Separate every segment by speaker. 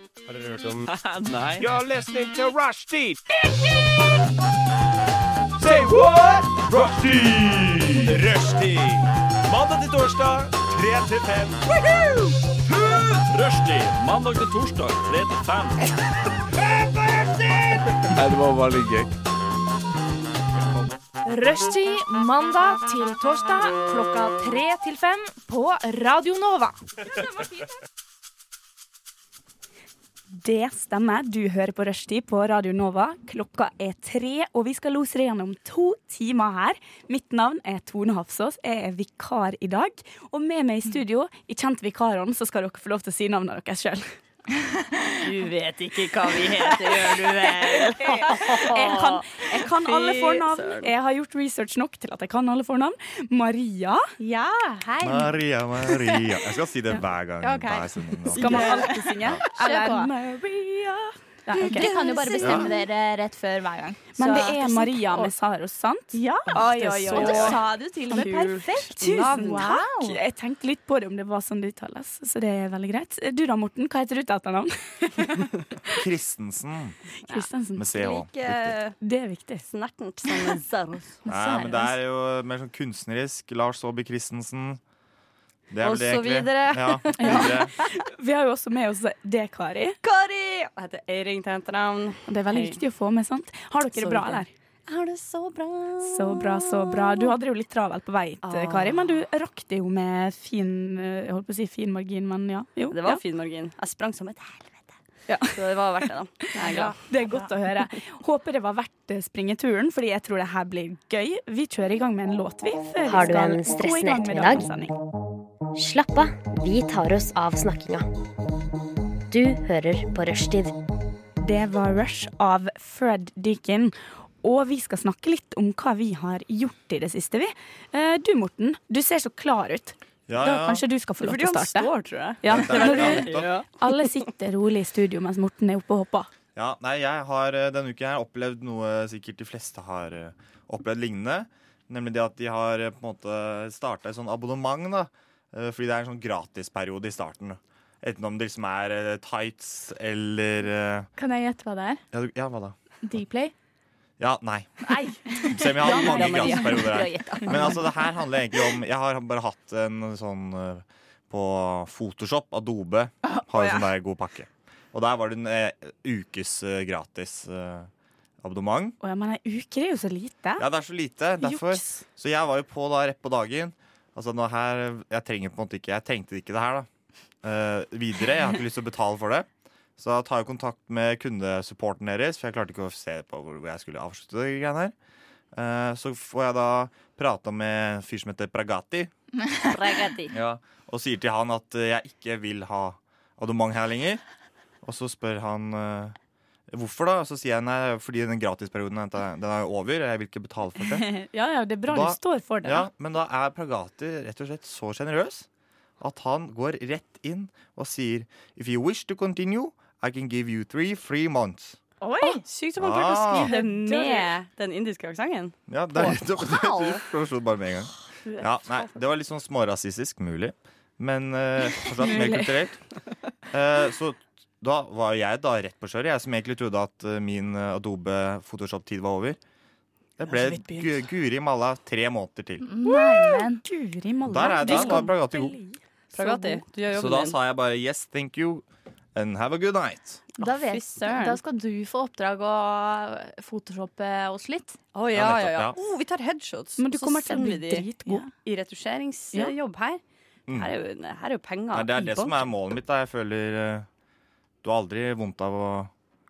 Speaker 1: Har dere hørt om
Speaker 2: Nei.
Speaker 1: You're listening to Rushdie! Say what? Rushdie! Rushdie! Mandag til torsdag, 3 til 5. Rushdie, mandag til torsdag, 3 til 5.
Speaker 2: det var bare litt gøy.
Speaker 3: Rushtid mandag til torsdag klokka tre til fem på Radio Nova.
Speaker 4: Det stemmer. Du hører på Rushtid på Radio Nova. Klokka er tre, og vi skal lose deg gjennom to timer her. Mitt navn er Tone Hafsås. Jeg er vikar i dag. Og med meg i studio, i kjent vikarånd, så skal dere få lov til å si navnet deres sjøl.
Speaker 5: Du vet ikke hva vi heter, gjør du vel?
Speaker 4: Jeg, kan- jeg kan alle
Speaker 5: Fy
Speaker 4: fornavn.
Speaker 5: søren.
Speaker 4: Jeg har gjort research nok til at jeg kan alle fornavn. Maria.
Speaker 5: Ja, hei.
Speaker 6: Maria, Maria. Jeg skal si det hver gang.
Speaker 5: Ja, ok.
Speaker 6: Hver sending nå.
Speaker 4: Skal man alltid synge?
Speaker 5: Kjør
Speaker 4: Eller
Speaker 5: på.
Speaker 4: Maria.
Speaker 5: Nei, ok. Dere kan jo bare bestemme dere rett før hver gang.
Speaker 4: Men
Speaker 5: Så-
Speaker 4: det er Maria med Saros, sant?
Speaker 5: Ja,
Speaker 4: Oi, oi, oi.
Speaker 5: og det sa du til og med
Speaker 4: Kult.
Speaker 5: perfekt.
Speaker 4: Tusen
Speaker 5: Wow.
Speaker 4: takk. Jeg tenkte litt på det om det var sånn det uttales, så det er veldig greit. Du da, Morten, hva heter du til etternavn?
Speaker 6: Christensen
Speaker 4: Kristensen.
Speaker 6: med CH. Riktig.
Speaker 4: Det er viktig.
Speaker 7: Snertent som en saus.
Speaker 6: Nei, men det er jo mer sånn kunstnerisk. Lars Saabye Christensen. Det er
Speaker 7: Og
Speaker 6: vel det,
Speaker 7: så
Speaker 6: egentlig.
Speaker 7: videre.
Speaker 6: Ja, videre.
Speaker 4: Vi har jo også med oss det, Kari.
Speaker 7: Kari! Jeg heter Eiring til etternavn.
Speaker 4: Og det er veldig
Speaker 7: Hei.
Speaker 4: viktig å få med, sant? Har dere
Speaker 7: Så
Speaker 4: det bra,
Speaker 7: viktig.
Speaker 4: eller?
Speaker 7: Jeg har det så bra.
Speaker 4: Så bra, så bra. Du hadde det jo litt travelt på vei, hit,
Speaker 7: Ah.
Speaker 4: Kari, men du rakk det jo med fin eh, Jeg holdt på å si fin margin, men ja. Jo,
Speaker 7: Det var
Speaker 4: ja.
Speaker 7: fin margin. Jeg sprang som et helvete.
Speaker 4: Ja.
Speaker 7: Så det var verdt det, da. Jeg er glad.
Speaker 4: Det er godt å høre. Håper det var verdt eh, springeturen, fordi jeg tror det her blir gøy. Vi kjører i gang med en låt, vi. Før
Speaker 8: Har du
Speaker 4: vi skal
Speaker 8: en stressende
Speaker 4: gå i gang med
Speaker 8: ettermiddag?
Speaker 4: dagens sending.
Speaker 8: Slapp av, vi tar oss av snakkinga. Du hører på Rushtid.
Speaker 4: Det var Rush av Fred Deakin. Og vi skal snakke litt om hva vi har gjort i det siste, vi. Eh, Du Morten, du ser så klar ut.
Speaker 6: Ja,
Speaker 4: Da
Speaker 6: ja.
Speaker 4: kanskje du skal få lov til å starte.
Speaker 7: tror jeg.
Speaker 4: Ja,
Speaker 6: Det er- ja,
Speaker 4: når du,
Speaker 6: nettopp.
Speaker 4: alle sitter rolig i studio mens Morten er oppe og hopper.
Speaker 6: Ja, nei, jeg har eh, denne uken her opplevd noe sikkert de fleste har eh, opplevd lignende. Nemlig det at de har eh, på en måte starta et sånn abonnement, da. eh, Fordi det er en sånn gratisperiode i starten. Enten om det liksom er eh, tights eller eh,
Speaker 5: Kan jeg gjette hva det er?
Speaker 6: ja, du- ja, hva da?
Speaker 5: Dplay?
Speaker 6: Ja, nei. Se, vi har hatt mange gratisperioder her.
Speaker 7: gjetta.
Speaker 6: Men altså, det her handler egentlig om Jeg har bare hatt en sånn eh, på Photoshop, Adobe, har jo sånn der god pakke. Og der var det en eh, ukes eh, gratis eh, abonnement.
Speaker 4: Å ja, men ei uke er jo så lite.
Speaker 6: Ja, det er så lite. Derfor.
Speaker 4: Juks.
Speaker 6: Så jeg var jo på da rett på dagen. Altså nå her, Jeg trenger på en måte ikke Jeg trengte ikke det her, da. Eh, videre. Jeg har ikke lyst til å betale for det. Så da tar jeg kontakt med kundesupporten deres, for jeg klarte ikke å se på hvor hvor jeg skulle avslutte det greiene her. Eh, så får jeg da prata med en fyr som heter Pragati, og sier til han at eh, jeg ikke vil ha abonnement her lenger. Og så spør han eh, hvorfor, da. Og så sier jeg nei, fordi den gratisperioden den er jo over. Jeg vil ikke betale for det.
Speaker 4: Ja, ja, det er bra
Speaker 6: Da-
Speaker 4: du står for det.
Speaker 6: Ja,
Speaker 4: da.
Speaker 6: men da er Pragati rett og slett så sjenerøs at han går rett inn og sier If you wish to continue, I can give you three free months.
Speaker 7: Oi! Sykt om han klarte å
Speaker 6: Ah.
Speaker 7: skrive det med den indiske aksenten.
Speaker 6: Ja, det er litt wow. bare med en gang. Ja, nei, det var litt sånn smårasistisk, mulig, men eh, fortsatt mer kulturelt. Eh, så da var jeg da rett på kjøret, jeg som egentlig trodde at eh, min eh, Adobe Photoshop-tid var over. Det ble gu- guri malla tre måneder til.
Speaker 5: Nei, men
Speaker 4: Guri malla.
Speaker 6: Der er
Speaker 4: Du
Speaker 6: da
Speaker 4: skal
Speaker 6: var Pragati god.
Speaker 4: bli-
Speaker 7: Pragati, du gjør
Speaker 6: Så
Speaker 7: jobben
Speaker 6: da
Speaker 7: din.
Speaker 6: sa jeg bare yes, thank you, and have a good night.
Speaker 5: da, vet,
Speaker 7: fy søren.
Speaker 5: da skal du få oppdrag å photoshoppe oss litt.
Speaker 7: Å ja,
Speaker 6: Ja,
Speaker 7: ja, ja.
Speaker 6: nettopp,
Speaker 7: Oh, vi tar headshots.
Speaker 4: Men du
Speaker 7: så
Speaker 4: kommer til å
Speaker 7: sender
Speaker 4: bli
Speaker 7: vi de
Speaker 4: dritgod.
Speaker 7: I retusjeringsjobb her. Her er jo, her er jo penger.
Speaker 6: Nei, det Mm. er
Speaker 7: i
Speaker 6: det
Speaker 7: bånn.
Speaker 6: som er målet mitt. Da. Jeg føler eh, Du har aldri vondt av å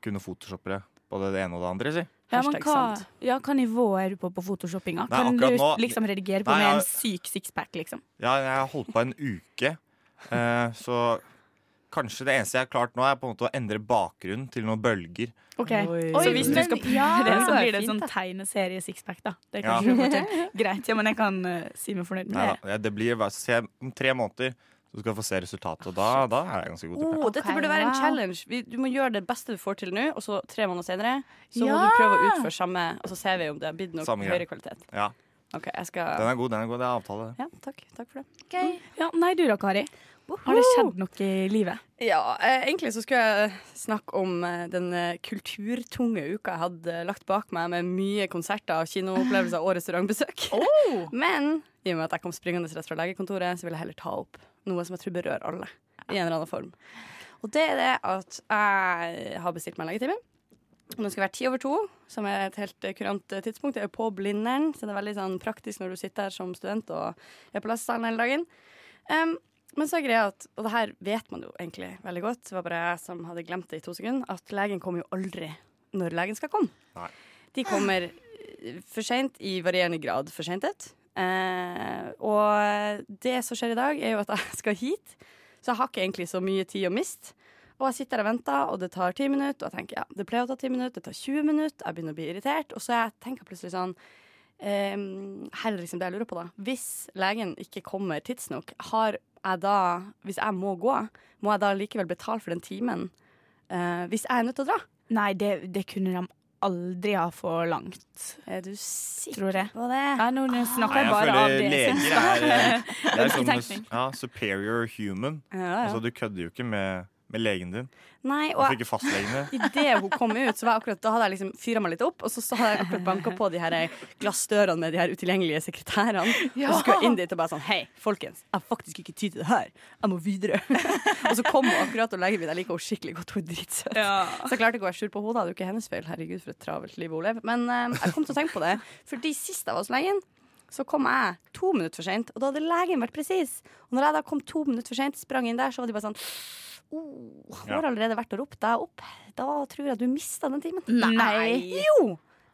Speaker 6: kunne photoshoppe det. Både det ene og det andre, si.
Speaker 4: Ja, men
Speaker 7: Hashtag
Speaker 4: hva,
Speaker 7: sant.
Speaker 4: ja, hva nivå er du på på photoshoppinga?
Speaker 6: Nei,
Speaker 4: Kan du
Speaker 6: akkurat nå-
Speaker 4: liksom redigere på
Speaker 6: Nei,
Speaker 4: med
Speaker 6: jeg-
Speaker 4: en syk sixpack, liksom?
Speaker 6: Ja, jeg har holdt på en uke, eh, så kanskje det eneste jeg har klart nå, er på en måte å endre bakgrunnen til noen bølger.
Speaker 4: så hvis du
Speaker 5: men-
Speaker 4: skal prøve
Speaker 5: ja,
Speaker 4: det, så
Speaker 5: det er
Speaker 4: blir det
Speaker 5: fint,
Speaker 4: sånn
Speaker 5: da.
Speaker 4: tegneserie-sixpack, da. Det
Speaker 6: Ja.
Speaker 4: kan du få til. Greit, ja, men jeg kan eh, si meg fornøyd med
Speaker 6: Nei,
Speaker 4: det.
Speaker 6: da, ja, det blir hva- se, Om tre måneder så skal jeg få se resultatet, og da, da er jeg ganske god til det.
Speaker 7: Oh, dette
Speaker 5: Ok,
Speaker 7: burde være en
Speaker 5: wow.
Speaker 7: challenge. Vi, du må gjøre det beste du får til nå, og så tre måneder senere så må
Speaker 5: Ja.
Speaker 7: du prøve å utføre samme, og så ser vi om det har blitt noe
Speaker 6: Samme greie.
Speaker 7: høyere kvalitet.
Speaker 6: Ja,
Speaker 7: OK, jeg
Speaker 6: den
Speaker 7: skal
Speaker 6: er god, den er god. Det er avtale.
Speaker 7: Ja, takk. Takk for det.
Speaker 4: Ja, nei, du da, Kari. Har det skjedd noe i livet?
Speaker 7: Ja, eh, egentlig så skulle jeg snakke om eh, den eh, kulturtunge uka jeg hadde eh, lagt bak meg, med mye konserter, kinoopplevelser og restaurantbesøk. Men i og med at jeg kom springende rett fra legekontoret, så vil jeg heller ta opp noe som jeg tror berører alle. I en eller annen form. Og det er det at jeg har bestilt meg en legetime. Og Den skal være ti over to, som er et helt eh, kurant eh, tidspunkt. Det er på Blindern, så det er veldig sånn, praktisk når du sitter her som student og er på lesesalen hele dagen. Um, men så er greia at, og det her vet man jo egentlig veldig godt, det var bare jeg som hadde glemt det i to sekunder, at legen kommer jo aldri når legen skal komme.
Speaker 6: Nei.
Speaker 7: De kommer eh, for seint i varierende grad for seinthet. Eh, og det som skjer i dag, er jo at jeg skal hit, så jeg har ikke egentlig så mye tid å miste. Og jeg sitter og venter, og det tar ti minutter, og jeg tenker ja, det pleier å ta ti minutter, det tar 20 minutter, jeg begynner å bli irritert, og så jeg tenker jeg plutselig sånn Um, her er liksom det jeg lurer på da Hvis legen ikke kommer tidsnok Har jeg da, hvis jeg må gå Må jeg da likevel betale for den timen eh, Hvis jeg er nødt til å dra
Speaker 4: Nei, det, det kunne de aldri ha forlangt,
Speaker 7: Er du sikker
Speaker 4: tror jeg.
Speaker 7: på det?
Speaker 4: Nei, nå nå
Speaker 6: Nei,
Speaker 4: snakker jeg
Speaker 6: jeg
Speaker 4: bare av
Speaker 6: føler
Speaker 4: det. jeg
Speaker 6: leger
Speaker 4: syns.
Speaker 6: er, eh, det er
Speaker 4: Ønsketenkning.
Speaker 6: sånn, ja, superior human.
Speaker 7: Ja, ja.
Speaker 6: Altså, du kødder jo ikke med, med legen din.
Speaker 7: Nei, og
Speaker 6: Hvorfor
Speaker 7: jeg
Speaker 6: ikke fastlegen din?
Speaker 7: Idet hun kom ut, så var jeg akkurat, da hadde jeg liksom fyra meg litt opp. Og så, så hadde jeg akkurat banka på de her eh, glassdørene med de her utilgjengelige sekretærene. Og så skulle jeg inn dit og bare sånn Hei, folkens, jeg har faktisk ikke tid til det her. Jeg må videre. og så kom hun akkurat og legger min. Jeg liker henne skikkelig godt. Hun er dritsøt. Så jeg klarte ikke å være sur på henne. da. Det er jo ikke hennes feil. Herregud, for et travelt liv hun lever. Men eh, jeg kom til å tenke på det. Fordi sist jeg var hos legen, så kom jeg to minutter for seint, og da hadde legen vært presis. Og når jeg da kom to minutter for seint, sprang inn der, så var de bare sånn oh, Hun har allerede vært og ropt deg opp. Da tror jeg du mista den timen.
Speaker 5: Nei.
Speaker 7: Jo!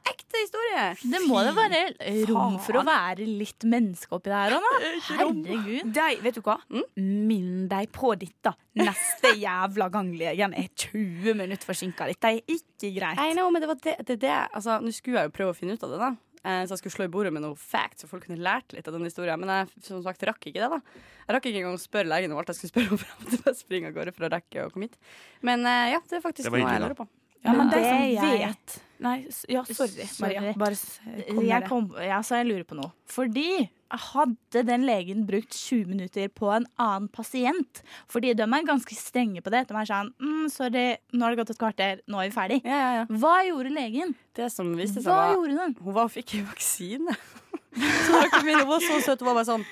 Speaker 7: Ekte historie.
Speaker 5: Det må da være rom for å være litt menneske oppi det her òg, da. Herregud. Mm?
Speaker 4: De, vet du hva? Minn deg på dette neste jævla gang legen er 20 minutter forsinka. Dette er ikke greit.
Speaker 7: I know, men det var det, det, er det. Altså, Nå skulle jeg jo prøve å finne ut av det, da. Eh, Så jeg skulle slå i bordet med noe facts, så folk kunne lært litt av den historien. Men jeg som sagt, rakk ikke det, da. Jeg rakk ikke engang å spørre legen om alt jeg skulle spørre om. for Jeg måtte bare springe av gårde for å rekke å komme hit. Men eh, ja, det er faktisk
Speaker 6: Det var
Speaker 7: noe jeg
Speaker 6: hyggelig,
Speaker 7: lurer på.
Speaker 4: Ja, men
Speaker 5: Ja.
Speaker 4: de som
Speaker 5: Det er jeg.
Speaker 4: vet Nei, s- ja, sorry,
Speaker 5: Sorry.
Speaker 4: Maria. Bare s- kom med
Speaker 5: Jeg,
Speaker 4: det.
Speaker 5: kom, ja, så jeg lurer på noe. Fordi hadde den legen brukt 20 minutter på en annen pasient Fordi de er ganske strenge på det. De er sånn mm, 'Sorry, nå har det gått et kvarter. Nå er vi ferdig'.
Speaker 7: Ja, ja, ja.
Speaker 5: Hva gjorde legen?
Speaker 7: Det som viste seg,
Speaker 5: Hva
Speaker 7: var
Speaker 5: gjorde den?
Speaker 7: Hun var, fikk vaksine. Så dere min, hun var så søt. Hun var bare sånn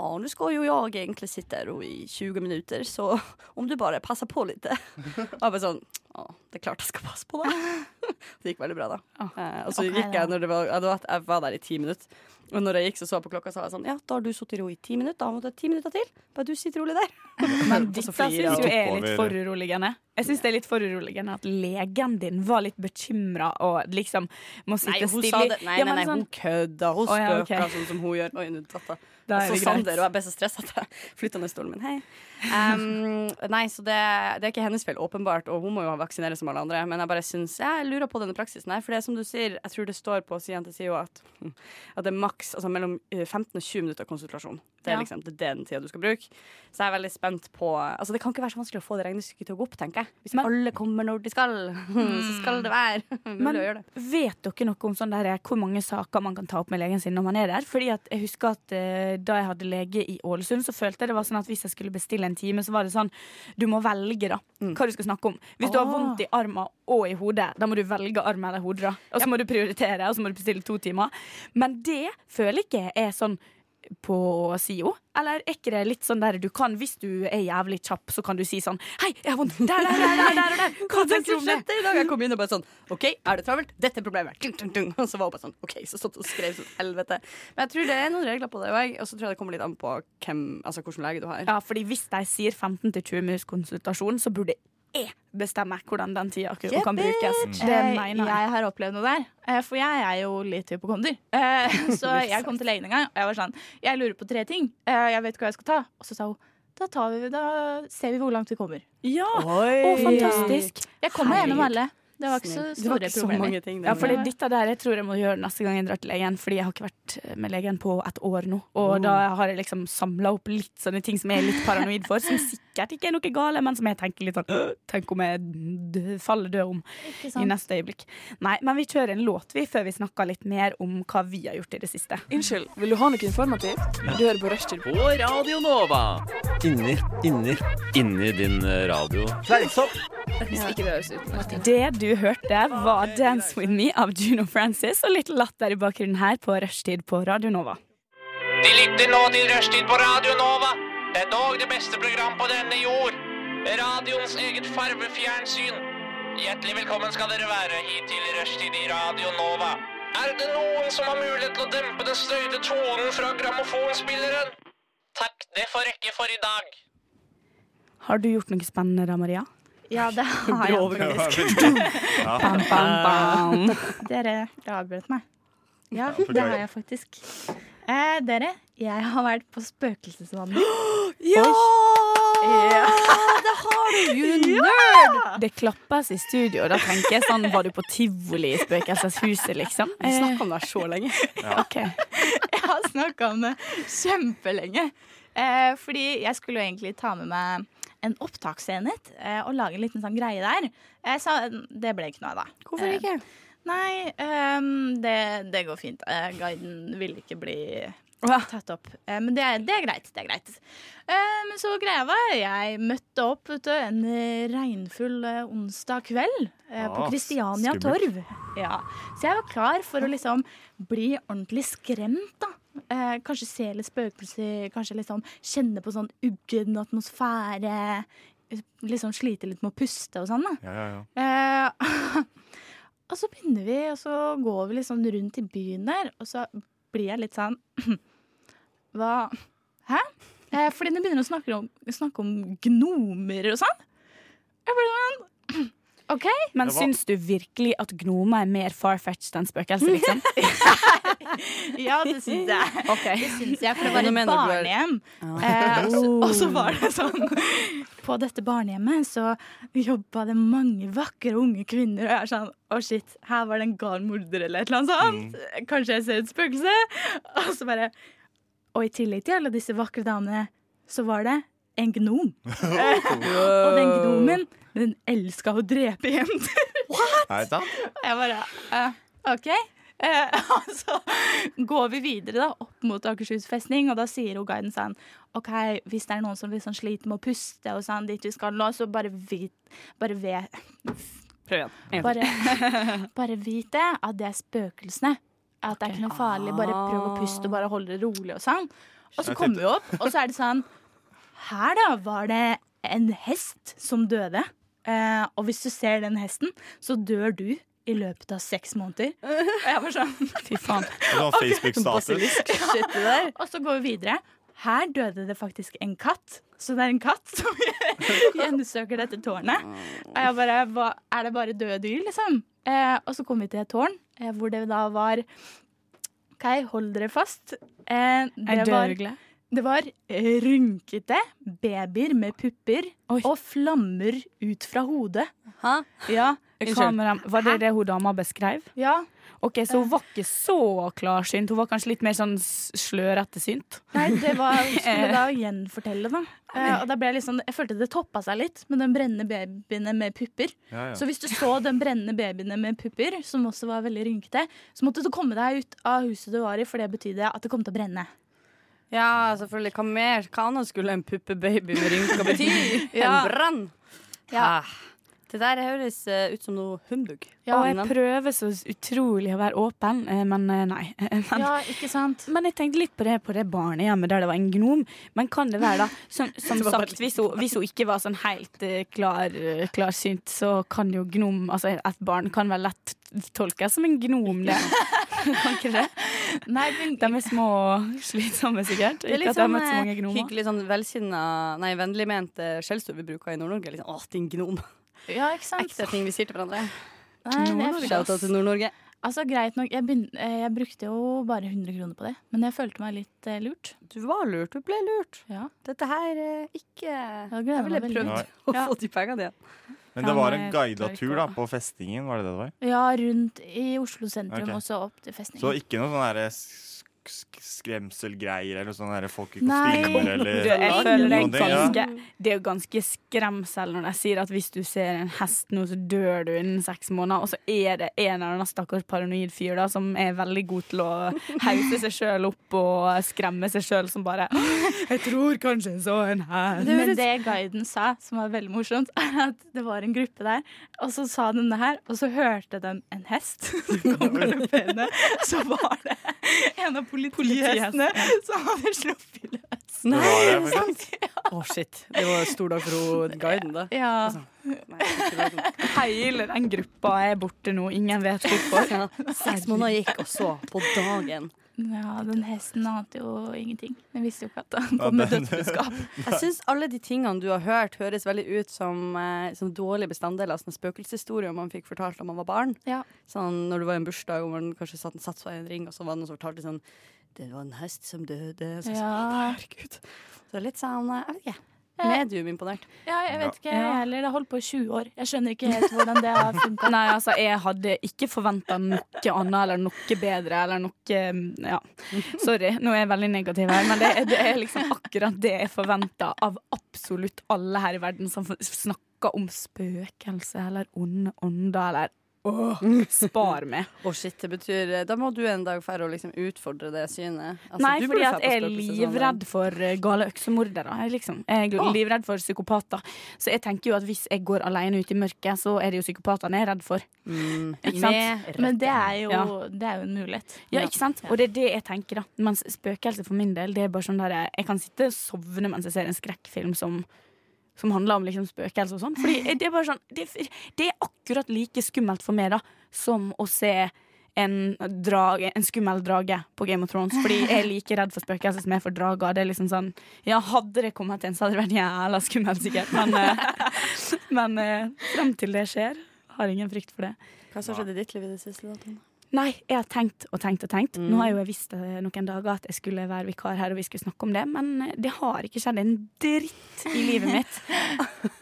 Speaker 7: Å, nå skal jo jeg egentlig sitte her og i 20 minutter, så om du bare passer på litt Og jeg bare sånn Å, det er klart jeg skal passe på, da. Det gikk veldig bra, da. Eh, og så
Speaker 5: Ok,
Speaker 7: gikk
Speaker 5: da.
Speaker 7: jeg når det var, ja, det var at jeg var der i ti minutter. Og når jeg gikk, så så jeg på klokka og sa jeg sånn Ja, da har du sittet i ro i ti minutter. Da må du ha ti minutter til. Bare du sitter rolig der.
Speaker 4: Men dette syns
Speaker 7: flirer
Speaker 4: jo
Speaker 6: jeg.
Speaker 4: er
Speaker 6: Tok
Speaker 4: litt
Speaker 6: over.
Speaker 4: foruroligende. Jeg syns det er litt foruroligende at legen din var litt bekymra og liksom må sitte stille i-
Speaker 7: Nei,
Speaker 4: Ja,
Speaker 7: nei,
Speaker 4: men sånn-
Speaker 7: nei,
Speaker 5: altså,
Speaker 7: hun kødda. Hun
Speaker 4: Å, ja,
Speaker 7: spøka
Speaker 4: ok.
Speaker 7: sånn som hun gjør. Oi, nå datt jeg.
Speaker 4: da er det
Speaker 7: Og så Altså, Sander, og
Speaker 4: greit.
Speaker 7: jeg ble så stressa at jeg flytta ned stolen min. Hei. Um, nei, så det, det er ikke hennes feil, åpenbart, og hun må jo vaksinere som alle andre. Men jeg bare syns Jeg lurer på denne praksisen her, for det er som du sier, jeg tror det står på siden til siden at, hm, at det er maks altså mellom eh, 15 og 20 minutter konsultasjon. Det er
Speaker 5: Ja.
Speaker 7: liksom det er den tida du skal bruke. Så jeg er veldig spent på Altså, det kan ikke være så vanskelig å få det regnestykket til å gå opp, tenker jeg. Hvis
Speaker 4: Men-
Speaker 7: alle kommer når de skal, så skal det være mulig å gjøre det.
Speaker 4: Men vet dere noe om sånn der, hvor mange saker man kan ta opp med legen sin når man er der? Fordi at jeg husker at eh, Da jeg hadde lege i Ålesund, så følte jeg det var sånn at hvis jeg skulle bestille en time, så var det sånn Du må velge da hva du skal snakke om. Hvis du har
Speaker 5: Ah.
Speaker 4: vondt i armen og i hodet, da må du velge arm eller hode. da. Og så må du prioritere, og så må du bestille to timer. Men det føler ikke jeg er sånn på SIO? Eller er ikke det litt sånn der du kan, hvis du er jævlig kjapp, så kan du si sånn Hei, jeg har vondt der, der, der, der, der, og der. Hva tenker du om det?
Speaker 7: Skjønte i dag jeg kom inn og bare sånn OK, er det travelt? Dette er problemet. Dung, dung, dung. Og så var hun bare sånn OK, så satt hun og skrev som helvete. Men jeg tror det er noen regler på det òg, og så tror jeg det kommer litt an på hvem, altså hvilken lege du har.
Speaker 4: Ja, fordi hvis de sier 15-20 minutters konsultasjon, så burde jeg bestemme hvordan den tida akkurat kan brukes. Det
Speaker 5: Eh,
Speaker 4: mener jeg.
Speaker 5: Jeg har opplevd noe der, eh, for jeg er jo litt hypokonder. Eh, Så jeg kom til legen en gang, og jeg var sånn Jeg lurer på tre ting. Eh, Jeg vet ikke hva jeg skal ta. Og så sa hun da, tar vi, da ser vi hvor langt vi kommer.
Speaker 4: Ja,
Speaker 7: Oi.
Speaker 4: Å, fantastisk.
Speaker 5: Jeg kommer gjennom alle. Det var ikke så
Speaker 7: Snill. Det var
Speaker 5: store
Speaker 7: ikke så
Speaker 5: problemer.
Speaker 7: mange ting.
Speaker 4: Ja,
Speaker 7: den
Speaker 4: fordi
Speaker 7: gangen.
Speaker 4: dette der jeg tror jeg må gjøre neste gang jeg drar til legen, fordi jeg har ikke vært eh, med legen på et år nå. Og da
Speaker 5: Mm.
Speaker 4: har jeg liksom samla opp litt sånne ting som jeg er litt paranoid for, som sikkert ikke er noe gale, men som jeg tenker litt sånn «Øh, Tenk om jeg dø- faller død om
Speaker 5: Ikke
Speaker 4: i
Speaker 5: sant?
Speaker 4: neste øyeblikk. Nei, men vi kjører en låt, vi, før vi snakker litt mer om hva vi har gjort i det siste.
Speaker 2: Unnskyld, vil du ha noe informativt? Du hører på Rushtid.
Speaker 9: På Radio Nova. Inni, inni Inni din eh, radio.
Speaker 2: Fleisopp! Hvis ikke det høres ut som noe.
Speaker 4: Det du hørte, var 'Dance With Me' av Juno Francis og litt latter i bakgrunnen her på rushtid på Radio Nova.
Speaker 10: De lytter nå til Rushtid på Radio Nova. Det er dog det beste program på denne jord. Radioens eget farvefjernsyn. Hjertelig velkommen skal dere være hit til Rushtid i Radio Nova. Er det noen som har mulighet til å dempe den støyte tonen fra grammofonspilleren? Takk, det får rekke for i dag.
Speaker 4: Har du gjort noe spennende da, Maria?
Speaker 5: Ja, det har jeg. faktisk.
Speaker 4: Bam, bam, bam.
Speaker 5: Dere, dere avbrøt meg. Ja,
Speaker 6: beklager.
Speaker 5: det har jeg faktisk. Eh, dere, jeg har vært på spøkelsesvandring.
Speaker 4: Ja!
Speaker 5: Det har du, you
Speaker 4: Det klappes i studio, og da tenker jeg sånn Var du på tivoli i Spøkelseshuset, liksom?
Speaker 7: Vi snakket om det her så lenge.
Speaker 4: Ok.
Speaker 5: Jeg har snakka om det kjempelenge. Eh, fordi jeg skulle jo egentlig ta med meg en opptaksenhet eh, og lage en liten sånn greie der. Eh, så det ble ikke noe av, da.
Speaker 7: Hvorfor ikke?
Speaker 6: Eh,
Speaker 5: Nei, ehm, det, det går fint. Eh, guiden vil ikke bli tatt opp. Eh, men det, er- det er greit. det er greit. Eh, men så greia var jeg møtte opp vet du, en eh, regnfull eh, onsdag kveld eh, på
Speaker 6: Ah,
Speaker 5: Kristiania
Speaker 6: skummelt.
Speaker 5: Torv. Ja. Så jeg var klar for å liksom bli ordentlig skremt. da. Eh, kanskje se litt spøkelser, kanskje liksom kjenne på sånn uggen atmosfære. Liksom slite litt med å puste og sånn. da.
Speaker 6: Ja, ja, ja.
Speaker 5: Eh, og så begynner vi, og så går vi liksom rundt i byen der, og så blir jeg litt sånn Hva? Hæ? Eh, fordi de begynner å snakke om, snakke om gnomer og sånn. Jeg blir sånn OK.
Speaker 4: Men
Speaker 6: Det var-
Speaker 4: syns du virkelig at gnomer er mer far-fetched enn spøkelser, liksom?
Speaker 5: Ja, det syns jeg. Det syns jeg, for det var
Speaker 7: Nå
Speaker 5: et
Speaker 7: mener du er-
Speaker 5: barnehjem. Eh, og så- og så var det sånn På dette barnehjemmet så jobba det mange vakre unge kvinner, og jeg er sånn Å, shit, her var det en gal morder eller et eller annet sånt. Kanskje jeg ser et spøkelse? Og så bare Og i tillegg til alle disse vakre damene, så var det en gnom. og
Speaker 7: Øh.
Speaker 5: den gnomen, den elska å drepe jenter.
Speaker 6: Er det sant?
Speaker 5: Og jeg bare eh, OK. Eh, og så går vi videre da, opp mot Akershus festning, og da sier hun guiden sånn OK, hvis det er noen som liksom sliter med å puste og sånn dit vi skal nå, så bare vit Bare vet
Speaker 4: Prøv igjen. En gang til.
Speaker 5: bare, bare vit det, at det er spøkelsene. At det er ikke noe farlig. Bare prøv å puste og bare holde det rolig og sånn. Og så
Speaker 6: Jeg
Speaker 5: kommer vi opp, og så er det sånn Her, da, var det en hest som døde. Eh, og hvis du ser den hesten, så dør du i løpet av seks måneder. Og jeg var sånn
Speaker 4: Fy faen.
Speaker 6: Du har Facebook-status.
Speaker 7: Basilisk shit, det der.
Speaker 5: Og så går vi videre. Her døde det faktisk en katt. Så det er en katt som gjennomsøker dette tårnet. Og jeg bare hva, Er det bare døde dyr, liksom? Eh, og så kom vi til et tårn eh, hvor det da var OK, hold dere fast. Eh,
Speaker 4: Ei
Speaker 5: det, var,
Speaker 4: dørgle.
Speaker 5: det var eh, rynkete babyer med pupper
Speaker 4: Oi.
Speaker 5: og flammer ut fra hodet.
Speaker 7: Hæ?
Speaker 5: Ja.
Speaker 4: Hva med dem? Var det det hun dama beskrev?
Speaker 5: ja.
Speaker 4: Ok, Så hun var ikke så klarsynt, hun var kanskje litt mer sånn s- slørete synt?
Speaker 5: Nei, det var hun skulle da gjenfortelle, da. Eh, og da ble jeg litt sånn Jeg følte det toppa seg litt med den brennende babyene med pupper.
Speaker 6: Ja, ja.
Speaker 5: Så hvis du så den brennende babyene med pupper, som også var veldig rynkete, så måtte du komme deg ut av huset du var i, for det betydde at det kom til å brenne.
Speaker 7: Ja, selvfølgelig. Hva mer? Hva annet skulle en puppebaby med rynker bety?
Speaker 5: Ja.
Speaker 7: En brann?
Speaker 5: Ja.
Speaker 7: Ah, Det der høres eh, ut som noe humbug.
Speaker 4: og jeg
Speaker 7: Men-
Speaker 4: prøver så utrolig å være åpen, eh, men eh, nei. Men
Speaker 5: Ja, ikke sant?
Speaker 4: Men jeg tenkte litt på det på det barnehjemmet der det var en gnom. Men kan det være, da Som, som sagt, hvis hun, hvis hun ikke var sånn helt eh, klar, eh, klarsynt, så kan jo gnom Altså et barn kan vel lett tolkes som en gnom, det. kan ikke det?
Speaker 5: Nei, men
Speaker 4: De er små og slitsomme, sikkert.
Speaker 7: Det er
Speaker 4: Ikke
Speaker 7: litt
Speaker 4: at jeg har
Speaker 7: sånn
Speaker 4: møtt så mange
Speaker 7: eh,
Speaker 4: gnomer.
Speaker 7: hyggelig sånn velsinna, nei, vennligmente skjellsord vi bruker i Nord-Norge. Liksom, Å, din gnom.
Speaker 5: Ja, ikke sant?
Speaker 7: Ekte ting vi sier til hverandre.
Speaker 5: Nei, det er
Speaker 7: Shout out til Nord-Norge.
Speaker 5: altså, greit nok. Jeg, begyn- eh, jeg brukte jo bare 100 kroner på det, men jeg følte meg litt eh, lurt.
Speaker 7: Du var lurt. Du ble lurt.
Speaker 5: Ja.
Speaker 7: Dette her eh, ikke
Speaker 5: gleder
Speaker 7: Jeg ville
Speaker 5: meg veldig.
Speaker 7: prøvd å
Speaker 6: Nei.
Speaker 7: få de pengene igjen.
Speaker 6: Men det var
Speaker 5: Han,
Speaker 6: en
Speaker 5: eh,
Speaker 6: guida
Speaker 5: klarer ikke
Speaker 6: tur
Speaker 5: å-
Speaker 6: da, på festingen, var det det det var?
Speaker 5: Ja, rundt i Oslo sentrum,
Speaker 6: Ok.
Speaker 5: og så opp til festningen.
Speaker 6: Så ikke noe sånn derre sk- sk- skremselgreier eller sånn derre folk i
Speaker 4: Nei.
Speaker 6: kostymer eller
Speaker 4: Du, jeg føler det
Speaker 6: Eh, noen
Speaker 4: er
Speaker 6: ting, ja.
Speaker 4: ganske Det er jo ganske skremsel når de sier at hvis du ser en hest nå, så dør du innen seks måneder. Og så er det en eller annen stakkars paranoid fyr da som er veldig god til å hause seg sjøl opp og skremme seg sjøl, som bare Jeg tror kanskje jeg så en hest.
Speaker 5: Men det guiden sa, som var veldig morsomt, er at det var en gruppe der, og så sa de det her, og så hørte de en hest som kom galopperende. Så var det en av politihestene som hadde sluppet løs.
Speaker 6: Det var det, faktisk.
Speaker 7: Å, shit. Det var stor dag for hun guiden, da.
Speaker 5: Ja.
Speaker 4: Hele den gruppa er borte nå, ingen vet hvorfor.
Speaker 7: Seks måneder gikk, og så på dagen.
Speaker 5: ja, den hesten ante jo ingenting. Den visste jo ikke at han kom med dødsbudskap.
Speaker 7: Jeg syns alle de tingene du har hørt, høres veldig ut som, eh, som dårlige bestanddeler av sånne spøkelseshistorier man fikk fortalt da man var barn.
Speaker 5: Ja.
Speaker 7: Sånn når det var en bursdag og man kanskje satt, satt seg i en ring, og så var det noen som fortalte sånn Det var en hest som døde. Så,
Speaker 5: Ja.
Speaker 7: herregud. så det er litt sånn eh, Jeg vet ikke. Mediumimponert.
Speaker 5: ja, jeg vet ikke,
Speaker 4: Ja.
Speaker 5: jeg heller. Det har holdt på i 20 år. Jeg skjønner ikke helt hvordan det har funka.
Speaker 4: Nei, altså, jeg hadde ikke forventa noe annet eller noe bedre eller noe Ja, sorry, nå er jeg veldig negativ her, men det, det er liksom akkurat det jeg forventa av absolutt alle her i verden som snakker om spøkelse eller onde ånder eller Åh, spar meg.
Speaker 7: Å, shit, det betyr eh, Da må du en dag færre å liksom utfordre det synet. Altså,
Speaker 4: Nei,
Speaker 7: du
Speaker 4: fordi
Speaker 7: burde
Speaker 4: at
Speaker 7: fære på
Speaker 4: jeg er
Speaker 7: spøkelseshandel.
Speaker 4: livredd for eh, gale øksemordere. Jeg, liksom. jeg er livredd for psykopater. Så jeg tenker jo at hvis jeg går alene ut i mørket, så er det jo psykopatene jeg er redd for.
Speaker 7: Mm.
Speaker 4: Ikke sant?
Speaker 7: Med
Speaker 5: Men det er, jo,
Speaker 4: Ja.
Speaker 5: det er jo en mulighet.
Speaker 4: Ja, ikke sant? Og det er det jeg tenker, da. Mens spøkelse for min del, det er bare sånn der Jeg kan sitte og sovne mens jeg ser en skrekkfilm som som handler om liksom spøkelse og sånn. Fordi det er bare sånn det, det er akkurat like skummelt for meg da som å se en, drage, en skummel drage på Game of Thrones. Fordi jeg er like redd for spøkelser som jeg er for drager. Det er liksom sånn Ja, hadde det kommet en, så hadde det vært jævla skummelt, sikkert. Men, eh, men eh, frem til det skjer, har jeg ingen frykt for det.
Speaker 7: Hva som skjedde i ditt liv i det siste? da, Trine?
Speaker 4: Nei, jeg har tenkt og tenkt og tenkt. Nå har jeg jo visst eh, noen dager at jeg skulle være vikar her, og vi skulle snakke om det, men eh, det har ikke skjedd en dritt i livet mitt.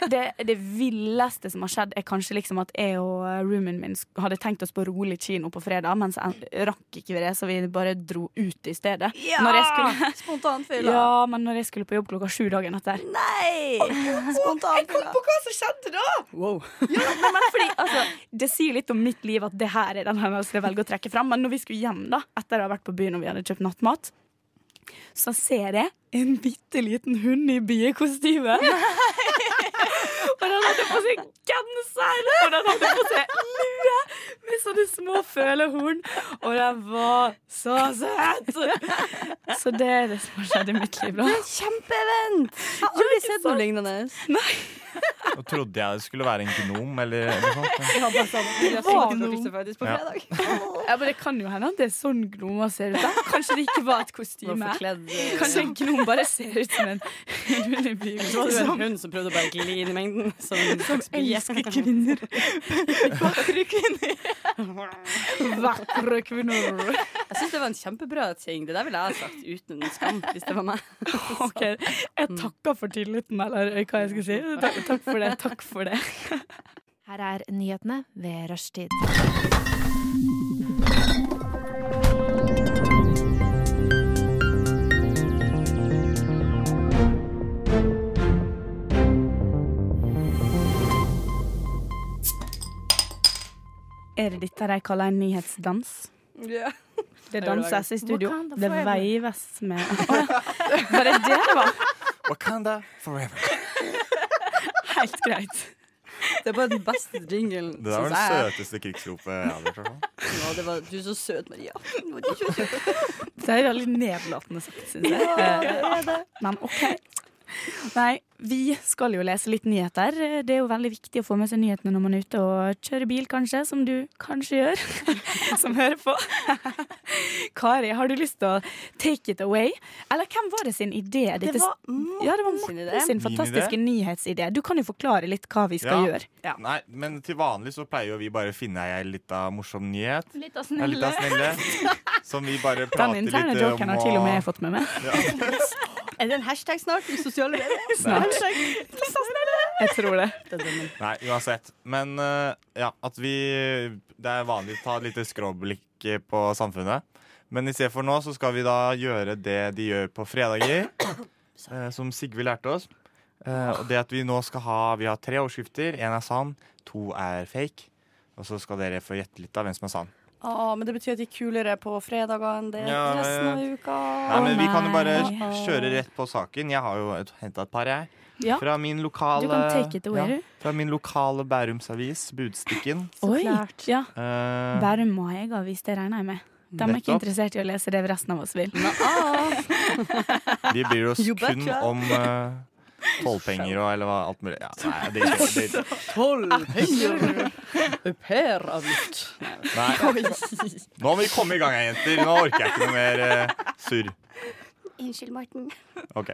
Speaker 4: Det, det villeste som har skjedd, er kanskje liksom at jeg og eh, roomien min sk- hadde tenkt oss på rolig kino på fredag, men så en- rakk ikke vi det, så vi bare dro ut i stedet. Når jeg skulle,
Speaker 7: Spontanfylla.
Speaker 4: ja, men når jeg skulle på jobb klokka sju dagen etter.
Speaker 7: Nei! Spontanfylla.
Speaker 4: Nei, men fordi, altså, det sier litt om mitt liv at det her er den hendelsen jeg velger å trekke fram. Men når vi skulle hjem, da, etter å ha vært på byen og vi hadde kjøpt nattmat, så ser jeg en bitte liten hund i biekostyme. Og den hadde på seg genser, og den hadde på seg lue med sånne små følehorn. Og den var så søt! Så det er det som har skjedd i mitt liv, da.
Speaker 7: Kjempeevent! Jeg har aldri sett noe lignende.
Speaker 6: Nå trodde jeg det skulle være en gnom eller noe sånt.
Speaker 7: Jeg har bare sånn, jeg
Speaker 4: var noe.
Speaker 7: sykte på Christer faktisk på
Speaker 6: Ja.
Speaker 7: fredag.
Speaker 4: Ja, men Det kan jo hende at det er sånn gnomer ser ut. da Kanskje det ikke var et kostyme. Kanskje en gnom bare ser ut som en hund i byen.
Speaker 7: eh, Det var en hund som prøvde å bare gli inn i mengden. Som elsker
Speaker 5: kvinner. Vakre kvinner.
Speaker 4: Vakre kvinner.
Speaker 7: Jeg syns det var en kjempebra ting. Det der ville jeg ha sagt uten skam hvis det var meg.
Speaker 4: Ok, Jeg takker for tilliten, eller hva jeg skal si. Takk, takk for det. takk for det
Speaker 11: Her er nyhetene ved rushtid.
Speaker 4: Er det dette de kaller en nyhetsdans?
Speaker 7: Ja.
Speaker 4: Det
Speaker 7: danses
Speaker 4: danses i studio.
Speaker 5: studio. Wakanda
Speaker 4: Det
Speaker 5: forever.
Speaker 4: veives med Å ja. Var det det det var?
Speaker 6: Wakanda forever.
Speaker 4: Helt greit.
Speaker 7: Det var den beste jinglen.
Speaker 6: Det der var det
Speaker 7: synes jeg.
Speaker 6: søteste krigsropet jeg hadde hørt. i hvert fall.
Speaker 7: Ja, det var, du er så søt, Maria. Du var så søt.
Speaker 4: Det er veldig nedlatende sagt, syns jeg. Eh, Men OK. Nei, vi skal jo lese litt nyheter. Det er jo veldig viktig å få med seg nyhetene når man er ute og kjører bil, kanskje, som du kanskje gjør, som hører på. Kari, har du lyst til å take it away? Eller hvem var det sin idé?
Speaker 7: Det
Speaker 4: Dette-
Speaker 7: var
Speaker 4: ja, det var
Speaker 7: Morten sin idé.
Speaker 4: Morten sin
Speaker 6: Min
Speaker 4: fantastiske nyhetsidé. Du kan jo forklare litt hva vi skal
Speaker 6: Ja.
Speaker 4: gjøre.
Speaker 6: Nei, men til vanlig så pleier jo vi bare å finne ei lita morsom nyhet.
Speaker 5: Litt av
Speaker 6: Ei lita
Speaker 5: snille.
Speaker 6: snille. Som vi bare
Speaker 4: Den
Speaker 6: prater litt eh, om.
Speaker 4: interne joken har til og med jeg fått med meg.
Speaker 7: Er det en hashtag snart i sosiale medier?
Speaker 4: Snart.
Speaker 7: Hashtag, litt av snille.
Speaker 2: Jeg tror det.
Speaker 6: Nei, uansett. Men eh, ja, at vi Det er vanlig å ta et lite skråblikk på samfunnet. Men i stedet for nå så skal vi da gjøre det de gjør på fredager, eh, som Sigve lærte oss. Eh, og det at vi nå skal ha Vi har tre overskrifter. Én er sann, to er fake. Og så skal dere få gjette litt av hvem som er sann.
Speaker 7: Å, men det betyr at de er kulere på fredager enn det er
Speaker 6: Ja,
Speaker 7: resten av
Speaker 6: ja.
Speaker 7: uka.
Speaker 6: Nei, men Vi kan jo bare kjøre rett på saken. Jeg har jo henta et par, jeg.
Speaker 7: Ja.
Speaker 6: Fra min lokale
Speaker 7: Du kan take it away.
Speaker 6: Fra min lokale Bærumsavis, Budstikken.
Speaker 4: Oi. Ja.
Speaker 6: Eh,
Speaker 4: Bærum må ha egavis, det regner jeg med. De er ikke
Speaker 6: Nettopp.
Speaker 4: interessert i å lese det resten av oss vil. ah.
Speaker 6: vi bryr oss
Speaker 4: You
Speaker 6: kun
Speaker 4: betcha.
Speaker 6: om eh, tollpenger og eller hva, alt mulig. Ja, nei, det er ikke, det er ikke.
Speaker 7: Ah.
Speaker 12: Tollpenger. Au-pair-avgift.
Speaker 6: Nei. Nå må vi komme i gang her, jenter. Nå orker jeg ikke noe mer eh, surr.
Speaker 13: Unnskyld, Morten.
Speaker 6: Ok.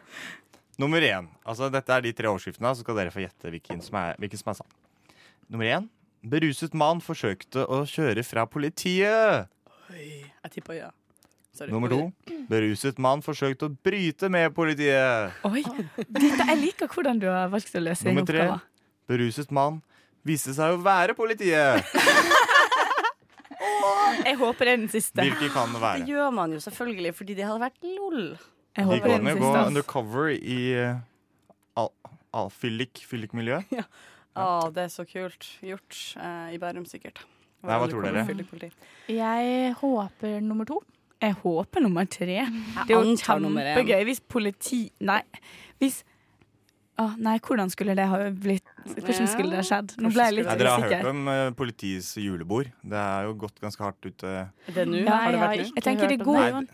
Speaker 6: Nummer én. Altså, dette er de tre overskriftene, så skal dere få gjette hvilken som er, hvilken som er sann. Nummer én. Beruset mann forsøkte å kjøre fra politiet.
Speaker 7: Jeg tipper ja. Sorry.
Speaker 6: Nummer to. Beruset mann forsøkte å bryte med politiet.
Speaker 4: Oi, Dette, Jeg liker hvordan du har valgt å løse den
Speaker 6: Nummer tre.
Speaker 4: oppgaven.
Speaker 6: Beruset mann viste seg å være politiet.
Speaker 4: Jeg håper det er den siste.
Speaker 6: Hvilke kan det være?
Speaker 7: Det gjør man jo selvfølgelig, fordi det hadde vært lol.
Speaker 6: De kan jo gå undercover i eh, al al fyllik, fyllikmiljø.
Speaker 7: Å, Ah, det er så kult gjort eh, i Bærum, sikkert.
Speaker 6: Nei, hva tror dere?
Speaker 7: Fyllikpoliti.
Speaker 4: Jeg håper nummer to. Jeg håper nummer tre. Det er jo
Speaker 7: antar nummer én.
Speaker 4: kjempegøy hvis politi... Nei, hvis Å, nei, hvordan skulle det ha blitt Hvordan skulle det ha skjedd? Nå ble jeg litt
Speaker 6: Nei, dere har hørt
Speaker 4: usikker.
Speaker 6: om eh, politiets julebord. Det er jo gått ganske hardt ut. eh.
Speaker 4: Nei, jeg har ikke- Jeg tenker det går jo an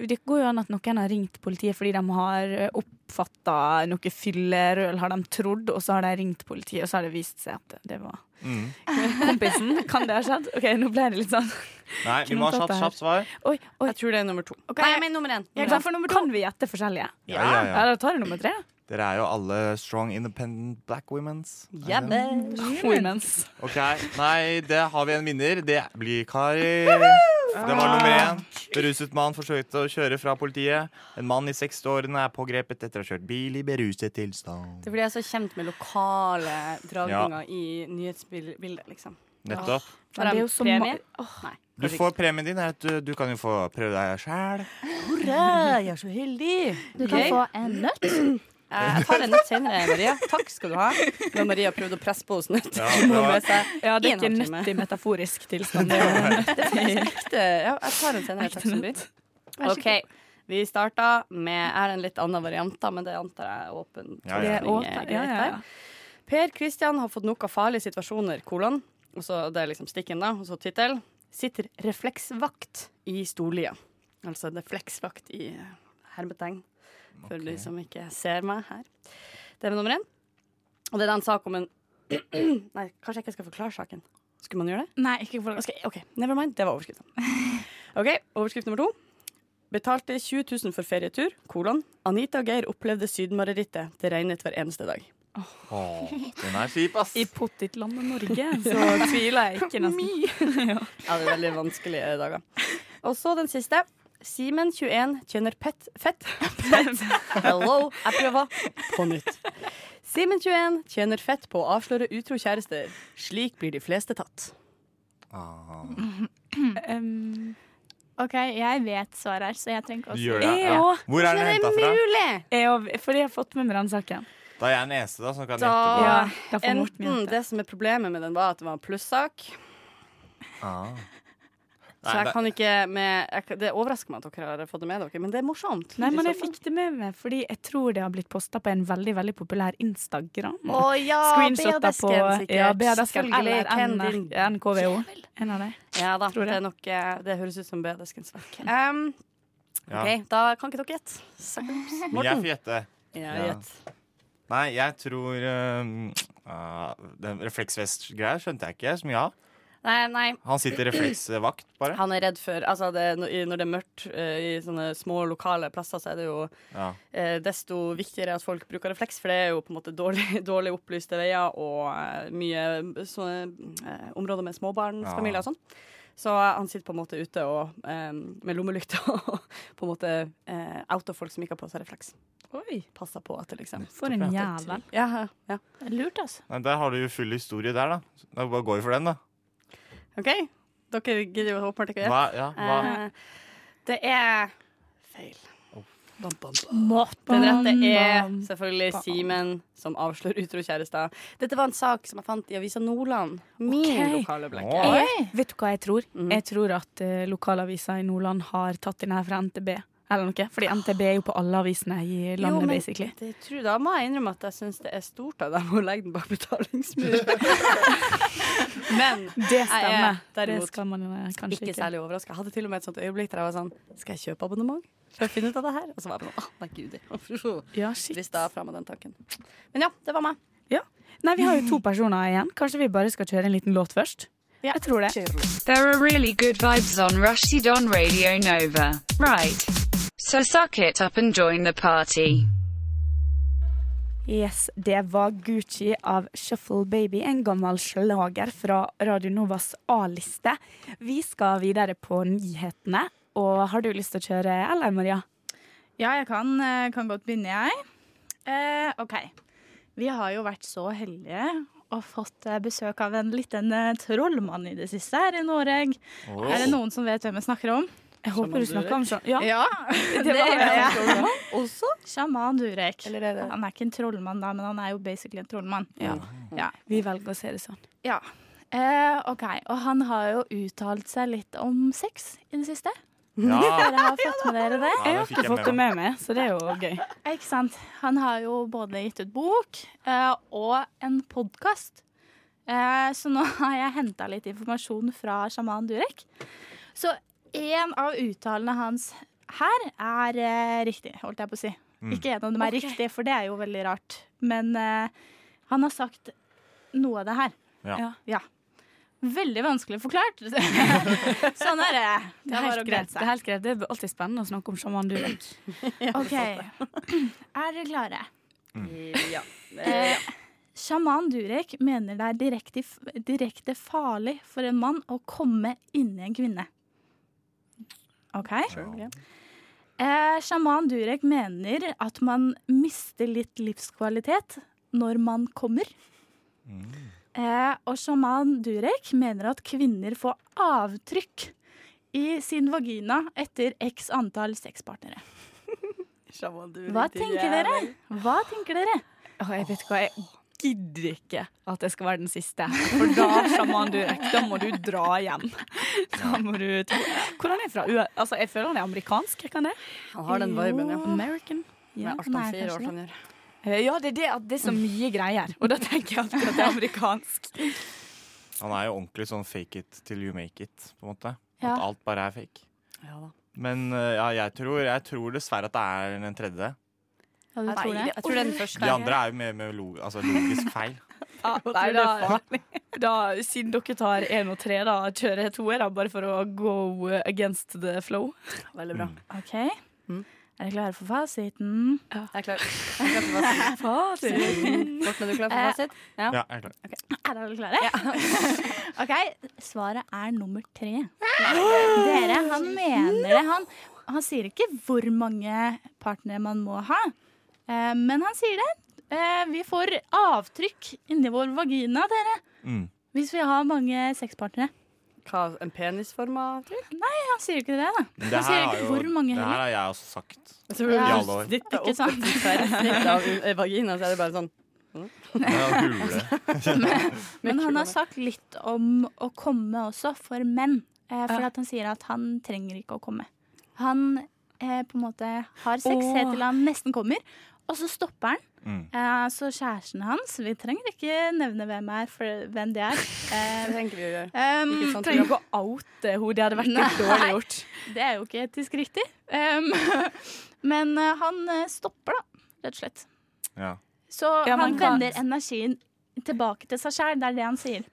Speaker 4: det går jo an at noen har ringt politiet fordi de har oppfatta noe fyllerøl, har de trodd, og så har de ringt politiet, og så har det vist seg at det var
Speaker 6: Mm.
Speaker 4: kompisen. Kan det ha skjedd? OK, nå ble det litt sånn.
Speaker 6: Nei, vi må ha kjapt, kjapt svar.
Speaker 4: Oi, oi.
Speaker 7: Jeg tror det er nummer to.
Speaker 4: Nei,
Speaker 7: men nummer én.
Speaker 4: Ja,
Speaker 7: Nummer
Speaker 4: for nummer to. Kan vi gjette forskjellige?
Speaker 6: Ja, ja, ja.
Speaker 4: Da tar jeg nummer tre.
Speaker 6: Dere er jo alle strong, independent black womens. Er det det?
Speaker 4: Womens.
Speaker 6: Ok, Nei, det har vi en vinner. Det blir Kari. Det var nummer én. Beruset mann forsøkte å kjøre fra politiet. En mann i 60-årene er pågrepet etter å ha kjørt bil i beruset tilstand.
Speaker 7: Det blir jeg så kjent med lokale dragninger i nyhetsbildet, liksom.
Speaker 6: Nettopp.
Speaker 7: Får
Speaker 4: Men det er
Speaker 7: jeg
Speaker 4: jo så
Speaker 7: premie? Nei.
Speaker 6: Du får premien din. er at Du, du kan jo få prøve deg sjæl.
Speaker 7: Hurra, jeg er så heldig.
Speaker 12: Du kan få en nøtt.
Speaker 7: Eh, Jeg tar en nøtt senere, Maria. Takk skal du ha. Nå har Maria prøvd å presse på oss nøtt.
Speaker 6: Ja,
Speaker 7: Hun må
Speaker 6: det var-
Speaker 7: med seg
Speaker 4: Ja, det er
Speaker 7: en
Speaker 4: ikke
Speaker 7: halvtime.
Speaker 4: nøtt i metaforisk tilstand. Det
Speaker 7: Ekte. Ja, jeg tar en senere, takk som byr. OK. Vi starta med Jeg har en litt annen variant, da, men det antar jeg er åpen.
Speaker 4: Ja, ja. Det er
Speaker 7: tolkning,
Speaker 4: åpen,
Speaker 7: eh, greit
Speaker 4: ja, ja, ja.
Speaker 7: der. Per Kristian har fått nok av farlige situasjoner, kolon. Og så det er liksom stikken, da. Og så tittel. Sitter refleksvakt i storlia. Altså en refleksvakt i eh, hermetegn. For de som ikke ser meg her. Det er nummer én. Og det er den sak om en Nei, kanskje jeg ikke skal forklare saken. Skulle man gjøre det?
Speaker 4: Nei, ikke forklare.
Speaker 7: Ok, ok, Never mind. Det var overskriften. OK, overskrift nummer to. Betalte 20 000 for ferietur, kolon. Anita og Geir opplevde sydmarerittet. Det regnet hver eneste dag.
Speaker 6: Åh, den er kjip, ass.
Speaker 4: I pottitlandet Norge så tviler jeg ikke nesten. ja.
Speaker 7: Ja, det er veldig vanskelige dager. Og så den siste. Simen21 tjener pett fett. Pett. Hello, jeg prøver på nytt. Simen21 tjener fett på å avsløre utro kjærester. Slik blir de fleste tatt.
Speaker 6: Ah.
Speaker 4: Um,
Speaker 12: OK, jeg vet svaret her, så jeg trenger ikke å
Speaker 6: Du
Speaker 12: si
Speaker 6: gjør det, ja. Hvor er den henta fra?
Speaker 4: Jeg òg. Fordi jeg har fått med meg den saken.
Speaker 6: Da er jeg den eneste da, som kan
Speaker 7: Da,
Speaker 6: gjette. på det.
Speaker 4: da får Morten
Speaker 7: enten det som er problemet med den, var at det var en plussak.
Speaker 6: Ah.
Speaker 7: Så
Speaker 6: Nei,
Speaker 7: jeg
Speaker 6: det-
Speaker 7: kan ikke med jeg, kan- Det overrasker meg at dere har fått det med dere, men det er morsomt.
Speaker 4: Nei, men jeg fikk det med meg, fordi jeg tror det har blitt posta på en veldig veldig populær Instagram.
Speaker 7: Å ja,
Speaker 4: Screenshotter
Speaker 7: BHD-sken
Speaker 4: på-
Speaker 7: sikkert.
Speaker 4: Ja, BHD-sken
Speaker 7: Selvfølgelig,
Speaker 4: eller
Speaker 7: ken
Speaker 4: NR
Speaker 7: din.
Speaker 4: NKVO. En av de.
Speaker 7: Ja da,
Speaker 4: Tror
Speaker 7: det,
Speaker 4: jeg.
Speaker 7: er nok, eh, det høres ut som bedeskens verk. Um,
Speaker 6: Ja.
Speaker 7: OK, da kan ikke dere gjette. Suckers.
Speaker 6: Men jeg får gjette.
Speaker 7: Ja, gjett.
Speaker 6: Nei, jeg tror um, ah, Den refleksvest-greia skjønte jeg ikke så mye av.
Speaker 7: Nei, nei.
Speaker 6: Han sitter refleksvakt, bare.
Speaker 7: Han er redd for altså det, når i- når det er mørkt eh, i sånne små lokale plasser, så er det jo
Speaker 6: Ja.
Speaker 7: eh, desto viktigere at folk bruker refleks, for det er jo på en måte dårlig, dårlig opplyste veier og eh, mye sånne eh, områder med småbarnsfamilier og sånn. Så han sitter på en måte eh, ute og, eh, med lommelykta og på en måte eh, outer folk som ikke har på seg refleks. Oi. Passa på, til eksempel.
Speaker 4: For en jævel.
Speaker 7: Ja, ja.
Speaker 12: Lurt, altså.
Speaker 6: Nei, der har du jo full historie der, da. Da bare går vi for den, da.
Speaker 7: OK? Dere gidder jo åpenbart ikke å
Speaker 6: Hva- ja, hva-
Speaker 7: Eh, Det er feil. Den
Speaker 5: Den
Speaker 7: rette er
Speaker 5: bam,
Speaker 7: selvfølgelig
Speaker 5: bam.
Speaker 7: Simen, som avslår utro kjærester. Dette var en sak som jeg fant i avisa Nordland. Min
Speaker 4: Ok.
Speaker 7: lokale blekke.
Speaker 4: Jeg, vet du hva jeg tror?
Speaker 7: Mm.
Speaker 4: Jeg tror at eh, lokalavisa i Nordland har tatt den her fra NTB. Eller noe. Fordi NTB er jo på alle avisene i landet,
Speaker 7: Ah. men
Speaker 4: basically.
Speaker 7: Det tror, da må jeg innrømme at jeg syns det er stort av dem å legge den bak betalingsmur. Men
Speaker 4: Det stemmer.
Speaker 7: Jeg er
Speaker 4: Det skal man eh, kanskje
Speaker 7: ikke
Speaker 4: ikke.
Speaker 7: særlig overraska. Jeg hadde til og med et sånt øyeblikk der jeg var sånn Skal jeg kjøpe abonnement? For å finne ut av det her? Og så var jeg bare sånn Å, nei, gudi.
Speaker 4: Ja, shit.
Speaker 7: Rista fra meg den tanken. Men ja, det var meg.
Speaker 4: Ja. Nei, vi har jo to personer igjen. Kanskje vi bare skal kjøre en liten låt først? Jeg tror det.
Speaker 14: There are really good vibes on Rushdie on Radio Nova. Right. So suck it up and join the party.
Speaker 4: Yes, det var Gucci av Shuffle Baby, en gammel slager fra Radio Novas A-liste. Vi skal videre på nyhetene, og har du lyst til å kjøre, eller Maria?
Speaker 5: Ja, jeg kan, eh, kan godt begynne, jeg. Eh, OK. Vi har jo vært så heldige og fått eh, besøk av en liten eh, trollmann i det siste her i Norge.
Speaker 4: Oi.
Speaker 5: Er det noen som vet hvem jeg snakker om?
Speaker 4: Jeg håper du snakker om sånn. Ja.
Speaker 5: Ja,
Speaker 4: Det
Speaker 5: det
Speaker 4: var
Speaker 5: gjør
Speaker 4: han
Speaker 5: jeg.
Speaker 4: trollmann
Speaker 5: Også? Sjaman Durek. Han er ikke en trollmann, da, men han er jo basically en trollmann.
Speaker 4: Ja.
Speaker 5: Ja.
Speaker 4: Vi velger å se det sånn.
Speaker 5: Ja. Eh, OK. Og han har jo uttalt seg litt om sex i det siste.
Speaker 4: Ja.
Speaker 6: Ah.
Speaker 5: Dere har fått med dere det?
Speaker 4: jeg har ikke fått det med meg, så det er jo gøy.
Speaker 5: Ja, Ikke sant. Han har jo både gitt ut bok eh, og en podkast. Eh, så nå har jeg henta litt informasjon fra sjaman Durek. Så en av uttalene hans her er eh, riktig, holdt jeg på å si.
Speaker 12: Mm.
Speaker 5: Ikke en av dem er
Speaker 12: Ok.
Speaker 5: riktig, for det er jo veldig rart. Men eh, han har sagt noe av det her.
Speaker 12: Ja. Ja.
Speaker 5: Veldig vanskelig forklart. sånn er det.
Speaker 4: Det er, helt greit. det er helt greit. Det er alltid spennende å snakke om sjaman Durek.
Speaker 5: OK. Er dere klare?
Speaker 7: Ja.
Speaker 5: Eh, sjaman Durek mener det er direkte, direkte farlig for en mann å komme inni en kvinne. OK? Eh, sjaman Durek mener at man mister litt livskvalitet når man kommer. Eh, og sjaman Durek mener at kvinner får avtrykk i sin vagina etter x antall sexpartnere. Hva tenker dere? Hva tenker dere?
Speaker 4: Å, jeg vet hva, jeg gidder ikke at jeg skal være den siste. For da, sjaman Durek, da må du dra hjem. Da må du ta. Hvor er han er fra? U- Altså, jeg føler han er amerikansk, er ikke han det?
Speaker 7: Han har den viben, ja.
Speaker 4: American.
Speaker 7: Med alt han sier og alt han gjør.
Speaker 4: Eh, Ja, det er det at det er så mye greier. Og da tenker jeg alltid at det er amerikansk.
Speaker 6: Han er jo ordentlig sånn fake it till you make it, på en måte.
Speaker 4: Ja.
Speaker 6: At alt bare er fake. Men eh, ja, jeg tror, jeg tror dessverre at det er den tredje.
Speaker 5: Ja, du tror det?
Speaker 7: Jeg tror det er den første.
Speaker 6: De andre er jo mer, mer lo altså, logisk feil.
Speaker 4: Ja, nei, da, da, siden dere tar én og tre, da kjører jeg toer, da, bare for å go against the flow.
Speaker 7: Veldig bra.
Speaker 6: Mm.
Speaker 5: OK. Er dere klare for fasiten?
Speaker 4: Ja.
Speaker 7: Jeg er klar. Jeg er klar for fasit.
Speaker 5: Fasiten.
Speaker 7: Morten, er du klar for fasit? Ja.
Speaker 6: Ja, jeg er klar.
Speaker 5: Er dere klare? OK. Svaret er nummer tre. Dere, han mener det. Han, han sier ikke hvor mange partnere man må ha, eh, men han sier det. Eh, vi får avtrykk inni vår vagina, dere, hvis vi har mange sexpartnere.
Speaker 7: Hva, en penisforma trykk?
Speaker 5: Nei, han sier ikke det, da.
Speaker 6: Men
Speaker 5: Han sier
Speaker 6: har
Speaker 5: ikke
Speaker 6: jo-
Speaker 5: hvor mange
Speaker 6: det her
Speaker 5: heller.
Speaker 6: har jeg også sagt
Speaker 7: Så
Speaker 6: i
Speaker 7: blir du
Speaker 6: alle år.
Speaker 7: snittet opp
Speaker 5: Ikke sant?
Speaker 7: et tverrsnitt av eh, vagina, så er det bare sånn
Speaker 6: Ja, gule.
Speaker 5: Men, men han har sagt litt om å komme også, for menn. Eh, for at han sier at han trenger ikke å komme. Han eh, på en måte har sex
Speaker 12: Åh.
Speaker 5: helt til han nesten kommer, og så stopper han.
Speaker 12: Mm.
Speaker 5: Eh, så kjæresten hans Vi trenger ikke nevne hvem, er, for, hvem det er. Eh,
Speaker 7: Det tenker vi å gjøre.
Speaker 5: Um,
Speaker 7: Ikke sant,
Speaker 5: trenger
Speaker 7: Ida?
Speaker 5: ikke å oute henne. Det hadde
Speaker 4: vært litt dårlig gjort.
Speaker 5: Det er jo ikke etisk riktig. Um, men eh, han eh, stopper, da, rett og slett.
Speaker 6: Ja.
Speaker 5: Så
Speaker 7: Ja,
Speaker 5: han
Speaker 7: men hva-
Speaker 5: vender energien tilbake til seg sjæl. Det er det han sier.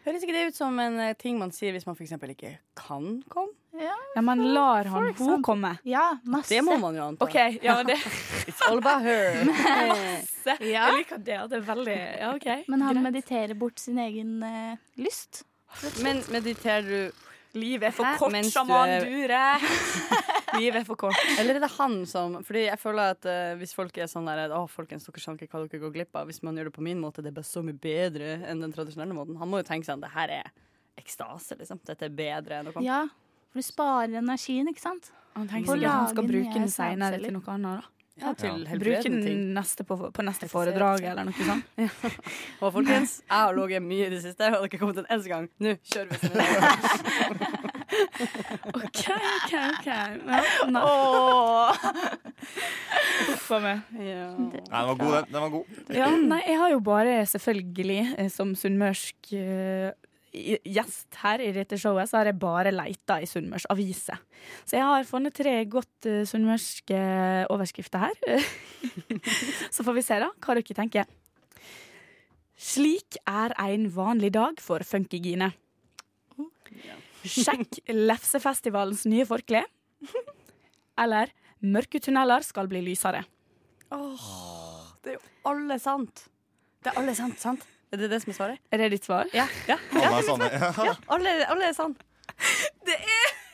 Speaker 7: Høres ikke det ut som en eh, ting man sier hvis man f.eks. ikke kan komme?
Speaker 5: Ja,
Speaker 4: Ja, men lar
Speaker 7: for
Speaker 4: han
Speaker 7: eksempel.
Speaker 4: hun komme?
Speaker 5: Ja, masse.
Speaker 7: Det må man jo anta.
Speaker 4: OK, ja, det
Speaker 7: It's all about her.
Speaker 4: Masse.
Speaker 5: Ja.
Speaker 4: Jeg liker det. Det er veldig Ja, OK.
Speaker 5: Men han mediterer bort sin egen eh, lyst.
Speaker 7: Eh, Men mediterer du
Speaker 4: Livet er for
Speaker 7: Hæ?
Speaker 4: kort,
Speaker 7: Mens du
Speaker 4: sjaman
Speaker 7: er-
Speaker 4: Dure.
Speaker 7: Liv er for kort. Eller er det han som Fordi jeg føler at eh, hvis folk er sånn der Å, folkens, dere skjønner ikke hva dere går glipp av. Hvis man gjør det på min måte, det er bare så mye bedre enn den tradisjonelle måten. Han må jo tenke sånn Det her er ekstase, liksom. Dette er bedre enn noe annet.
Speaker 5: Ja, for du sparer energien, ikke sant?
Speaker 4: Han tenker sikkert han skal bruke den senere til noe annet. da.
Speaker 7: Ja, til
Speaker 4: Bruke
Speaker 7: helbredende ting.
Speaker 4: den neste på, på neste foredrag eller noe sånt.
Speaker 7: Og folkens, jeg har ligget mye i det siste, og dere har kommet en eneste gang. Nå kjører vi.
Speaker 4: OK, OK. ok. Ja, nei. Uff a meg.
Speaker 6: Nei, den var god, den. den var god.
Speaker 4: Ja, nei, jeg har jo bare selvfølgelig, eh, som sunnmørsk eh, i- gjest her i dette showet, så har jeg bare leita i sunnmørsaviser. Så jeg har funnet tre godt eh, sunnmørske overskrifter her. så får vi se da hva dere tenker. Slik er en vanlig dag for Funkygine. Sjekk Lefsefestivalens nye forkle. Eller mørke tunneler skal bli lysere.
Speaker 7: Det er jo alle sant. Det er alle sant, sant? Er det det som er svaret?
Speaker 4: Er det ditt svar?
Speaker 7: Ja. ja.
Speaker 6: Alle er sånne.
Speaker 7: Ja, alle, alle er sann.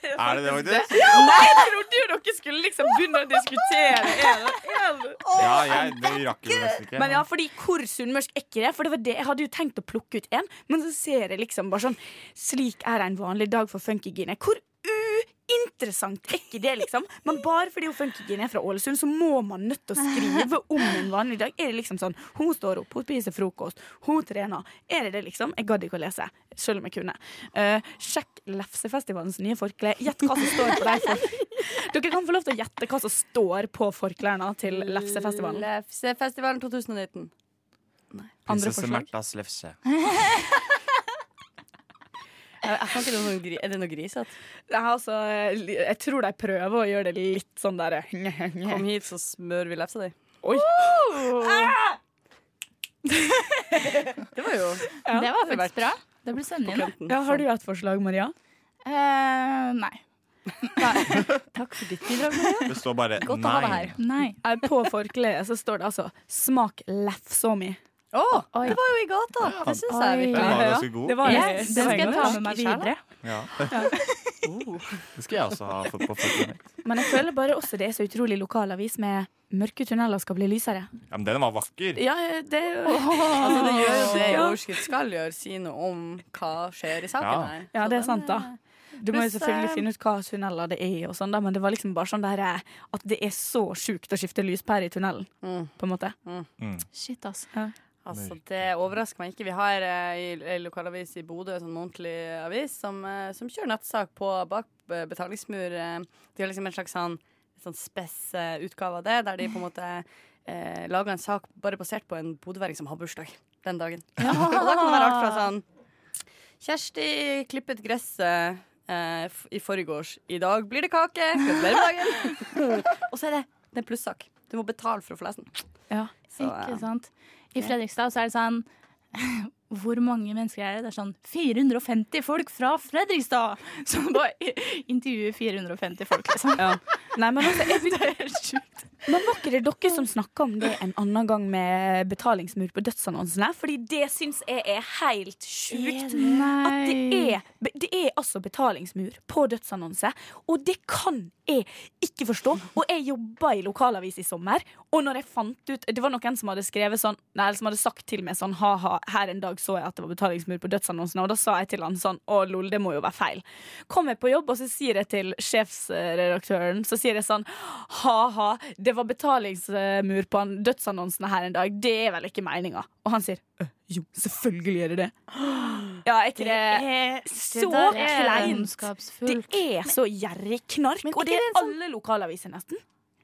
Speaker 6: Er det det, faktisk?
Speaker 4: Ja! Nei, jeg trodde jo dere skulle liksom begynne å diskutere. Er det, er det?
Speaker 6: Ja, jeg det rakk jo nesten ikke.
Speaker 4: Men ja, fordi hvor sunnmørsk er ikke det? For det var det jeg hadde jo tenkt å plukke ut en, men så ser jeg liksom bare sånn Slik er en vanlig dag for funkygine. Hvor uinteressant er ikke det, liksom? Men bare fordi hun funkygine er fra Ålesund, så må man nødt til å skrive om en vanlig dag. Er det liksom sånn Hun står opp, hun spiser frokost, hun trener. Er det det, liksom? Jeg gadd ikke å lese, selv om jeg kunne. Eh, sjekk Lefsefestivalens nye forkle. Gjett hva som står på de for- Dere kan få lov til å gjette hva som står på forklærne til Lefsefestivalen.
Speaker 7: Lefsefestivalen 2019.
Speaker 4: Andre
Speaker 6: Prinsesse
Speaker 4: forslag?
Speaker 6: Märthas lefse.
Speaker 7: Jeg, jeg kan ikke noe sånn gri, Er det noe grisete?
Speaker 4: Nei, altså, jeg tror de prøver å gjøre det litt sånn der
Speaker 7: Kom hit, så smører vi lefsa di.
Speaker 4: Oi.
Speaker 7: Ah! det var jo
Speaker 4: Ja,
Speaker 5: det var faktisk bra. Det ble sønnig, da.
Speaker 4: Ja, har du et forslag, Maria?
Speaker 5: Eh, nei.
Speaker 7: Takk for ditt bidrag, Maria.
Speaker 6: Det står bare
Speaker 4: Godt å ha deg
Speaker 6: nei.
Speaker 4: her. Eh, På forkleet så står det altså 'smak lefsa mi'.
Speaker 7: Å, det var jo i gata! Det syns jeg
Speaker 4: Oi.
Speaker 7: virkelig.
Speaker 6: Den var
Speaker 4: Ja, ja.
Speaker 6: ganske god.
Speaker 4: Det var-
Speaker 7: Ja,
Speaker 4: det
Speaker 7: den
Speaker 4: var
Speaker 7: skal jeg
Speaker 4: godt.
Speaker 7: ta med meg
Speaker 4: Ikke
Speaker 7: videre.
Speaker 6: Ja. Oh. Det skal jeg også ha fått på folket mitt.
Speaker 4: Men jeg føler bare også det er så utrolig lokalavis med 'mørke tunneler skal bli lysere'.
Speaker 6: Ja, men den var vakker.
Speaker 4: Ja, det er jo
Speaker 7: Altså, det gjør jo det
Speaker 4: Ja.
Speaker 7: overskrift skal gjøre, si noe om hva skjer i saken
Speaker 6: Ja.
Speaker 7: her.
Speaker 4: Ja, det er sant, da. Du må jo
Speaker 7: Pluss,
Speaker 4: selvfølgelig
Speaker 7: eh,
Speaker 4: finne ut hva tunneler det er, og sånn da, men det var liksom bare sånn der, eh, at det er så sjukt å skifte lyspære i tunnelen, på en måte.
Speaker 11: Shit, ass.
Speaker 7: Altså, det overrasker meg ikke. Vi har eh, i en lokalavis i Bodø, en sånn månedlig avis, som, eh, som kjører nettsak på bak eh, betalingsmur. eh. De har liksom en slags sånn, sånn spess eh, utgave av det, der de på en måte eh, lager en sak bare basert på en bodøværing som har bursdag den dagen. Og da kan det være alt fra sånn Kjersti klippet gresset eh, f- i forgårs. I dag blir det kake. Gratulerer med dagen. Og så er det, det er en plussak. Du må betale for å få lese den.
Speaker 4: Ja,
Speaker 7: Så,
Speaker 5: ikke
Speaker 7: ja.
Speaker 5: sant. I Fredrikstad så er det sånn Hvor mange mennesker er det? Det er sånn 450 folk fra Fredrikstad! Så bare i- intervjue 450 folk, liksom.
Speaker 4: Nei, men altså, jeg
Speaker 5: Det er sjukt.
Speaker 4: Men var ikke det dere som snakka om det en annen gang med betalingsmur på dødsannonsene? Fordi det syns jeg er helt sjukt. At det er, det er altså betalingsmur på dødsannonse, og det kan jeg ikke forstå. Og jeg jobba i lokalavis i sommer, og når jeg fant ut Det var noen som hadde skrevet sånn Nei, eller som hadde sagt til meg sånn ha-ha, her en dag så jeg at det var betalingsmur på dødsannonsene, og da sa jeg til han sånn å lol, det må jo være feil. Kom jeg på jobb, og så sier jeg til sjefsredaktøren, så sier jeg sånn ha-ha, det var betalingsmur på han- dødsannonsene her en dag, det er vel ikke meninga? Og han sier «Øh, jo, selvfølgelig er det det. Ja, er ikke det, så
Speaker 5: der er
Speaker 4: kleint? Det
Speaker 5: ondskapsfullt.
Speaker 4: er så gjerrig knark, og det
Speaker 7: ikke
Speaker 4: er
Speaker 7: det en sånn-
Speaker 4: alle lokalaviser nesten.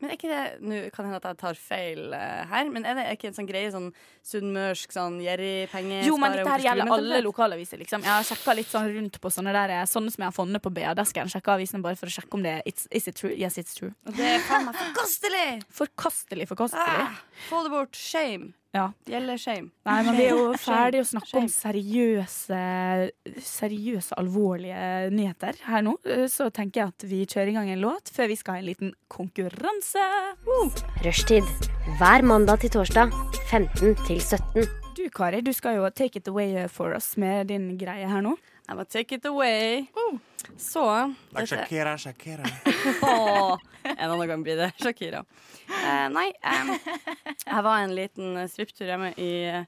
Speaker 7: Men er ikke det, Nå kan hende at jeg tar feil eh, her, men er det ikke en sånn greie sånn sunnmørsk sånn gjerrig penge
Speaker 4: Jo, men
Speaker 7: spare
Speaker 4: dette
Speaker 7: opp
Speaker 4: her
Speaker 7: til
Speaker 4: gjelder
Speaker 7: skolen,
Speaker 4: alle
Speaker 7: rett og slett?
Speaker 4: lokalaviser, liksom. Jeg har sjekka litt sånn rundt på sånne der Sånne som jeg har funnet på BA-desken. Sjekka avisene bare for å sjekke om det er it's, Is it true? Yes, it's true.
Speaker 7: Og Det er faen meg forkastelig!
Speaker 4: Forkastelig, forkastelig.
Speaker 7: Ah, få det bort. Shame.
Speaker 4: Ja.
Speaker 7: Gjelder shame.
Speaker 4: Nei, men vi er jo
Speaker 7: Shame.
Speaker 4: ferdig å snakke om seriøse, seriøse, alvorlige nyheter her nå. Eh, Så tenker jeg at vi kjører i gang en låt før vi skal ha en liten konkurranse.
Speaker 8: Rushtid. Hver mandag til torsdag 15 til 17.
Speaker 4: eh, Du Kari, du skal jo take it away for oss med din greie her nå.
Speaker 7: Jeg må take it away. Så
Speaker 6: Like
Speaker 7: dette-
Speaker 6: Shakira, Shakira.
Speaker 7: Åh, en annen gang blir det Shakira. Eh, nei, em, jeg var en liten eh, svipptur hjemme i eh,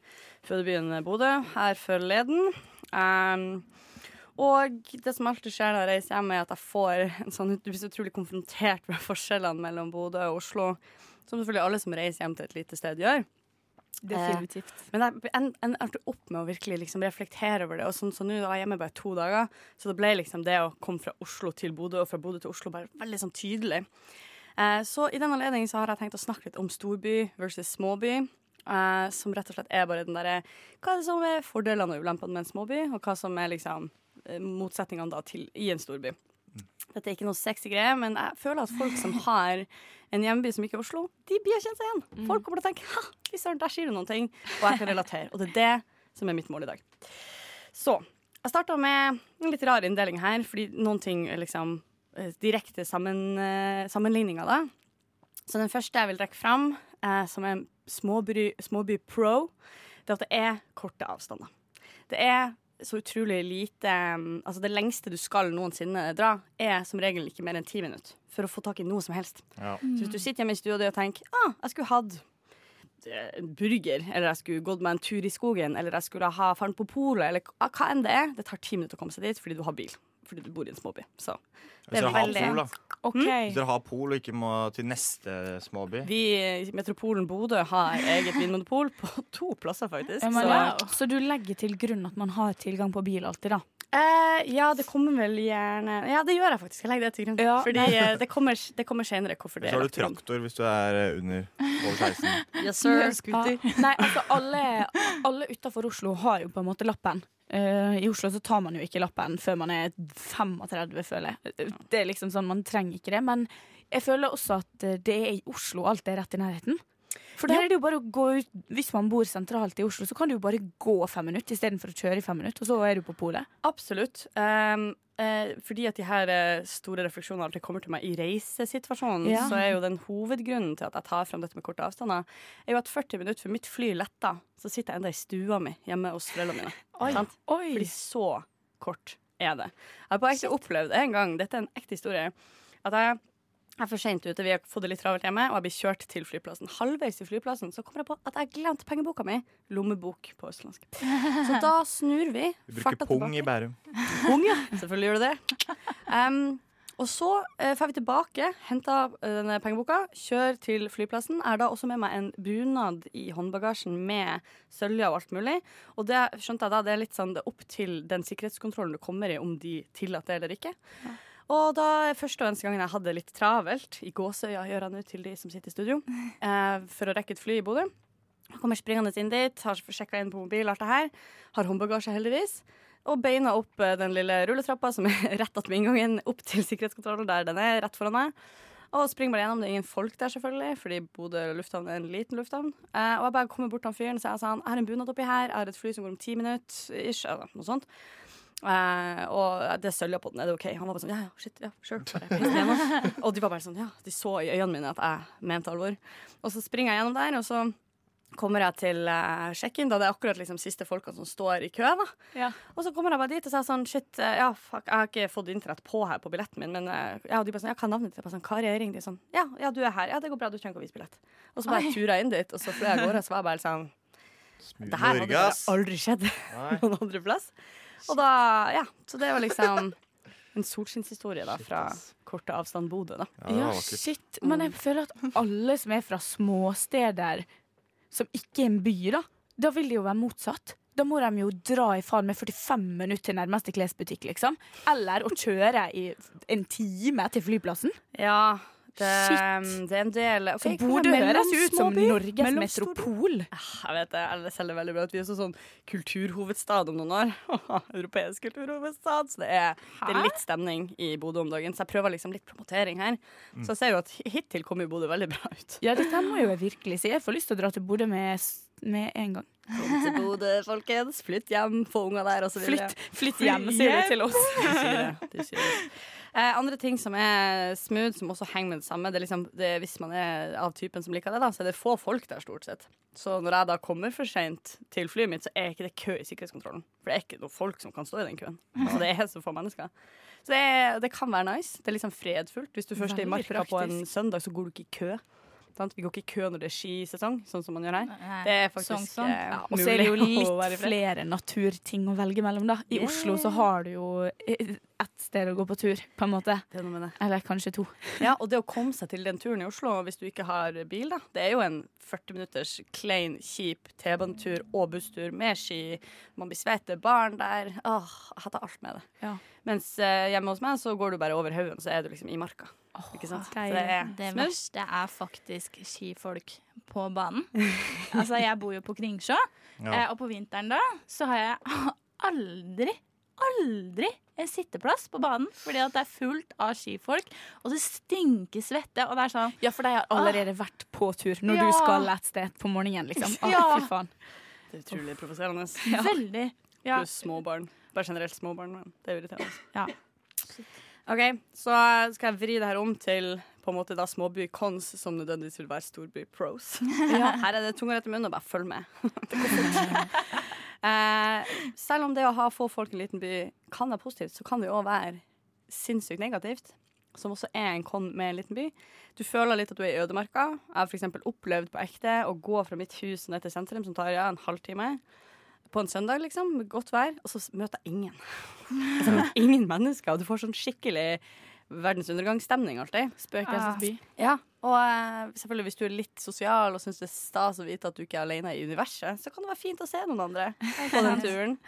Speaker 7: fødebyen Bodø her forleden. Em, og det som alltid skjer når jeg reiser hjem, er at jeg får en sånn Du blir så utrolig konfrontert med forskjellene mellom Bodø og Oslo, som selvfølgelig alle som reiser hjem til et lite sted, gjør.
Speaker 5: Definitivt.
Speaker 7: Eh, Men jeg en- en- endte opp med å virkelig liksom reflektere over det. Og sånn, så nå var jeg hjemme bare to dager, så det ble liksom det å komme fra Oslo til Bodø og fra Bodø til Oslo bare veldig sånn tydelig. Eh, Så i den anledning så har jeg tenkt å snakke litt om storby versus småby. eh, Som rett og slett er bare den derre Hva er det som er fordelene og ulempene med en småby, og hva som er liksom eh, motsetningene da til i en storby. Dette er ikke noe sexy greie, men jeg føler at folk som har en hjemby som ikke er Oslo, de blir kjent seg igjen. Folk kommer til å tenke ha, fy søren, der sier du noen ting, og jeg kan relatere. Og det er det som er mitt mål i dag. Så jeg starta med en litt rar inndeling her, fordi noen ting er liksom eh, direkte sammen, eh, sammenligninger, da. Så den første jeg vil trekke fram, eh, som er en småby, småby pro, det er at det er korte avstander. Det er så utrolig lite um, Altså, det lengste du skal noensinne dra, er som regel ikke mer enn ti minutter for å få tak i noe som helst.
Speaker 6: Ja.
Speaker 7: Så hvis du sitter hjemme i stua di og tenker ah, jeg skulle hatt eh, en burger, eller jeg skulle gått meg en tur i skogen, eller jeg skulle ha faren på polet, eller ah, hva enn det er, det tar ti minutter å komme seg dit fordi du har bil. Fordi du bor i en småby. Så
Speaker 6: Hvis dere har pol, da.
Speaker 7: Mm.
Speaker 6: Hvis dere har pol og ikke må til neste småby.
Speaker 7: Vi i metropolen Bodø har eget vinmonopol på to plasser, faktisk.
Speaker 4: Ja, men,
Speaker 7: så-
Speaker 4: ja. Så du legger til grunn at man har tilgang på bil alltid, da?
Speaker 7: Eh, ja, det kommer vel gjerne Ja, det gjør jeg faktisk. Jeg legger det til grunn.
Speaker 4: Ja,
Speaker 7: Fordi
Speaker 4: nei.
Speaker 7: eh, det kommer, det kommer senere hvorfor
Speaker 6: Eller
Speaker 7: det
Speaker 6: så har
Speaker 7: er
Speaker 6: du traktor hvis du er eh, under over 16.
Speaker 7: Yes, sir.
Speaker 4: Ja. Nei, altså alle, alle utafor Oslo har jo på en måte lappen. Eh, I Oslo så tar man jo ikke lappen før man er 35, føler jeg. Det er liksom sånn, Man trenger ikke det. Men jeg føler også at eh, det er i Oslo alt er rett i nærheten. For der er det jo bare å gå ut Hvis man bor sentralt i Oslo, så kan du jo bare gå fem minutter istedenfor å kjøre i fem minutter, og så er du på polet.
Speaker 7: Absolutt. Um, eh, fordi at de her eh, store refleksjonene alltid kommer til meg i reisesituasjonen,
Speaker 4: Ja.
Speaker 7: så er jo den hovedgrunnen til at jeg tar frem dette med korte avstander, er jo at 40 minutter før mitt fly letter, så sitter jeg enda i stua mi hjemme hos foreldrene mine. Sant? Fordi så kort er det. Jeg har på ekte opplevd en gang, dette er en ekte historie, at jeg jeg er for sent ute, vi har fått det litt travelt hjemme, og jeg blir kjørt til flyplassen. Halvveis til flyplassen så kommer jeg på at jeg glemte pengeboka mi. Lommebok på østlandsk. Så da snur vi.
Speaker 6: Vi bruker
Speaker 7: farta
Speaker 6: pung
Speaker 7: tilbake.
Speaker 6: i Bærum.
Speaker 7: Pung, ja. Selvfølgelig gjør du det. Em, og så eh, drar vi tilbake, henter eh, denne pengeboka, kjører til flyplassen. Er da også med meg en bunad i håndbagasjen med sølja og alt mulig. Og det skjønte jeg da, det er litt sånn det er opp til den sikkerhetskontrollen du kommer i, om de tillater det eller ikke. Og da er første og eneste gangen jeg hadde det litt travelt, i gåseøya gjør jeg nå til de som sitter i studio, eh, for å rekke et fly i Bodø. Jeg kommer springende inn dit, har sjekka inn på mobil, alt det her. Har håndbagasje, heldigvis. Og beina opp eh, den lille rulletrappa som er rett attmed inngangen, opp til sikkerhetskontrollen, der den er, rett foran meg. Og springer bare gjennom. Det er ingen folk der, selvfølgelig, fordi Bodø lufthavn er en liten lufthavn. Eh, og jeg bare kommer bort til han fyren og sier sånn, jeg har en bunad oppi her, jeg har et fly som går om ti minutter, ish, eller noe sånt. Eh, og det sølja på den, er det OK? Han var bare sånn, ja, ja, shit, ja, sure. Bare piste gjennom. og de var bare sånn, ja, de så i øynene mine at jeg mente alvor. Og så springer jeg gjennom der, og så kommer jeg til eh, sjekk-in, da det er akkurat liksom siste folkene som står i kø. da. Og så kommer jeg bare dit og sier sånn Shit, eh, ja, fuck, jeg har ikke fått internett på her på billetten min, men eh, ja, og de bare sånn Ja, hva er navnet ditt? Jeg bare sånn Kari Øyring. De er sånn Ja, ja, du er her. Ja, det går bra, du trenger ikke å vise billett. Og så
Speaker 4: Oi.
Speaker 7: bare turer jeg inn dit, og så fløy jeg av gårde, og så var jeg bare sånn Det her hadde
Speaker 6: Norge,
Speaker 7: bare
Speaker 6: ass.
Speaker 7: aldri skjedd noen andre plass. Og da Ja, så det var liksom en solskinnshistorie da fra korte avstand Bodø, da.
Speaker 4: Ja, shit. Men jeg føler at alle som er fra småsteder som ikke er en by, da, da vil det jo være motsatt. Da må de jo dra i faen med 45 minutter til nærmeste klesbutikk, liksom. Eller å kjøre i en time til flyplassen.
Speaker 7: Ja, det, det er en del
Speaker 4: Så
Speaker 7: Ok,
Speaker 4: Bodø
Speaker 7: hva er
Speaker 4: høres jo ut som
Speaker 7: mellomsmåby?
Speaker 4: Norges
Speaker 7: Mellomstor-
Speaker 4: metropol.
Speaker 7: Ah, Jeg vet det, jeg selger veldig bra at vi er også sånn kulturhovedstad om noen år. Europeisk kulturhovedstad. Så det er, det er litt stemning i Bodø om dagen. Så jeg prøver liksom litt promotering her.
Speaker 4: Mm.
Speaker 7: Så jeg ser jo at hittil kommer jo Bodø veldig bra ut.
Speaker 4: Ja, dette må jeg jo virkelig si. Jeg får lyst til å dra til Bodø med, s- med en gang.
Speaker 7: Kom til Bodø, folkens. Flytt hjem, få unger der, og så videre.
Speaker 4: Flytt- flytt hjem, sier de til oss.
Speaker 7: De sier det. De sier det. Eh, andre ting som er smooth, som også henger med det samme, det er liksom, det, hvis man er av typen som liker det, da, så er det få folk der stort sett. Så når jeg da kommer for seint til flyet mitt, så er ikke det kø i sikkerhetskontrollen. For det er ikke noen folk som kan stå i den køen. Altså, det er så få mennesker. Så det, er- det kan være nice. Det er liksom fredfullt. Hvis du først er i
Speaker 2: Veldig
Speaker 7: marka på en
Speaker 2: praktisk.
Speaker 7: søndag, så går du ikke i kø. Sant? Vi går ikke i kø når det er skisesong, sånn som man gjør her.
Speaker 5: Nei,
Speaker 7: Det er faktisk
Speaker 5: sånn, sånn.
Speaker 7: eh,
Speaker 5: Ja,
Speaker 4: Og så er det jo
Speaker 7: mulig å
Speaker 4: litt
Speaker 7: være i fred.
Speaker 4: flere naturting å velge mellom, da. I
Speaker 7: Yeah.
Speaker 4: Oslo så har du jo eh, ett sted å gå på tur, på en måte. Eller kanskje to.
Speaker 7: Ja, og det å komme seg til den turen i Oslo hvis du ikke har bil, da. Det er jo en 40 minutters klein, kjip T-banetur og busstur med ski. Man blir svett, det er barn der. Åh, jeg hater alt med det.
Speaker 4: Ja.
Speaker 7: Mens eh, hjemme hos meg så går du bare over haugen, så er du liksom i marka. ikke sant? Så det er
Speaker 12: Det
Speaker 7: smør.
Speaker 12: verste er faktisk skifolk på banen. altså, jeg bor jo på Kringsjå,
Speaker 7: Ja.
Speaker 12: eh, og på vinteren da så har jeg aldri, aldri en sitteplass på banen, fordi at det er fullt av skifolk, og det stinker svette, og det er sånn
Speaker 4: Ja, for de har Allerede vært på tur når
Speaker 12: Ja.
Speaker 4: du skal et sted på morgenen, liksom. Å,
Speaker 12: Ja.
Speaker 4: fy faen.
Speaker 7: Det er utrolig provoserende.
Speaker 12: Veldig. Ja.
Speaker 7: Pluss små barn. Bare generelt små barn. Men det er irriterende.
Speaker 12: Ja.
Speaker 7: OK, så skal jeg vri det her om til på en måte da småby cons som nødvendigvis vil være storby pros. Her er det tunga rett i munnen, og bare følg med. Det går fort. eh, selv om det å ha få folk i en liten by kan være positivt, så kan det jo òg være sinnssykt negativt. Som også er en con med en liten by. Du føler litt at du er i ødemarka. Jeg har f.eks. opplevd på ekte å gå fra mitt hus og ned til sentrum, som tar ja, en halvtime, på en søndag, liksom, med godt vær, og så s- møter jeg ingen. Altså, jeg møter ingen mennesker, og du får sånn skikkelig verdensundergangsstemning alltid.
Speaker 2: Spøkelsens by.
Speaker 7: Ja, og eh, selvfølgelig hvis du er litt sosial og syns det er stas å vite at du ikke er alene i universet, så kan det være fint å se noen andre på den turen.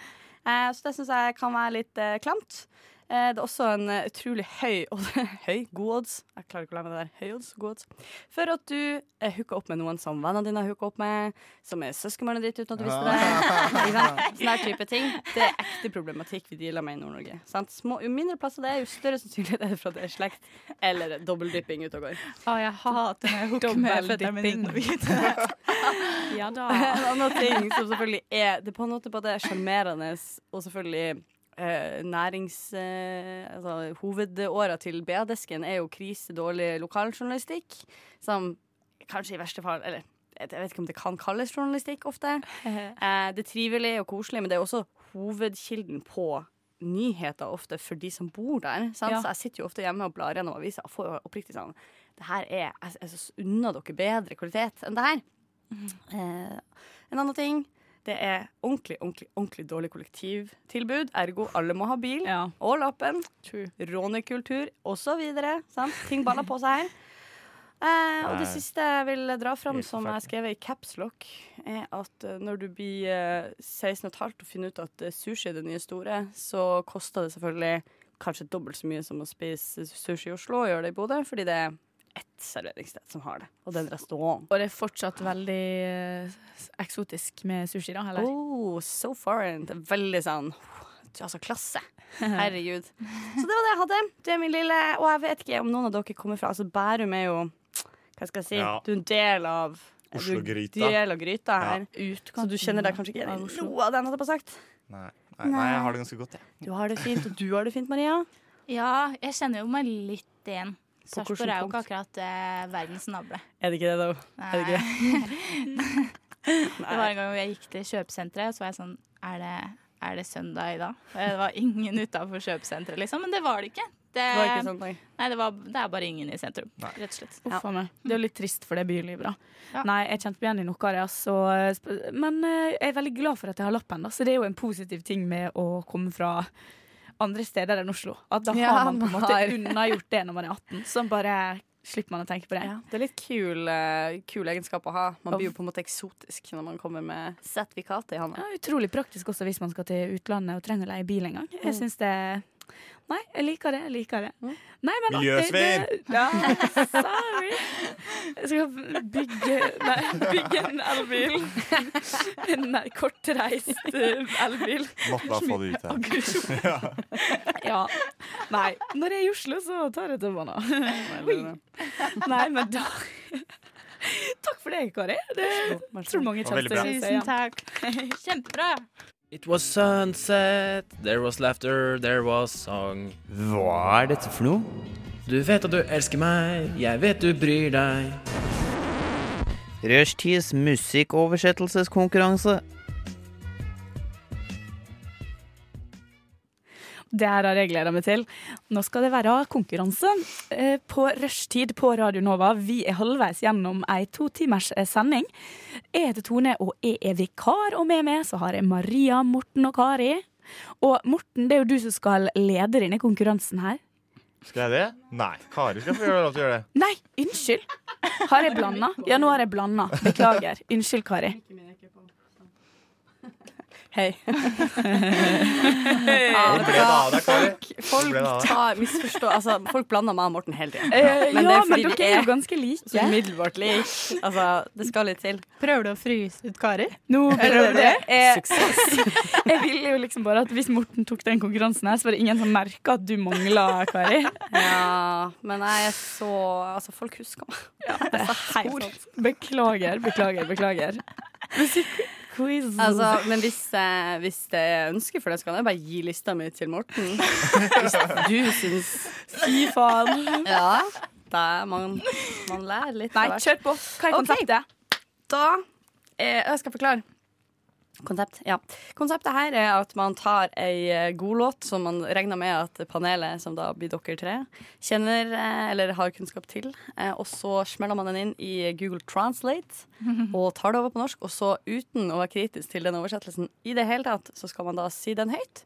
Speaker 7: Eh, så det syns jeg kan være litt eh, klamt. Eh, det er også en eh, utrolig høy Høy? God odds? Jeg klarer ikke å la meg det der. Høy odds, god odds. For at du eh, hooker opp med noen som vennene dine har hooka opp med, som er søskenbarnet ditt uten at du visste det. Ikke sant? Sånne her type ting. Det er ekte problematikk vi dealer med i Nord-Norge. sant? Små- Jo mindre plasser det er, jo større sannsynlighet er det for at det er slekt eller dobbeldypping ute og går.
Speaker 5: Å, jeg hater når jeg hooker med fetteren min uten å vite det. ja da.
Speaker 7: En annen ting som selvfølgelig er Det er på en måte både sjarmerende og selvfølgelig eh, nærings... Eh, altså hovedåra til BA-desken er jo krisedårlig lokaljournalistikk, som kanskje i verste fall Eller jeg vet ikke om det kan kalles journalistikk ofte. Eh, det er trivelig og koselig, men det er også hovedkilden på nyheter ofte for de som bor der. Sant?
Speaker 2: Ja.
Speaker 7: Så jeg sitter jo ofte hjemme og blar gjennom aviser og får jo oppriktig sånn Det her er Jeg, jeg unner dere bedre kvalitet enn det her. Eh, en annen ting det er ordentlig, ordentlig, ordentlig dårlig kollektivtilbud. Ergo alle må ha bil og lappen. Rånekultur osv. Ting baller på seg her. Eh, og det
Speaker 2: Nei.
Speaker 7: siste jeg vil dra fram,
Speaker 2: Helt
Speaker 7: som jeg har skrevet i caps lock, er at eh, når du blir eh, 16 15 og finner ut at eh, sushi er det nye store, så koster det selvfølgelig kanskje dobbelt så mye som å spise sushi i Oslo og gjøre det i Bodø, fordi det er ett serveringssted som har det, og det er en restaurant.
Speaker 4: Og det er fortsatt veldig eh, eksotisk med sushi, da, eller?
Speaker 7: Oh, so foreign. Det er veldig sånn Altså klasse. Herregud. Så det var det jeg hadde. Det er min lille Og jeg vet ikke om noen av dere kommer fra Altså Bærum er jo Hva skal jeg si?
Speaker 2: Ja.
Speaker 7: Du er en del av du er
Speaker 6: Oslo-gryta.
Speaker 7: Del av gryta her. Så
Speaker 4: Utkanten
Speaker 7: du kjenner deg kanskje ikke
Speaker 4: av
Speaker 7: igjen i
Speaker 4: Oslo.
Speaker 7: noe av den, hadde jeg på sagt.
Speaker 6: Nei. Nei, nei, jeg har det ganske godt, jeg.
Speaker 7: Du har det fint, og du har det fint, Maria.
Speaker 12: Ja, jeg kjenner jo meg litt igjen.
Speaker 7: På hvilken
Speaker 12: Sarpsborg er jo ikke
Speaker 7: punkt?
Speaker 12: akkurat eh, verdens nable.
Speaker 7: Er det ikke det, da? Er det ikke det?
Speaker 12: Det var en gang hvor jeg gikk til kjøpesenteret, og så var jeg sånn Er det, er det søndag i dag? Og Det var ingen utafor kjøpesenteret, liksom. Men det var det ikke. Det,
Speaker 4: Det var ikke
Speaker 5: sånn.
Speaker 7: sånn,
Speaker 4: søndag.
Speaker 12: Nei, det, var, det er bare ingen i sentrum, rett og slett.
Speaker 4: Uff a meg. Det er jo litt trist for det bylivet, da. Nei, jeg kjente meg igjen i noe av det, altså. Sp- Men eh, jeg er veldig glad for at jeg har lappen, da. Så det er jo en positiv ting med å komme fra andre steder enn Oslo. At da
Speaker 7: Ja,
Speaker 4: har man på en
Speaker 7: man
Speaker 4: måte
Speaker 7: har-
Speaker 4: unnagjort det når man er 18. Så bare slipper man å tenke på det.
Speaker 7: Det er litt kul, eh, kul egenskap å ha. Man
Speaker 4: Og-
Speaker 7: blir jo på en måte eksotisk når man kommer med sertifikatet i hånda.
Speaker 4: Ja, utrolig praktisk også hvis man skal til utlandet og trenger å leie bil en gang. Jeg
Speaker 7: Mm.
Speaker 4: synes det Nei, jeg liker det. Jeg liker det. Nei, men
Speaker 2: Miljøsvin!
Speaker 4: det- Ja, sorry. Jeg skal bygge Nei, bygge en elbil. En nei, kortreist eh, elbil.
Speaker 6: Måtte bare få det ut her.
Speaker 4: Aggresjon.
Speaker 6: Ja.
Speaker 4: Ja. Nei, når jeg er i Oslo, så tar jeg T-banen. Oi. Nei, men da Takk for det, Kari. Det, jeg tror mange
Speaker 6: Det var veldig
Speaker 4: kjenner seg
Speaker 6: bra.
Speaker 4: igjen.
Speaker 12: Kjempebra.
Speaker 15: It was sunset, there was laughter, there was song.
Speaker 16: Hva er dette for noe?
Speaker 15: Du vet at du elsker meg, jeg vet du bryr deg.
Speaker 16: Rushtids musikkoversettelseskonkurranse.
Speaker 4: Det her har jeg gleda meg til. Nå skal det være konkurranse eh, på rushtid på Radio Nova. Vi er halvveis gjennom ei to timers eh, sending. Jeg heter Tone, og jeg er vikar, og med meg så har jeg Maria, Morten og Kari. Og Morten, det er jo du som skal lede denne konkurransen her.
Speaker 6: Skal jeg det? Nei. Kari skal få gjøre lov til å gjøre det.
Speaker 4: Nei, unnskyld! Har jeg blanda? Ja, nå har jeg blanda. Beklager. Unnskyld, Kari.
Speaker 7: Hei.
Speaker 6: Hvor ble det av deg, Kari? Hvor
Speaker 7: Folk
Speaker 6: ble det av deg?
Speaker 7: tar, misforstår Altså, folk blander meg og Morten hele tiden.
Speaker 4: Eh, ja,
Speaker 7: fordi
Speaker 4: men
Speaker 7: vi
Speaker 4: dere er jo ganske like.
Speaker 7: Så umiddelbart like. Altså, det skal litt til.
Speaker 5: Prøver du å fryse ut Kari?
Speaker 4: Nå prøvde jeg. Eh,
Speaker 7: Suksess.
Speaker 4: jeg ville jo liksom bare at hvis Morten tok den konkurransen her, så var det ingen som merka at du mangla, Kari.
Speaker 7: Ja, men jeg er så Altså, folk husker meg. Jeg satte spor.
Speaker 4: Beklager, beklager, beklager. Musikkquiz.
Speaker 7: Altså, men hvis, eh, hvis det er ønske for det, så kan jeg bare gi lista mi til Morten. Hvis du syns
Speaker 4: Fy faen.
Speaker 7: Ja. Da er man, man lærer litt.
Speaker 4: Nei,
Speaker 7: av hvert.
Speaker 4: kjør på. Hva er
Speaker 7: Ok.
Speaker 4: konseptet?
Speaker 7: Da eh, Jeg skal forklare. Konsept, ja. Konseptet her er at man tar ei eh, god låt som man regner med at panelet, som da blir dere tre, kjenner eh, eller har kunnskap til. eh, Og så smeller man den inn i Google Translate og tar det over på norsk. Og så uten å være kritisk til den oversettelsen i det hele tatt, så skal man da si den høyt.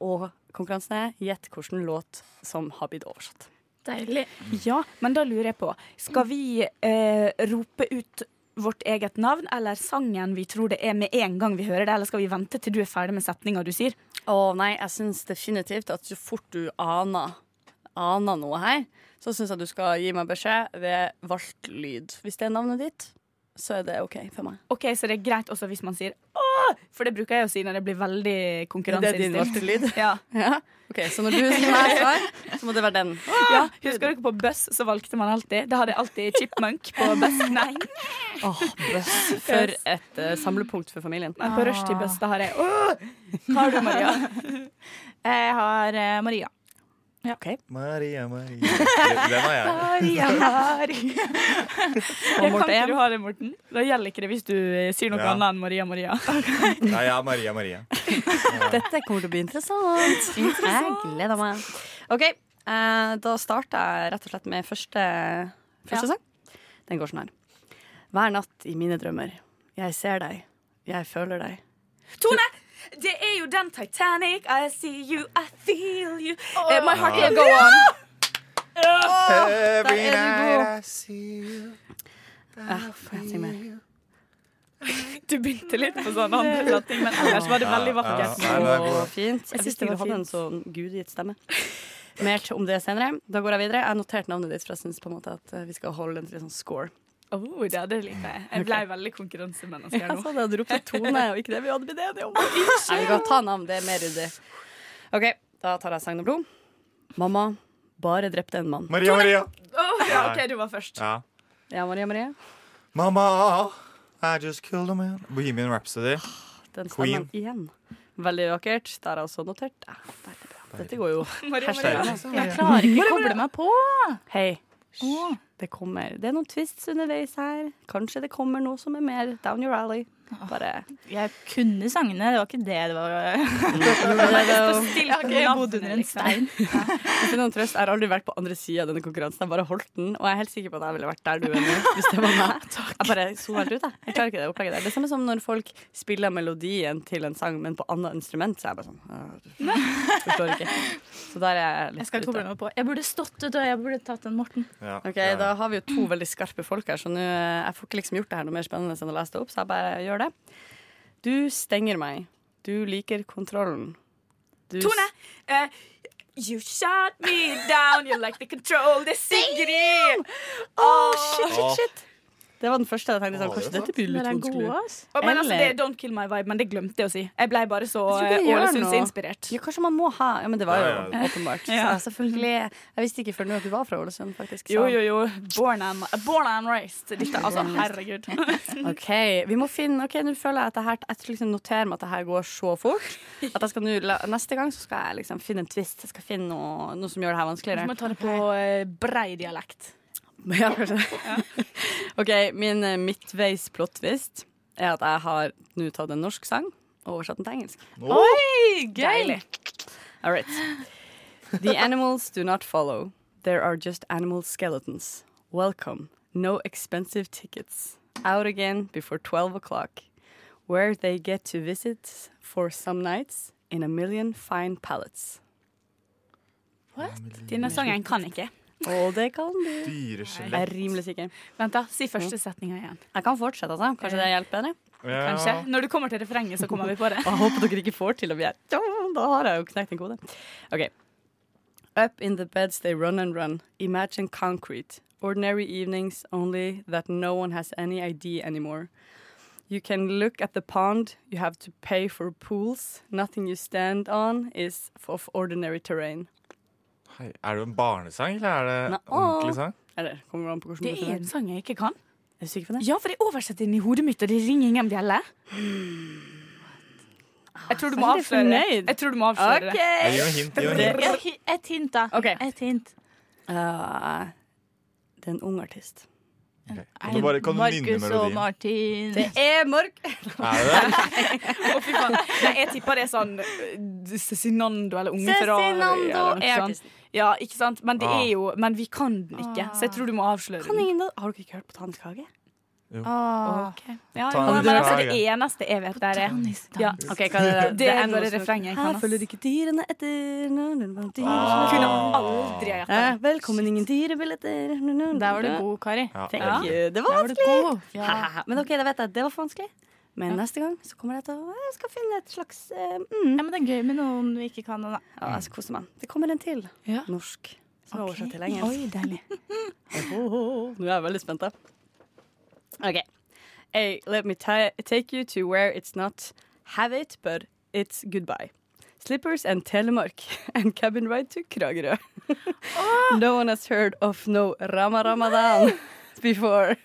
Speaker 7: Og konkurransen er gjett hvilken låt som har blitt oversatt.
Speaker 5: Deilig.
Speaker 4: Ja, men da lurer jeg på Skal vi eh, rope ut vårt eget navn eller sangen vi tror det er med en gang vi hører det, eller skal vi vente til du er ferdig med setninga du sier?
Speaker 7: Å nei, jeg syns definitivt at så fort du aner, aner noe her, så syns jeg du skal gi meg beskjed ved valgt lyd. Hvis det er navnet ditt, så er det OK for meg.
Speaker 4: OK, så det er greit også hvis man sier åh, for det bruker jeg å si når det blir veldig konkurranseinnstilt.
Speaker 7: Det er din valgte lyd.
Speaker 4: Ja.
Speaker 7: Ja? OK, så når du sier meg svar, så må det være den.
Speaker 4: Ja, husker dere på Buss, så valgte man alltid. Da hadde jeg alltid Chipmunk på Buss. Nei,
Speaker 7: Åh, bøss. For et eh, samlepunkt for familien.
Speaker 4: nei på Rushdie Buss da har jeg åh! Hva har du, Maria?
Speaker 5: Jeg har eh, Maria.
Speaker 7: OK.
Speaker 6: Maria, Maria. Den har jeg.
Speaker 5: Maria, Maria.
Speaker 4: Jeg kan ikke du ha det, Morten. Da gjelder ikke det hvis du eh, sier noe
Speaker 6: Ja.
Speaker 4: annet enn Maria Maria.
Speaker 6: Ja, ja, Maria, Maria.
Speaker 7: Dette kommer til å bli interessant. Jeg gleder meg. OK, eh, da starter jeg rett og slett med første, første sang. Den går sånn her. Hver natt i mine drømmer. Jeg ser deg. Jeg føler deg.
Speaker 4: Tone! Det er jo den Titanic. I see you, I feel you. Eh, my heart
Speaker 6: Ja.
Speaker 4: will go on.
Speaker 6: Every
Speaker 7: der er du god.
Speaker 6: night I see you.
Speaker 7: Ja, får jeg synge mer?
Speaker 4: Du begynte litt på sånn andre setning, men ellers var det veldig vakkert.
Speaker 6: Ja, ja, ja. Nei, det er bra.
Speaker 7: Så fint. Jeg
Speaker 4: Jeg synes
Speaker 7: visste
Speaker 4: det
Speaker 7: du
Speaker 4: var
Speaker 7: hadde en sånn gudgitt stemme. Mer om det senere. Da går jeg videre. Jeg har notert navnet ditt, for jeg syns på en måte at eh, vi skal holde en litt sånn score.
Speaker 4: Oh, det hadde jeg likt. Jeg ble veldig konkurransemenneske her
Speaker 7: Jeg
Speaker 4: nå.
Speaker 7: sa det, du ropte Tone, og ikke det vi hadde blitt enige om. Nei, vi kan ta navn, det er mer ryddig. OK, da tar jeg Sagn og Blod. Mamma bare drepte en mann.
Speaker 6: Maria, Maria.
Speaker 4: Åh, ja, OK, du var først.
Speaker 6: Ja.
Speaker 7: Ja, Maria Marie.
Speaker 6: Mamma, I just killed a man. Bohemian Rhapsody.
Speaker 7: Den
Speaker 6: Queen.
Speaker 7: stemmen igjen. Veldig vakkert. Der er også notert. Ja, veldig bra. Dette går jo.
Speaker 4: Maria
Speaker 6: Maria.
Speaker 5: Jeg klarer ikke å koble meg på.
Speaker 7: Hei. Hysj. Det kommer. Det er noen twists underveis her. Kanskje det kommer noe som er mer down your alley. Bare
Speaker 5: Jeg kunne sangene, det var ikke det det var.
Speaker 4: Still
Speaker 5: Jeg har ikke bodd under en stein.
Speaker 7: Til noen trøst, Jeg har aldri vært på andre sida av denne konkurransen. Jeg har bare holdt den, og jeg er helt sikker på at jeg ville vært der du er nå. Hvis det var meg. Jeg bare soner helt ut, jeg. Jeg klarer ikke det opplegget der. Det er samme som når folk spiller melodien til en sang, men på annet instrument, så er jeg bare sånn «Åh, du Forstår ikke. Så der er jeg
Speaker 5: Jeg
Speaker 7: litt
Speaker 5: skal koble meg på. Jeg burde stått ut, og jeg burde tatt en Morten.
Speaker 6: Ja,
Speaker 7: OK,
Speaker 6: ja.
Speaker 7: da har vi jo to veldig skarpe folk her, så nå eh, Jeg får ikke liksom gjort det her noe mer spennende enn å lese det opp, så jeg bare gjør det. Du stenger meg. Du liker kontrollen. Du s-
Speaker 4: Tone! eh, you shot me down, you like the control, det er Sigrid!
Speaker 7: Oh, Å, shit, shit, shit. Det var den første jeg tenkte sånn, kanskje dette blir litt vanskelig.
Speaker 4: Å, men altså, det er
Speaker 7: Eller-
Speaker 4: Don't Kill My Vibe, men det glemte jeg å si. Jeg ble bare så
Speaker 7: Jeg
Speaker 4: eh,
Speaker 7: tror ikke det gjør noe.
Speaker 4: Ålesunds-inspirert.
Speaker 7: Ja, kanskje man må ha Ja, men det var jo
Speaker 4: Ja, ja.
Speaker 7: åpenbart. Så
Speaker 4: Ja.
Speaker 7: jeg selvfølgelig Jeg visste ikke før nå at du var fra Ålesund, faktisk.
Speaker 4: Jo,
Speaker 7: så-
Speaker 4: jo, jo. Born and, born and raised. Dette, altså, herregud.
Speaker 7: OK, vi må finne Ok, nå føler jeg at det her Jeg skal liksom notere meg at det her går så fort. At jeg skal nå la- Neste gang så skal jeg liksom finne en twist. Jeg skal finne noe, noe som gjør det her vanskeligere.
Speaker 2: Så må jeg ta det på eh, brei dialekt.
Speaker 7: Ja, kanskje det. OK, min eh, midtveis plottvist er at jeg har nå tatt en norsk sang og oversatt den til engelsk.
Speaker 3: Oi, gøy!
Speaker 7: Deilig. All right. The animals do not follow. There are just animal skeletons. Welcome. No expensive tickets. Out again before 12 o'clock, where they get to visit for some nights in a million fine palettes.
Speaker 4: Denne sangen kan ikke.
Speaker 7: Og det kan du.
Speaker 6: Dyreskelett.
Speaker 7: Jeg er rimelig sikker.
Speaker 4: Vent, da. Si første setninga igjen.
Speaker 7: Jeg kan fortsette, altså. Kanskje det hjelper bedre?
Speaker 6: Ja.
Speaker 4: Kanskje. Når du kommer til refrenget, så kommer vi på det.
Speaker 7: Jeg håper dere ikke får til å bli her. Ja, Da har jeg jo knekt en kode. OK. Up in the beds they run and run. Imagine concrete. Ordinary evenings only that no one has any idea anymore. You can look at the pond. You have to pay for pools. Nothing you stand on is of ordinary terrain.
Speaker 6: Hei, er det en barnesang, eller er det en ordentlig sang?
Speaker 7: Eller, kommer an på hvordan
Speaker 4: Det
Speaker 7: du
Speaker 4: er en sang jeg ikke kan.
Speaker 7: Er du sikker på det?
Speaker 4: Ja, for det er oversatt inn i hodet mitt, og det ringer ingen bjelle. Jeg tror du må
Speaker 7: Veldig
Speaker 4: avsløre det.
Speaker 7: er fornøyd.
Speaker 4: Jeg tror du må avsløre
Speaker 7: Ok.
Speaker 4: det.
Speaker 7: Jeg gir meg hint, jeg gir meg hint.
Speaker 4: hint. Et hint, da. Et hint.
Speaker 7: Uh, det er en ung artist.
Speaker 6: Kan du bare kan du nynne melodien?
Speaker 4: Martin.
Speaker 7: Det er Mark...
Speaker 6: Er det det?
Speaker 4: Å, fy faen. Nei, jeg tipper det er sånn eh, Cezinando eller Unge Ferrari.
Speaker 7: Cezinando
Speaker 4: eller noe
Speaker 7: er
Speaker 4: sånt.
Speaker 7: artisten.
Speaker 4: Ja, ikke sant? Men det
Speaker 6: Ah.
Speaker 4: er jo Men vi kan den ikke, så Ah. jeg tror du må avsløre
Speaker 7: Kan
Speaker 4: den.
Speaker 7: ingen da? Har dere ikke hørt på Tannens kage?
Speaker 6: Jo.
Speaker 4: Ok. Ja,
Speaker 7: Ta
Speaker 4: ja,
Speaker 7: den
Speaker 4: men
Speaker 7: fra
Speaker 4: altså, det
Speaker 7: Hagen.
Speaker 4: eneste jeg vet, der er ja.
Speaker 7: Ok, hva er det?
Speaker 4: Det er
Speaker 7: enda
Speaker 4: bare
Speaker 7: som-
Speaker 4: refrenget jeg kan,
Speaker 7: Her
Speaker 4: ass.
Speaker 7: følger ikke dyrene etter nu, nu, nu, dyr-
Speaker 4: Ah. Kunne aldri ha gjettet
Speaker 7: Eh, Velkommen, ingen dyrebilletter nu, nu, nu,
Speaker 4: Der var du
Speaker 7: nu.
Speaker 4: god, Kari. Ja,
Speaker 7: Thank
Speaker 4: ja.
Speaker 7: you. Det var vanskelig! Haha. Men ok, da vet jeg at det var for vanskelig. Men neste gang så kommer jeg til å Jeg skal finne et slags eh, mm.
Speaker 5: Ja, men det er gøy med noen vi ikke kan. Da.
Speaker 7: Ja,
Speaker 4: Mm.
Speaker 7: jeg skal kose meg. Det kommer en til. Norsk. Som er oversatt til engelsk.
Speaker 4: Oi, deilig.
Speaker 7: Nå er jeg veldig spent, da. OK. Hey, let me ta take you to where it's not have it, but it's goodbye. Slippers and Telemark and cabin ride to Kragerø. no one has heard of no Rama Ramadan before.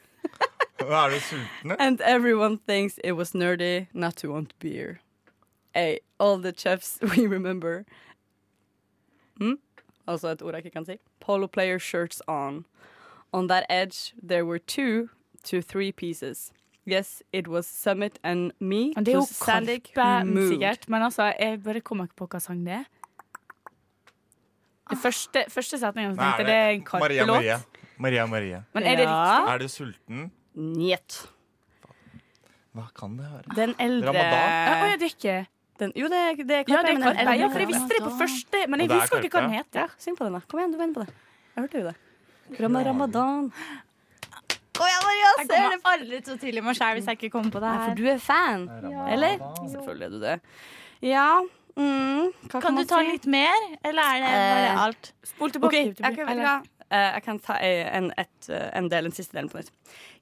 Speaker 6: Er du sultne?
Speaker 7: And everyone thinks it was nerdy not to want beer. Hey, all the chefs we remember. Hmm? Altså et ord jeg ikke kan si. Polo player shirts on. On that edge there were two to three pieces. Yes, it was Summit and me
Speaker 4: Men Det er jo
Speaker 7: plus Sandik who
Speaker 4: Kalkband,
Speaker 7: moved.
Speaker 4: sikkert. Men altså, jeg bare kommer ikke på hva sang det er. Det første, første setningen som
Speaker 6: Nei,
Speaker 4: tenkte, det er en
Speaker 6: Maria
Speaker 4: karpelåt.
Speaker 6: Maria. Maria Maria.
Speaker 4: Men er det
Speaker 7: Ja.
Speaker 4: riktig?
Speaker 6: Er du sulten?
Speaker 7: Njet.
Speaker 6: Hva kan det være?
Speaker 7: Den eldre
Speaker 4: Ja,
Speaker 6: Ramadan?
Speaker 4: Å, ja, det er ikke
Speaker 7: Den, jo, det er, det er
Speaker 4: Ja,
Speaker 7: Karpe,
Speaker 4: det er
Speaker 7: men den
Speaker 4: Karpe.
Speaker 7: eldre-
Speaker 4: Ja, for jeg visste det på første, men
Speaker 6: Og
Speaker 4: jeg
Speaker 6: det er
Speaker 4: husker ikke hva
Speaker 6: Karpe.
Speaker 4: den heter.
Speaker 7: Ja, syng på den, da. Kom igjen, du vinner på det. Jeg hørte jo det. Rama Ramadan.
Speaker 5: Kom igjen, Maria, jeg kommer aldri til å tilgi meg sjæl hvis jeg ikke kommer på det
Speaker 7: Nei, for
Speaker 5: her.
Speaker 7: du er fan, eller? Selvfølgelig er du det. Ja. Mm, hva
Speaker 5: Kan du
Speaker 7: man
Speaker 5: ta
Speaker 7: si?
Speaker 5: litt mer, eller er det, var det
Speaker 7: Eh,
Speaker 5: alt?
Speaker 4: Spol tilbake.
Speaker 7: Ok, jeg
Speaker 4: tilbake,
Speaker 7: kan, vet du hva? Eh, jeg kan ta eh, en, et, eh, en del, den siste delen på nytt.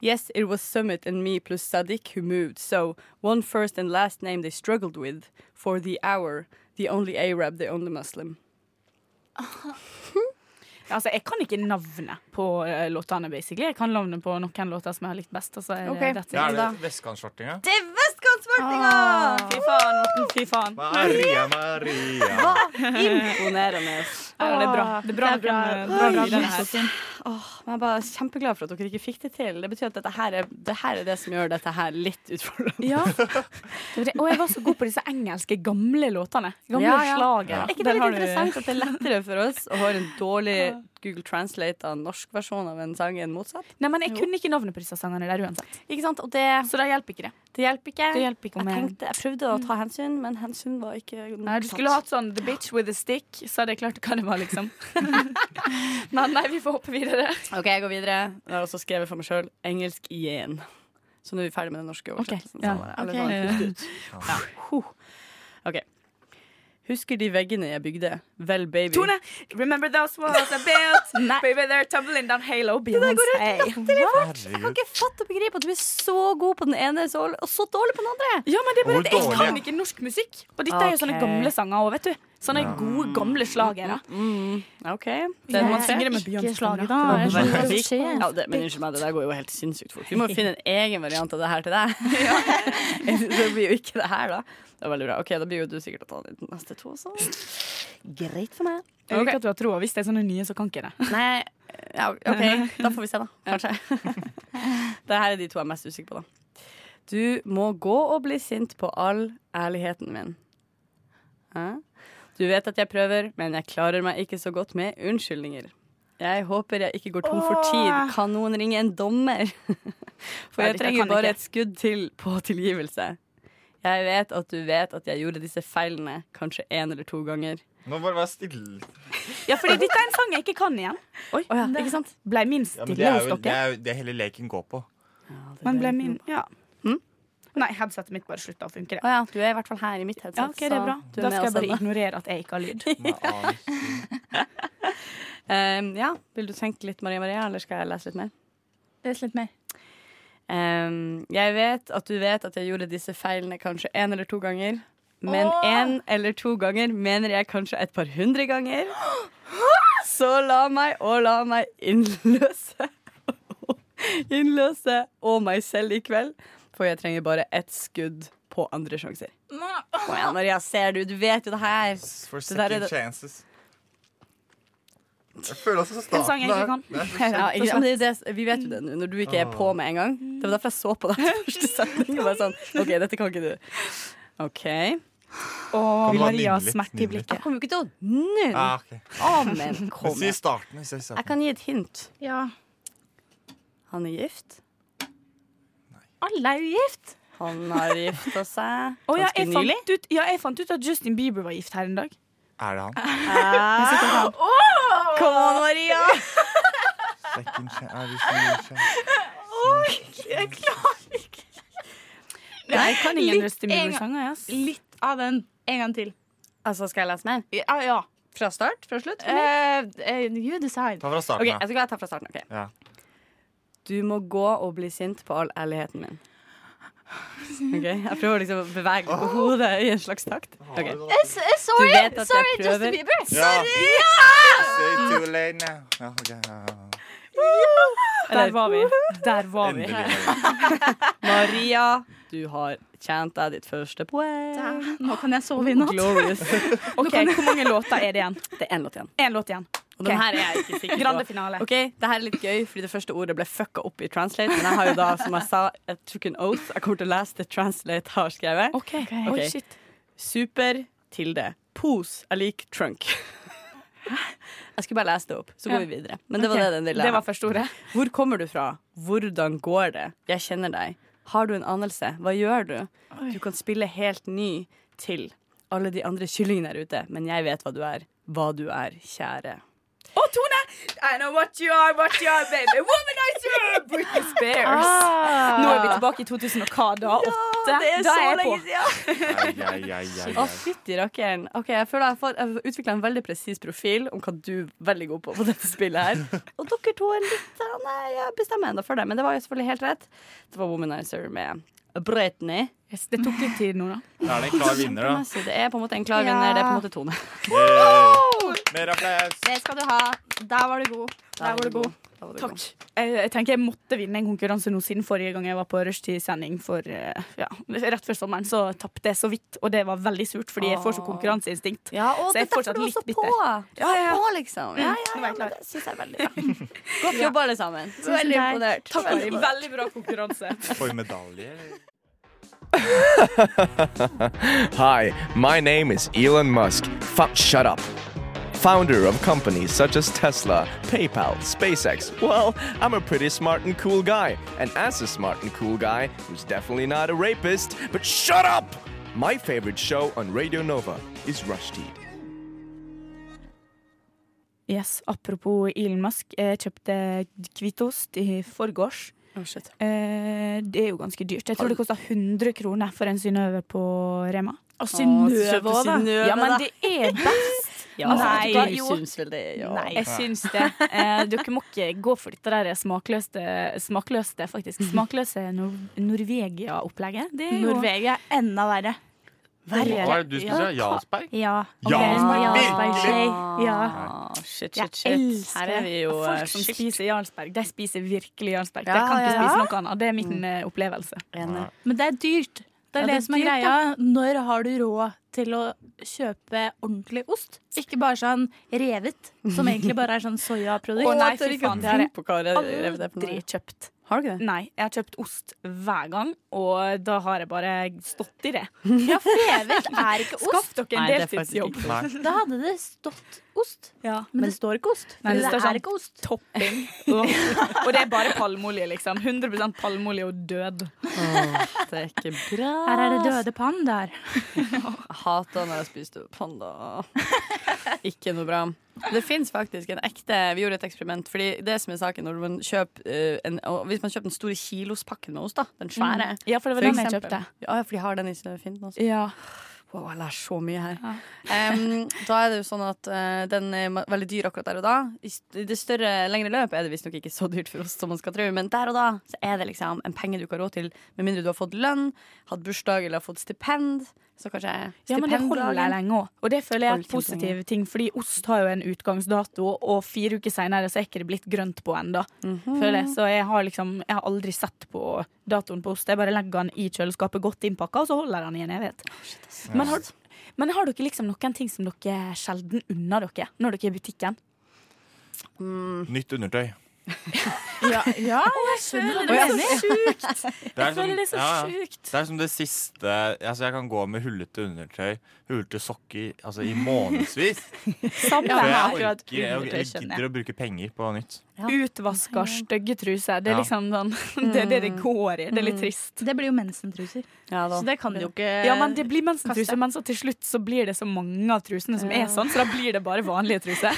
Speaker 7: Yes, it was Summit and me plus Sadiq who moved, so one first and last name they struggled with for the hour, the only Arab, the only Muslim.
Speaker 4: Altså, jeg kan ikke navnet på eh, låtene, basically. Jeg kan navnet på noen låter som jeg har likt best. Og så er
Speaker 7: Ok,
Speaker 4: det that's it.
Speaker 6: Ja, er det vestkantskjortinga?
Speaker 7: Det er Vestkantsvartinga!
Speaker 4: Ah, Fy faen, Morten. Fy faen.
Speaker 6: Maria Maria.
Speaker 7: Imponerende.
Speaker 4: Ja, det er
Speaker 7: Ah,
Speaker 4: bra. Det er bra, eh, bra,
Speaker 5: Det er bra.
Speaker 4: bra, bra, bra,
Speaker 7: Yes. Åh, Ah, men jeg er bare kjempeglad for at dere ikke fikk det til. Det betyr at dette her er det, her er det som gjør dette her litt utfordrende.
Speaker 4: Ja. Og jeg var så god på disse engelske, gamle låtene. Gamle
Speaker 7: Ja, ja.
Speaker 4: slagere.
Speaker 7: Er ikke det
Speaker 4: Der
Speaker 7: litt
Speaker 4: har du-
Speaker 7: interessant at det er lettere for oss å høre en dårlig Google Translate av en norsk versjon av en sang enn motsatt?
Speaker 4: Nei, men jeg kunne ikke navnet på disse sangene der uansett.
Speaker 7: Ikke sant? Og det,
Speaker 4: Så det hjelper ikke det.
Speaker 7: det hjelper ikke.
Speaker 4: Det hjelper ikke om
Speaker 7: jeg,
Speaker 4: jeg-
Speaker 7: tenkte, jeg prøvde å ta hensyn, men hensyn var ikke nok
Speaker 4: Nei, du skulle hatt sånn The bitch with a stick, så hadde jeg klart hva det var, liksom. Men nei, vi får hoppe videre.
Speaker 7: OK, jeg går videre. Jeg har også skrevet for meg sjøl engelsk igjen. Så nå er vi ferdig med den norske oversettelsen.
Speaker 4: ja.
Speaker 7: Så bare- eller
Speaker 4: Ok.
Speaker 7: sånn, pust ut. Huh. OK. Husker de veggene jeg bygde? Vel, baby.
Speaker 4: Tone, remember those walls I built? Baby, they're tumbling down halo Beyoncé.
Speaker 7: Jeg kan ikke fatte og begripe at du er så god på den ene så- og så dårlig på den andre.
Speaker 4: Ja, men det er bare
Speaker 7: Hvor
Speaker 4: at jeg kan
Speaker 7: dårlig?
Speaker 4: ikke norsk musikk. Og dette er jo sånne
Speaker 7: Ok.
Speaker 4: gamle sanger òg, vet du. Sånne
Speaker 7: Ja.
Speaker 4: gode, gamle slagere.
Speaker 7: OK.
Speaker 4: Den man synger med Beyoncé. Ja, jeg skjønner hva som skjer.
Speaker 7: Ja, det, men unnskyld meg, det der går jo helt sinnssykt fort. Vi må jo finne en egen variant av det her til deg. det blir jo ikke det her, da. Det var veldig bra. OK, da blir jo du sikkert å ta de neste to også. Greit for meg.
Speaker 4: Jeg liker at du har troa. Hvis det er sånne nye, så kan ikke jeg det.
Speaker 7: Nei, ja, OK. Da får vi se, da. Kanskje. Det her er de to jeg er mest usikker på, da. Du må gå og bli sint på all ærligheten min. Hæ? Du vet at jeg prøver, men jeg klarer meg ikke så godt med unnskyldninger. Jeg håper jeg ikke går tom for tid. Kan noen ringe en dommer? For
Speaker 5: Nei,
Speaker 7: jeg
Speaker 5: dette
Speaker 7: trenger
Speaker 5: kan
Speaker 7: bare
Speaker 5: ikke.
Speaker 7: et skudd til på tilgivelse. Jeg vet at du vet at jeg gjorde disse feilene kanskje én eller to ganger.
Speaker 6: Nå bare vær stille.
Speaker 4: Ja, fordi dette er en sang jeg ikke kan igjen. Oi, ikke sant? Ble min
Speaker 6: Ja, men
Speaker 4: stille
Speaker 6: det er
Speaker 4: hos
Speaker 6: jo det,
Speaker 4: dere.
Speaker 6: er jo det hele leken går på.
Speaker 4: Men ble min Ja. Mm? Nei, headsetet mitt bare slutta å funke. det.
Speaker 7: Å ja, du er i hvert fall her i mitt headset.
Speaker 4: Ja, ok, det er bra.
Speaker 7: så du er
Speaker 4: Da
Speaker 7: med
Speaker 4: skal jeg
Speaker 7: oss
Speaker 4: bare
Speaker 7: ennå.
Speaker 4: ignorere at jeg ikke har lyd.
Speaker 7: Um, ja, vil du tenke litt Maria Maria, eller skal jeg lese litt mer?
Speaker 5: Les litt mer.
Speaker 7: Um, jeg vet at du vet at jeg gjorde disse feilene kanskje én eller to ganger. Men
Speaker 5: Åh!
Speaker 7: én eller to ganger mener jeg kanskje et par hundre ganger. Så la meg og la meg innløse Innløse og meg selv i kveld. For jeg trenger bare ett skudd på andre sjanser. Kom igjen, Maria, ser du? Du vet jo det her.
Speaker 6: For
Speaker 7: Det der er
Speaker 6: second
Speaker 7: det-
Speaker 6: chances. Jeg føler også
Speaker 7: En sang jeg ikke
Speaker 6: staten
Speaker 7: kan.
Speaker 6: er- Det er så
Speaker 7: Ja,
Speaker 6: kjent.
Speaker 7: ikke, sant? men det, er det, vi vet jo det nå, når du ikke er på med en gang. Det var derfor jeg så på deg i første setning. og Bare sånn, OK, dette kan ikke du. OK.
Speaker 4: Og Maria smerte i blikket.
Speaker 7: Jeg kommer jo ikke til å nynne.
Speaker 6: Ah, ok.
Speaker 7: Amen. Kom
Speaker 6: Si
Speaker 7: igjen.
Speaker 6: starten. hvis jeg sa
Speaker 7: Jeg kan gi et hint.
Speaker 5: Ja.
Speaker 7: Han er gift.
Speaker 5: Alle er jo gift.
Speaker 7: Han har gifta seg
Speaker 4: Å ja,
Speaker 7: ganske
Speaker 4: jeg
Speaker 7: nylig.
Speaker 4: fant ut, ja, jeg fant ut at Justin Bieber var gift her en dag.
Speaker 6: Er det han?
Speaker 7: Kom on, Maria!
Speaker 6: Second chance, er det second chance?
Speaker 5: Oi, jeg klarer ikke.
Speaker 7: Nei, jeg kan ingen
Speaker 5: Litt
Speaker 7: Justin Bieber-sanger,
Speaker 5: en gang- Litt av den. En gang til.
Speaker 7: Altså, skal jeg lese mer?
Speaker 5: Ja. ja.
Speaker 7: Fra start? Fra slutt? eller?
Speaker 5: Eh, eh, you decide.
Speaker 6: Ta fra starten,
Speaker 7: Ok,
Speaker 6: da.
Speaker 7: jeg skal ta fra starten. ok.
Speaker 6: Ja.
Speaker 7: Du må gå og bli sint på all ærligheten min. Ok, Jeg prøver liksom å bevege på hodet i en slags takt. altså, Ok.
Speaker 5: S- eh,
Speaker 7: Du
Speaker 5: Sorry,
Speaker 7: vet at jeg
Speaker 5: sorry
Speaker 7: prøver.
Speaker 5: Justin Bieber.
Speaker 6: Ja. Say
Speaker 4: Ah.
Speaker 5: Ja!
Speaker 6: too late now. Oh, Ja, ok, ja, ja.
Speaker 4: Der var vi. Der var vi.
Speaker 7: Maria, du har tjent deg ditt første poeng.
Speaker 5: Der. Nå kan jeg sove i natt.
Speaker 7: Glorious.
Speaker 4: Ok, Hvor mange låter er det igjen?
Speaker 7: Det er én låt igjen.
Speaker 4: Én låt igjen.
Speaker 7: Og den her er jeg ikke sikker på.
Speaker 4: Grande finale.
Speaker 7: Ok, Det her er litt gøy, fordi det første ordet ble fucka opp i translate. Men jeg har jo da, som jeg sa, jeg tok en oath. Jeg kommer til å lese det translate har skrevet.
Speaker 4: Ok,
Speaker 7: Ok.
Speaker 4: Oi, shit.
Speaker 7: Super tilde. Pos er lik trunk. Jeg skulle bare lese det opp, så går
Speaker 4: Ja.
Speaker 7: vi videre. Men det var
Speaker 4: Ok,
Speaker 7: det den ville.
Speaker 4: det var
Speaker 7: første ordet. Hvor kommer du fra? Hvordan går det? Jeg kjenner deg. Har du en anelse? Hva gjør du? Du kan spille helt ny til alle de andre kyllingene der ute, men jeg vet hva du er. Hva du er, kjære.
Speaker 4: Å, Tone! I know what you are, what you are, baby. Womanizer! Britney Spears.
Speaker 7: Ah.
Speaker 4: Nå er vi tilbake i 2000 og hva da? Åtte?
Speaker 7: det er
Speaker 4: Da
Speaker 7: så
Speaker 4: jeg
Speaker 7: lenge
Speaker 4: på.
Speaker 6: Ai, ai, ai, ai,
Speaker 7: Å,
Speaker 6: ai.
Speaker 7: fytti rakkeren. Ok, Jeg føler jeg har fått- jeg har utvikla en veldig presis profil om hva du er veldig god på på dette spillet her. Og dere to er litt eh, Nei, jeg bestemmer ennå for det, men det var jo selvfølgelig helt rett. Det var Womanizer med Britney.
Speaker 4: det tok litt tid nå, da.
Speaker 6: Da er det en klar vinner, da.
Speaker 7: Kjempemessig. altså, Det er på en måte en klar
Speaker 5: Ja.
Speaker 7: vinner. Det er på en måte Tone.
Speaker 6: Yay. Mer applaus.
Speaker 5: Det skal du ha. Der var du god. Der var du god.
Speaker 4: Takk. Jeg, jeg tenker jeg måtte vinne en konkurranse nå siden forrige gang jeg var på rushtidssending for eh, ja, rett før sommeren, så tapte jeg så vidt, og det var veldig surt, fordi jeg får så konkurranseinstinkt.
Speaker 7: og
Speaker 4: så jeg er fortsatt litt bitter.
Speaker 7: Ja, ja, ja. liksom. Ja, ja,
Speaker 4: Nå
Speaker 7: ja,
Speaker 4: var jeg klar.
Speaker 7: det syns jeg er veldig bra. Godt jobba, alle sammen.
Speaker 4: Tusen
Speaker 7: Veldig
Speaker 4: takk.
Speaker 7: imponert.
Speaker 4: Takk for en veldig bra konkurranse.
Speaker 6: For medalje, eller?
Speaker 16: Hi, my name is Elon Musk. Fu- shut up. Founder of companies such as Tesla, PayPal, SpaceX. Well, I'm a pretty smart and cool guy. And as a smart and cool guy who's definitely not a rapist, but shut up! My favorite show on Radio Nova is Rushdie.
Speaker 4: Yes, Apropos Elon Musk, jeg kjøpte hvitost i forgårs. Eh, det er jo ganske dyrt. Jeg tror det kosta 100 kroner for en Synnøve på Rema.
Speaker 5: Og Synnøve
Speaker 2: kjøpte
Speaker 5: òg, da.
Speaker 2: Synnøve,
Speaker 4: Ja, men
Speaker 2: da.
Speaker 4: det er best.
Speaker 2: Ja,
Speaker 4: Altså,
Speaker 2: nei,
Speaker 4: vet du hva?
Speaker 2: jeg syns vel det, ja. Nei.
Speaker 4: Jeg syns det. Eh, dere må ikke gå for dette der smakløste, smakløste faktisk. Smakløse Nor Norvegia-opplegget. Det er jo
Speaker 5: Norvegia er enda verre.
Speaker 17: Hva er det du skulle si? Jarlsberg?
Speaker 5: Ja.
Speaker 17: Ok, Jarlsberg,
Speaker 5: Jarlsberg-skje.
Speaker 17: virkelig?
Speaker 5: Ja.
Speaker 2: Shit,
Speaker 5: Jeg
Speaker 2: shit, shit.
Speaker 5: elsker
Speaker 2: Her er vi jo
Speaker 4: Folk
Speaker 2: eh,
Speaker 4: som
Speaker 2: skilt.
Speaker 4: spiser Jarlsberg, de spiser virkelig Jarlsberg. de
Speaker 2: Ja,
Speaker 4: kan ikke
Speaker 2: ja, ja.
Speaker 4: spise noe annet. Det er
Speaker 2: Mm.
Speaker 4: min eh, opplevelse.
Speaker 5: Men det er dyrt. Det
Speaker 4: Ja,
Speaker 5: er
Speaker 4: det
Speaker 5: det,
Speaker 4: er
Speaker 5: som er
Speaker 4: dyrt,
Speaker 5: greia. Når har du råd til å kjøpe ordentlig ost? Ikke bare sånn revet, som egentlig bare er sånn soyaprodukt.
Speaker 2: Å, nei, fy faen, det har jeg aldri
Speaker 4: kjøpt.
Speaker 2: Har du ikke det?
Speaker 4: Nei, jeg har kjøpt ost hver gang, og da har jeg bare stått i det.
Speaker 5: Ja, for revet er ikke ost.
Speaker 4: Skaff dere en
Speaker 5: Nei, det er faktisk
Speaker 4: deltidsjobb.
Speaker 5: ikke ost. Da hadde det stått ost. men, det står ikke ost.
Speaker 4: Nei,
Speaker 5: fordi
Speaker 4: det
Speaker 5: det,
Speaker 4: står sånn
Speaker 5: er ikke ost.
Speaker 4: Topping. og det er bare palmeolje, liksom. 100 palmeolje og død. Ah.
Speaker 7: Det er ikke bra.
Speaker 5: Her er det døde pandaer.
Speaker 7: Jeg Hata når jeg spiste panda. Ikke noe bra. Det fins faktisk en ekte Vi gjorde et eksperiment. Fordi det som er saken når man kjøper eh, en, og Hvis man kjøper den store kilospakken med ost, da. Den svære.
Speaker 4: Mm. Ja, for det var den jeg
Speaker 7: eksempel.
Speaker 4: kjøpte.
Speaker 7: Ja, ja, for de har den i Finland også.
Speaker 4: Ja.
Speaker 7: Wow, jeg lærer så mye her. Em, da er det jo sånn at eh, den er ma- veldig dyr akkurat der og da. I st- i det større, lengre løpet er det visstnok ikke så dyrt for oss som man skal tro, men der og da så er det liksom en penge du ikke har råd til, med mindre du har fått lønn, hatt bursdag eller har fått stipend. Så kanskje
Speaker 4: Ja, men det holder
Speaker 7: stipenddagen-
Speaker 4: lenge òg. Og det føler jeg er et
Speaker 7: Holder kjempelenge.
Speaker 4: positiv ting, fordi ost har jo en utgangsdato, og fire uker seinere så er ikke det blitt grønt på ennå. Føler jeg. Så jeg har liksom Jeg har aldri sett på datoen på ost. Jeg bare legger den i kjøleskapet godt innpakka, og så holder jeg den i en evighet. Men har, men har dere liksom noen ting som dere sjelden unner dere når dere er i butikken?
Speaker 6: Nytt undertøy.
Speaker 4: Ja, jeg
Speaker 5: skjønner
Speaker 4: det.
Speaker 5: det.
Speaker 4: er så sjukt.
Speaker 6: Det er sånn-
Speaker 4: Jeg føler det er så
Speaker 6: ja, ja.
Speaker 4: sjukt.
Speaker 6: Det er som det siste altså Jeg kan gå med hullete undertøy, hullete sokker, altså i månedsvis.
Speaker 4: Samme
Speaker 6: For
Speaker 4: her,
Speaker 6: jeg
Speaker 4: akkurat
Speaker 6: orker jeg,
Speaker 4: undertøy
Speaker 6: jeg
Speaker 4: skjønner
Speaker 6: gidder å bruke penger på nytt.
Speaker 4: Utvaska, stygge truser. Det er
Speaker 6: Ja.
Speaker 4: liksom sånn Det er det det går i. Det er litt trist.
Speaker 5: Det blir jo mensentruser.
Speaker 7: da.
Speaker 5: så det kan du jo ikke
Speaker 4: Ja, men det blir mensentruser,
Speaker 5: kaste.
Speaker 4: men så til slutt så blir det så mange av trusene som er sånn, så da blir det bare vanlige truser.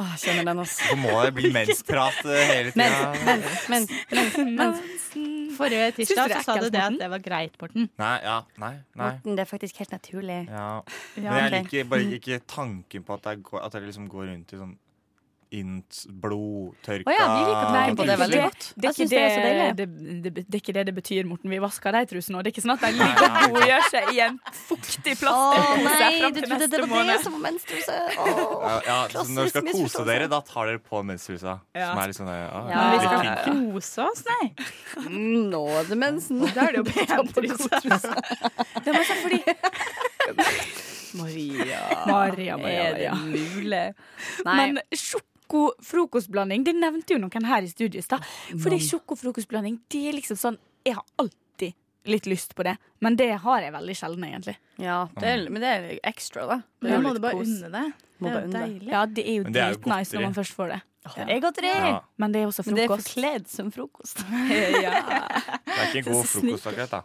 Speaker 7: Åh, kjenner den, ass.
Speaker 6: Så må det bli mensprat eh, hele tida.
Speaker 7: Men, men, men
Speaker 5: Forrige
Speaker 7: Syns du
Speaker 5: tirsdag
Speaker 7: det er
Speaker 5: så sa du
Speaker 7: ekkelt,
Speaker 5: det at det var greit, Morten.
Speaker 6: Nei, ja, nei, nei.
Speaker 7: Morten, det er faktisk helt naturlig.
Speaker 6: Ja.
Speaker 7: Ja,
Speaker 6: Men jeg
Speaker 7: ok. Mm.
Speaker 6: liker bare ikke tanken på at jeg, går, at jeg liksom går rundt i sånn Int, blod, tørka
Speaker 4: Å ja, vi liker
Speaker 7: tanken på det veldig godt.
Speaker 4: Det er,
Speaker 7: Jeg
Speaker 4: ikke
Speaker 7: synes det er så
Speaker 4: det,
Speaker 7: deilig.
Speaker 4: det, det, det er ikke det det betyr, Morten. Vi vasker de trusene òg. Det er ikke sånn at de
Speaker 6: Nei,
Speaker 4: ligger
Speaker 6: nei,
Speaker 4: og godgjør seg i en fuktig
Speaker 7: Å
Speaker 4: plastpose
Speaker 7: nei,
Speaker 4: fram
Speaker 7: du
Speaker 4: til
Speaker 7: trodde det
Speaker 4: neste
Speaker 7: var det
Speaker 4: måned.
Speaker 7: som var menstruse. Åh.
Speaker 6: Ja, ja, så når dere skal
Speaker 7: Klassisk
Speaker 6: kose dere, da tar dere på mensrusa.
Speaker 7: Ja.
Speaker 6: Som er litt sånn eh, ah, litt
Speaker 7: Ja. Men vi
Speaker 6: kinky.
Speaker 7: skal-
Speaker 5: Kose oss, nei.
Speaker 7: Nå er det mensen. Da er det jo liksom. pentruse.
Speaker 4: Det
Speaker 7: altså,
Speaker 4: var sånn fordi
Speaker 7: Maria.
Speaker 4: Maria, Maria,
Speaker 7: Er det
Speaker 4: Maria.
Speaker 7: mulig?
Speaker 4: Men sjoko-frokostblanding, det nevnte jo noen her i studio i stad. Fordi sjoko-frokostblanding, det er liksom sånn Jeg har alltid litt lyst på det, men det har jeg veldig sjelden, egentlig.
Speaker 7: Ja, det er, men det er ekstra, da. Det er
Speaker 5: Da
Speaker 7: jo
Speaker 5: må
Speaker 7: litt
Speaker 5: du bare
Speaker 7: kos.
Speaker 5: unne det.
Speaker 7: Må
Speaker 5: Det er
Speaker 7: bare
Speaker 5: jo
Speaker 7: unne det.
Speaker 5: deilig.
Speaker 4: Ja, det er jo
Speaker 6: Men det er jo
Speaker 4: dritnice
Speaker 6: godteri.
Speaker 4: når man først får det.
Speaker 7: Ja. Det er godteri!
Speaker 6: Ja.
Speaker 4: Men det er også
Speaker 7: Men det er
Speaker 4: frokost.
Speaker 7: forkledd som frokost.
Speaker 6: Det er ikke en god
Speaker 7: Så Hm? snilt.
Speaker 6: frokost akkurat, da.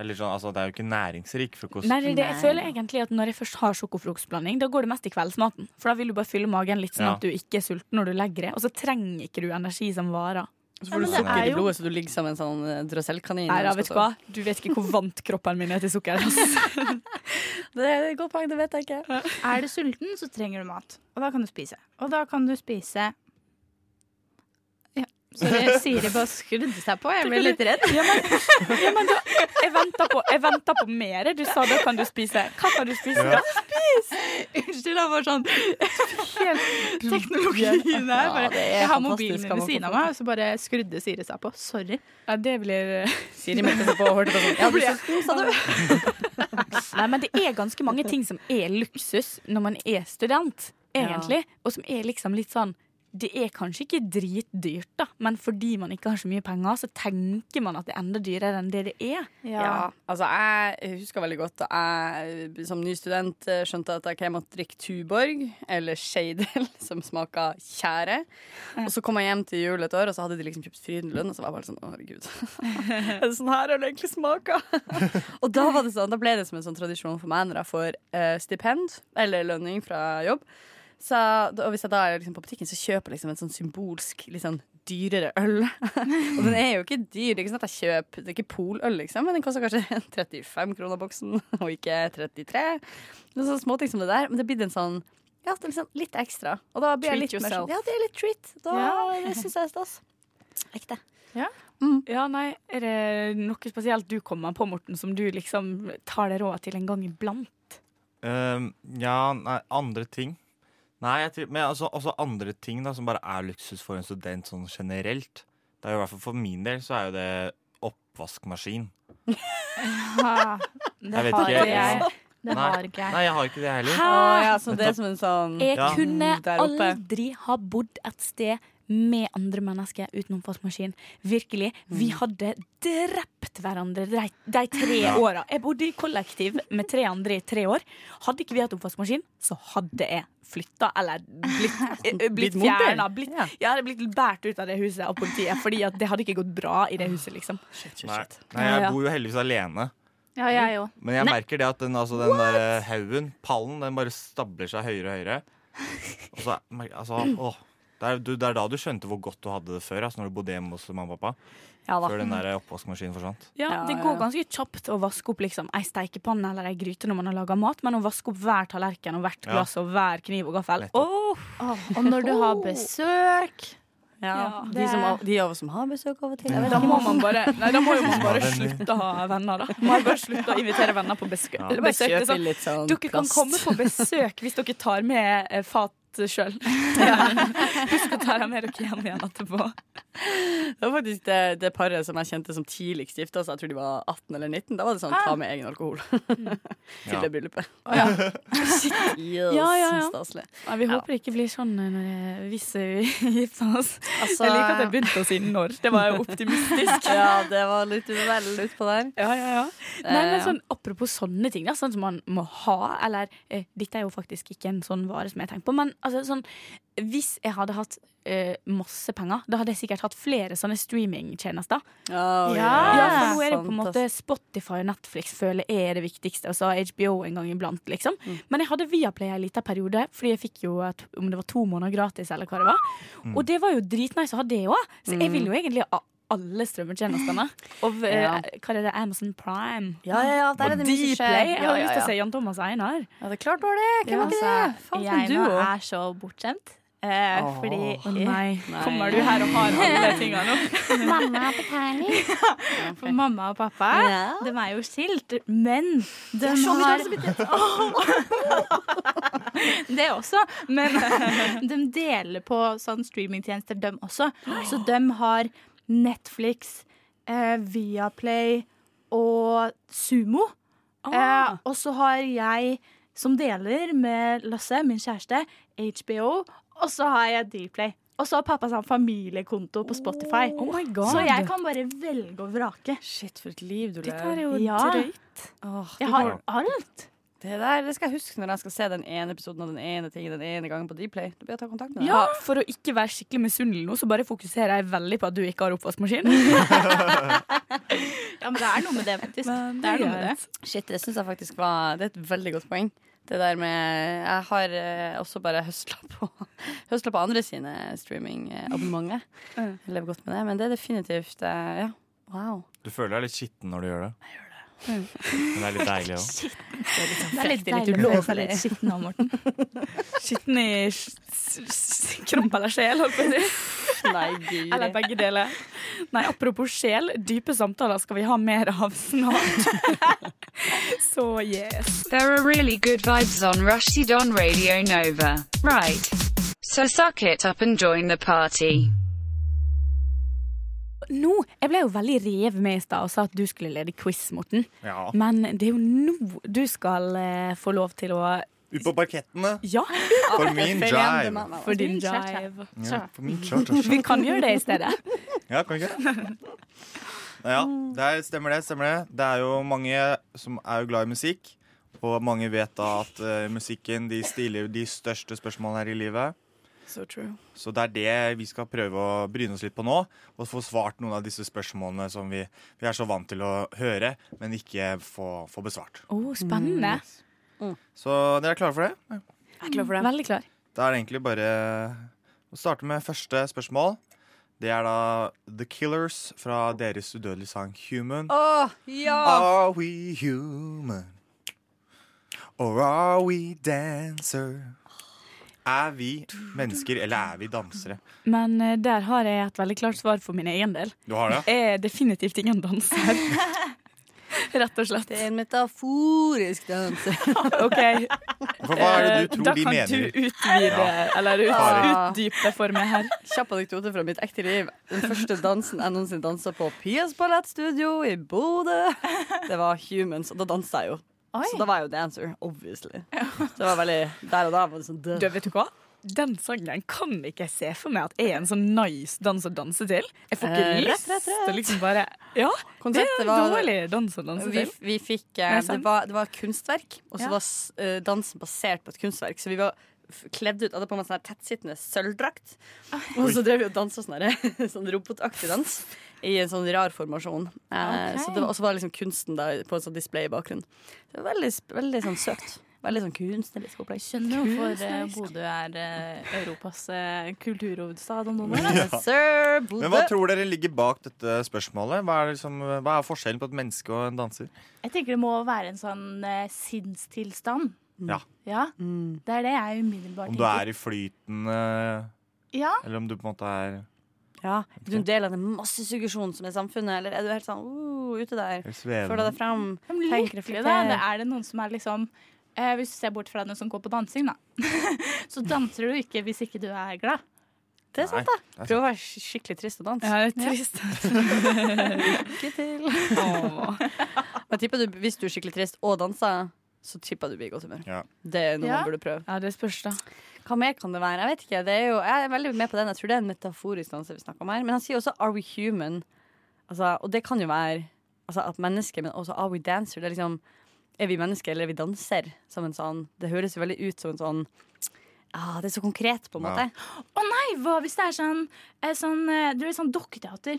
Speaker 6: Eller sånn, altså, det er jo ikke næringsrik frokost.
Speaker 4: Nei, det, er det, jeg føler egentlig at Når jeg først har sjokofrokostblanding, da går det mest i kveldsmaten. For da vil du bare fylle magen litt, sånn
Speaker 6: Ja.
Speaker 4: at du ikke er sulten når du legger det. Og så trenger ikke du energi som varer.
Speaker 7: Så får du sukker i blodet, så du ligger som en sånn eh, drøsselkanin.
Speaker 4: Nei, da,
Speaker 7: når du
Speaker 4: vet du
Speaker 7: skal
Speaker 4: hva?
Speaker 7: sove.
Speaker 4: Du vet ikke hvor vant kroppen min er til sukker. ass.
Speaker 7: Det er et godt poeng, det vet jeg ikke.
Speaker 5: Er du sulten, så trenger du mat. Og da kan du spise. Og da kan du spise Ja, sorry, Siri bare skrudde seg på. Jeg ble litt redd.
Speaker 4: Ja, men, ja, men da, jeg venter på, jeg venter på mer. Du sa da kan du spise. Hva kan du spise da?
Speaker 5: Unnskyld, jeg var sånn
Speaker 4: Helt
Speaker 5: Teknologien her.
Speaker 4: Ja,
Speaker 5: Bare,
Speaker 4: det er
Speaker 5: jeg har
Speaker 4: fantastisk, kan
Speaker 5: mobilen min
Speaker 4: man
Speaker 5: ved siden av meg, og så bare skrudde Siri seg på. Sorry.
Speaker 4: Ja, det blir eh,
Speaker 7: Siri meldte seg på og hørte på sånn. Ja, du er sulten, sa du.
Speaker 4: Nei, men det er ganske mange ting som er luksus når man er student, egentlig. Og som er liksom litt sånn Det er kanskje ikke dritdyrt, da, men fordi man ikke har så mye penger, så tenker man at det er enda dyrere enn det det er.
Speaker 7: Ja. altså Jeg husker veldig godt da jeg eh, som ny student eh, skjønte at ok, jeg måtte drikke Tuborg eller Shadel, som smaka tjære. Og så kom jeg hjem til jul et år, og så hadde de liksom kjøpt Frydenlund, og så var jeg bare sånn Å, herregud. er det sånn her har det egentlig smaka? og da, var det sånn, da ble det som en sånn tradisjon for meg når jeg får eh, stipend eller lønning fra jobb. Så, og hvis jeg da er liksom på butikken, så kjøper jeg liksom en sånn symbolsk litt sånn dyrere øl. og den er jo ikke dyr. Det er ikke sånn at jeg kjøper Det er ikke poløl, liksom, men den koster kanskje 35 kroner boksen, og ikke 33. Det er sånne småting som det der. Men det blir en sånn ja, det er liksom litt ekstra. Og da blir jeg
Speaker 2: Treat
Speaker 7: litt mer
Speaker 2: yourself.
Speaker 7: sånn Ja, det er litt treat. Da
Speaker 2: Ja.
Speaker 7: det syns jeg er stas. Ekte.
Speaker 4: Ja. nei, er det noe spesielt du kommer på, Morten, som du liksom tar deg råd til en gang iblant?
Speaker 6: Ehm, ja, nei, andre ting. Nei, jeg tror, men altså, også andre ting da, som bare er luksus for en student sånn generelt. Det er jo i hvert fall For min del så er jo det oppvaskmaskin.
Speaker 12: Ja, det
Speaker 6: Jeg vet
Speaker 12: har
Speaker 6: ikke.
Speaker 12: jeg. Det
Speaker 6: Nei.
Speaker 12: har ikke jeg.
Speaker 6: Nei, jeg har ikke det heller.
Speaker 4: Hæ?
Speaker 7: Å, ja, så det er som en sånn
Speaker 4: Jeg
Speaker 6: Ja.
Speaker 4: kunne
Speaker 7: Der oppe.
Speaker 4: aldri ha bodd et sted med andre mennesker uten oppvaskmaskin. Virkelig. Vi
Speaker 7: Mm.
Speaker 4: hadde drept hverandre de, de tre
Speaker 7: Ja.
Speaker 4: åra. Jeg bodde i kollektiv med tre andre i tre år. Hadde ikke vi hatt oppvaskmaskin, så hadde jeg flytta eller blitt, eh,
Speaker 7: Blitt
Speaker 4: blitt
Speaker 7: mobil.
Speaker 4: fjerna. Blitt, jeg hadde blitt båret ut av det huset av politiet, Fordi at det hadde ikke gått bra i det huset, liksom.
Speaker 6: Nei. Nei, jeg bor jo heldigvis alene.
Speaker 4: Ja, jeg òg.
Speaker 6: Men jeg merker det at den, altså, den der eh, haugen, pallen, den bare stabler seg høyere og høyere. Og så, mer- altså, åh, det, er, du, det er da du skjønte hvor godt du hadde det før, altså, når du bodde hjemme hos mamma og pappa.
Speaker 4: Ja da.
Speaker 6: før den der oppvaskmaskinen forsvant.
Speaker 4: Ja, Det går ganske kjapt å vaske opp liksom, ei steikepanne eller ei gryte når man har laga mat, men å vaske opp hver tallerken og hvert
Speaker 6: Ja.
Speaker 4: glass og hver kniv og gaffel Åh!
Speaker 12: Og når du har besøk
Speaker 7: Ja,
Speaker 12: det
Speaker 7: de, som,
Speaker 12: er-
Speaker 7: har- de av oss som har besøk av og til. jeg vet
Speaker 4: Da
Speaker 7: ikke.
Speaker 4: må man bare Nei, da må jo man bare
Speaker 7: Ja, venner.
Speaker 4: slutte å ha venner, da. Man må bare slutte å invitere venner på besøk.
Speaker 7: Ja.
Speaker 4: eller besøk. Det er
Speaker 7: Kjøpe litt sånn
Speaker 4: dere kan
Speaker 7: plast.
Speaker 4: komme på besøk hvis dere tar med eh, fat sjøl. Husk å ta dem med dere hjem igjen etterpå.
Speaker 7: Det var faktisk det, det paret som jeg kjente som tidligst gifta seg, jeg tror de var 18 eller 19. Da var det sånn ta med egen alkohol til
Speaker 4: Ja.
Speaker 7: det bryllupet.
Speaker 4: Å, ja.
Speaker 7: Shit, yes,
Speaker 4: Ja, ja, ja.
Speaker 7: Staselig.
Speaker 4: Nei, vi håper det ikke blir sånn eh, når, eh, hvis vi gifter oss.
Speaker 7: Altså-
Speaker 4: jeg liker at jeg begynte å si når. Det var jo optimistisk.
Speaker 7: Ja, det var litt veldig utpå der.
Speaker 4: Ja, ja, ja. Nei, men sånn, apropos sånne ting, da, sånn som man må ha, eller eh, Dette er jo faktisk ikke en sånn vare som jeg tenker på, men altså, sånn, hvis jeg hadde hatt eh, masse penger, da hadde jeg sikkert hatt flere sånne streamingtjenester.
Speaker 7: Ja,
Speaker 4: ja, for nå er det jo på en måte Spotify og Netflix føler jeg er det viktigste, og så HBO en gang iblant, liksom.
Speaker 7: Mm.
Speaker 4: Men jeg hadde Viaplay en liten periode, fordi jeg fikk jo et, om det var to måneder gratis, eller hva det var.
Speaker 7: Mm.
Speaker 4: Og det var jo dritnice å ha det òg, så jeg vil jo egentlig ha alle strømmetjenestene. Og eh,
Speaker 7: Ja.
Speaker 4: hva er det, Amazon Prime?
Speaker 7: Ja, ja, ja, der er
Speaker 4: og
Speaker 7: det mye som skjer.
Speaker 4: Dplay. Jeg
Speaker 7: Ja,
Speaker 4: hadde
Speaker 7: ja,
Speaker 4: lyst til å
Speaker 7: ja.
Speaker 4: se Jan Thomas Einar. Altså,
Speaker 7: Ja, altså, det er klart var det. Hvem var ikke det? Faen, for en
Speaker 12: jeg nå
Speaker 7: duo.
Speaker 12: er så bortskjemt. Eh,
Speaker 7: Åh.
Speaker 12: fordi
Speaker 4: Å nei. Kommer du her og har alle tinga nå?
Speaker 12: Mamma er betalning. For mamma og pappa
Speaker 5: Ja.
Speaker 12: de er jo skilt, men de
Speaker 5: er så mye
Speaker 12: har
Speaker 5: responsibilitet.
Speaker 12: Det også, men de deler på sånn streamingtjenester, de også. Så de har Netflix, eh, Viaplay og Sumo. Eh, og så har jeg, som deler med Lasse, min kjæreste, HBO. Og så har jeg Dplay. Og så har pappa sånn familiekonto på Spotify.
Speaker 4: Oh my God.
Speaker 12: Så jeg kan bare velge og vrake.
Speaker 7: Shit, for et liv du
Speaker 4: Dette er jo drøyt.
Speaker 12: Jeg har
Speaker 7: alt. Det der det skal jeg huske når jeg skal se den ene episoden av den ene tingen den ene gangen på Dplay. Da blir jeg å ta kontakt med deg.
Speaker 4: Ja, For å ikke være skikkelig misunnelig nå, så bare fokuserer jeg veldig på at du ikke har oppvaskmaskin.
Speaker 12: Ja, men det er noe med det, faktisk. det er noe med det.
Speaker 7: Shit, det synes jeg faktisk var Det er et veldig godt poeng. Det der med Jeg har eh, også bare høsla på, høsla på andre sine streamingabonnementer. Jeg lever godt med det, men det er definitivt eh, Ja, wow.
Speaker 6: Du føler deg litt skitten når du gjør det. Men det er litt deilig òg.
Speaker 12: Det er litt
Speaker 4: Frekk,
Speaker 12: deilig å
Speaker 4: ulovlig.
Speaker 12: føle seg litt skitten nå, Morten.
Speaker 4: Skitten i s- s- s- kropp eller sjel, holdt på å si.
Speaker 7: Nei, guri.
Speaker 4: Eller begge deler. Nei, apropos sjel, dype samtaler skal vi ha mer av snart. Så yes.
Speaker 14: There are really good vibes on Rushdie on Radio Nova. Right. So suck it up and join the party.
Speaker 4: Nå, Jeg ble jo veldig rev med i stad og sa at du skulle lede quiz, Morten.
Speaker 6: Ja.
Speaker 4: Men det er jo nå du skal eh, få lov til å
Speaker 6: Ut på parkettene.
Speaker 4: Ja.
Speaker 6: For min jive.
Speaker 7: altså.
Speaker 4: For din jive.
Speaker 6: Ja, for min jive.
Speaker 4: Vi kan gjøre det i stedet.
Speaker 6: Ja, kan vi ikke det? Ja, det er, stemmer det. stemmer Det Det er jo mange som er jo glad i musikk. Og mange vet da at eh, musikken de stiller de største spørsmålene her i livet.
Speaker 7: So true.
Speaker 6: Så det er det vi skal prøve å bryne oss litt på nå. Og få svart noen av disse spørsmålene som vi, vi er så vant til å høre, men ikke få, få besvart.
Speaker 4: Å, spennende.
Speaker 6: Så dere Mm, er klare for det?
Speaker 4: Jeg er klar for det. Veldig klar.
Speaker 6: Da er det egentlig bare å starte med første spørsmål. Det er da The Killers fra deres udødelige sang Human.
Speaker 7: Åh, ja!
Speaker 6: Are we human? Or are we dancer? Er vi mennesker, eller er vi dansere?
Speaker 4: Men eh, der har jeg et veldig klart svar for min egen del.
Speaker 6: Du har det?
Speaker 4: Jeg er definitivt ingen danser. Rett og slett.
Speaker 7: Det er en metaforisk danse.
Speaker 4: OK. eh,
Speaker 6: For hva er det du tror
Speaker 4: da
Speaker 6: de
Speaker 4: kan
Speaker 6: mener?
Speaker 4: du utvide,
Speaker 6: Ja.
Speaker 4: eller ut,
Speaker 7: Kari.
Speaker 4: utdype for meg her.
Speaker 7: Kjapp anekdote fra mitt ekte liv. Den første dansen jeg noensinne dansa på Pias Ballettstudio i Bodø, det var Humans, og da dansa jeg jo. Så da var jeg jo dancer, obviously. Så det var veldig Der og da var det sånn
Speaker 4: Du, vet du hva? Den sangen kan ikke jeg se for meg at er en sånn nice dans å danse til. Jeg får
Speaker 7: Eh,
Speaker 4: ikke
Speaker 7: rett,
Speaker 4: lyst
Speaker 7: rett,
Speaker 4: til
Speaker 7: rett.
Speaker 4: å liksom bare Ja, det er
Speaker 7: Konseptet
Speaker 4: en
Speaker 7: var-
Speaker 4: dårlig dans å danse
Speaker 7: Vi,
Speaker 4: til.
Speaker 7: vi fikk
Speaker 4: Er det
Speaker 7: eh, det,
Speaker 4: sant?
Speaker 7: var, det var et kunstverk, og så
Speaker 4: Ja.
Speaker 7: var s- eh, dansen basert på et kunstverk. Så vi var f- kledd ut, hadde på meg sånn her tettsittende sølvdrakt. Og så drev vi og dansa sånn, her, sånn robotaktig dans i en sånn rar formasjon. Eh,
Speaker 12: Ok.
Speaker 7: så det var, og så var liksom kunsten da, på en sånn display i bakgrunnen. Så Det var veldig, sp- veldig sånn søkt. Veldig sånn kunstnerisk opplegg.
Speaker 5: Skjønner hvorfor eh, Bodø er eh, Europas eh, kulturhovedstad om noen år.
Speaker 6: Ja.
Speaker 5: altså.
Speaker 6: Men hva tror dere ligger bak dette spørsmålet? Hva er, liksom, hva er forskjellen på et menneske og en danser?
Speaker 5: Jeg tenker det må være en sånn eh, sinnstilstand.
Speaker 6: Ja.
Speaker 5: Ja,
Speaker 7: Mm,
Speaker 5: Det er det jeg umiddelbart
Speaker 6: Om du er i flyten, eh,
Speaker 5: Ja.
Speaker 6: eller om du på en måte er
Speaker 7: Ja, Er du en del av den massesuggesjonen som er samfunnet, eller er du helt sånn uh, ute der?
Speaker 6: Eller svevende.
Speaker 7: Føler deg fram?
Speaker 5: Ja, men
Speaker 7: tenk,
Speaker 5: lykkelig,
Speaker 7: reflekter.
Speaker 5: da. Det eh, er det noen som er liksom eh, Hvis du ser bort fra den som går på dansing, da. så danser du ikke hvis ikke du er glad.
Speaker 7: Det er sant,
Speaker 5: da.
Speaker 7: Prøv å være sk- skikkelig trist og dans.
Speaker 5: Ja, det er trist.
Speaker 7: Lykke til. Men tipper du, hvis du er skikkelig trist og danser, så tipper jeg du blir i godt humør. Det er noe
Speaker 4: Ja.
Speaker 7: man burde prøve.
Speaker 4: Ja, det spørs, da.
Speaker 7: Hva mer kan det være? Jeg vet ikke. Det er jo, jeg er veldig med på den. Jeg tror det er en metaforisk danse vi snakker om her. Men han sier også 'are we human'? Altså, og det kan jo være altså, at mennesker, men også 'are we dancer'? Det er liksom Er vi mennesker, eller er vi danser? Som en sånn Det høres jo veldig ut som en sånn ah, Det er så konkret, på en måte.
Speaker 5: Å nei, hva hvis det er sånn, eh, sånn eh, Du vet, sånn dokketeater.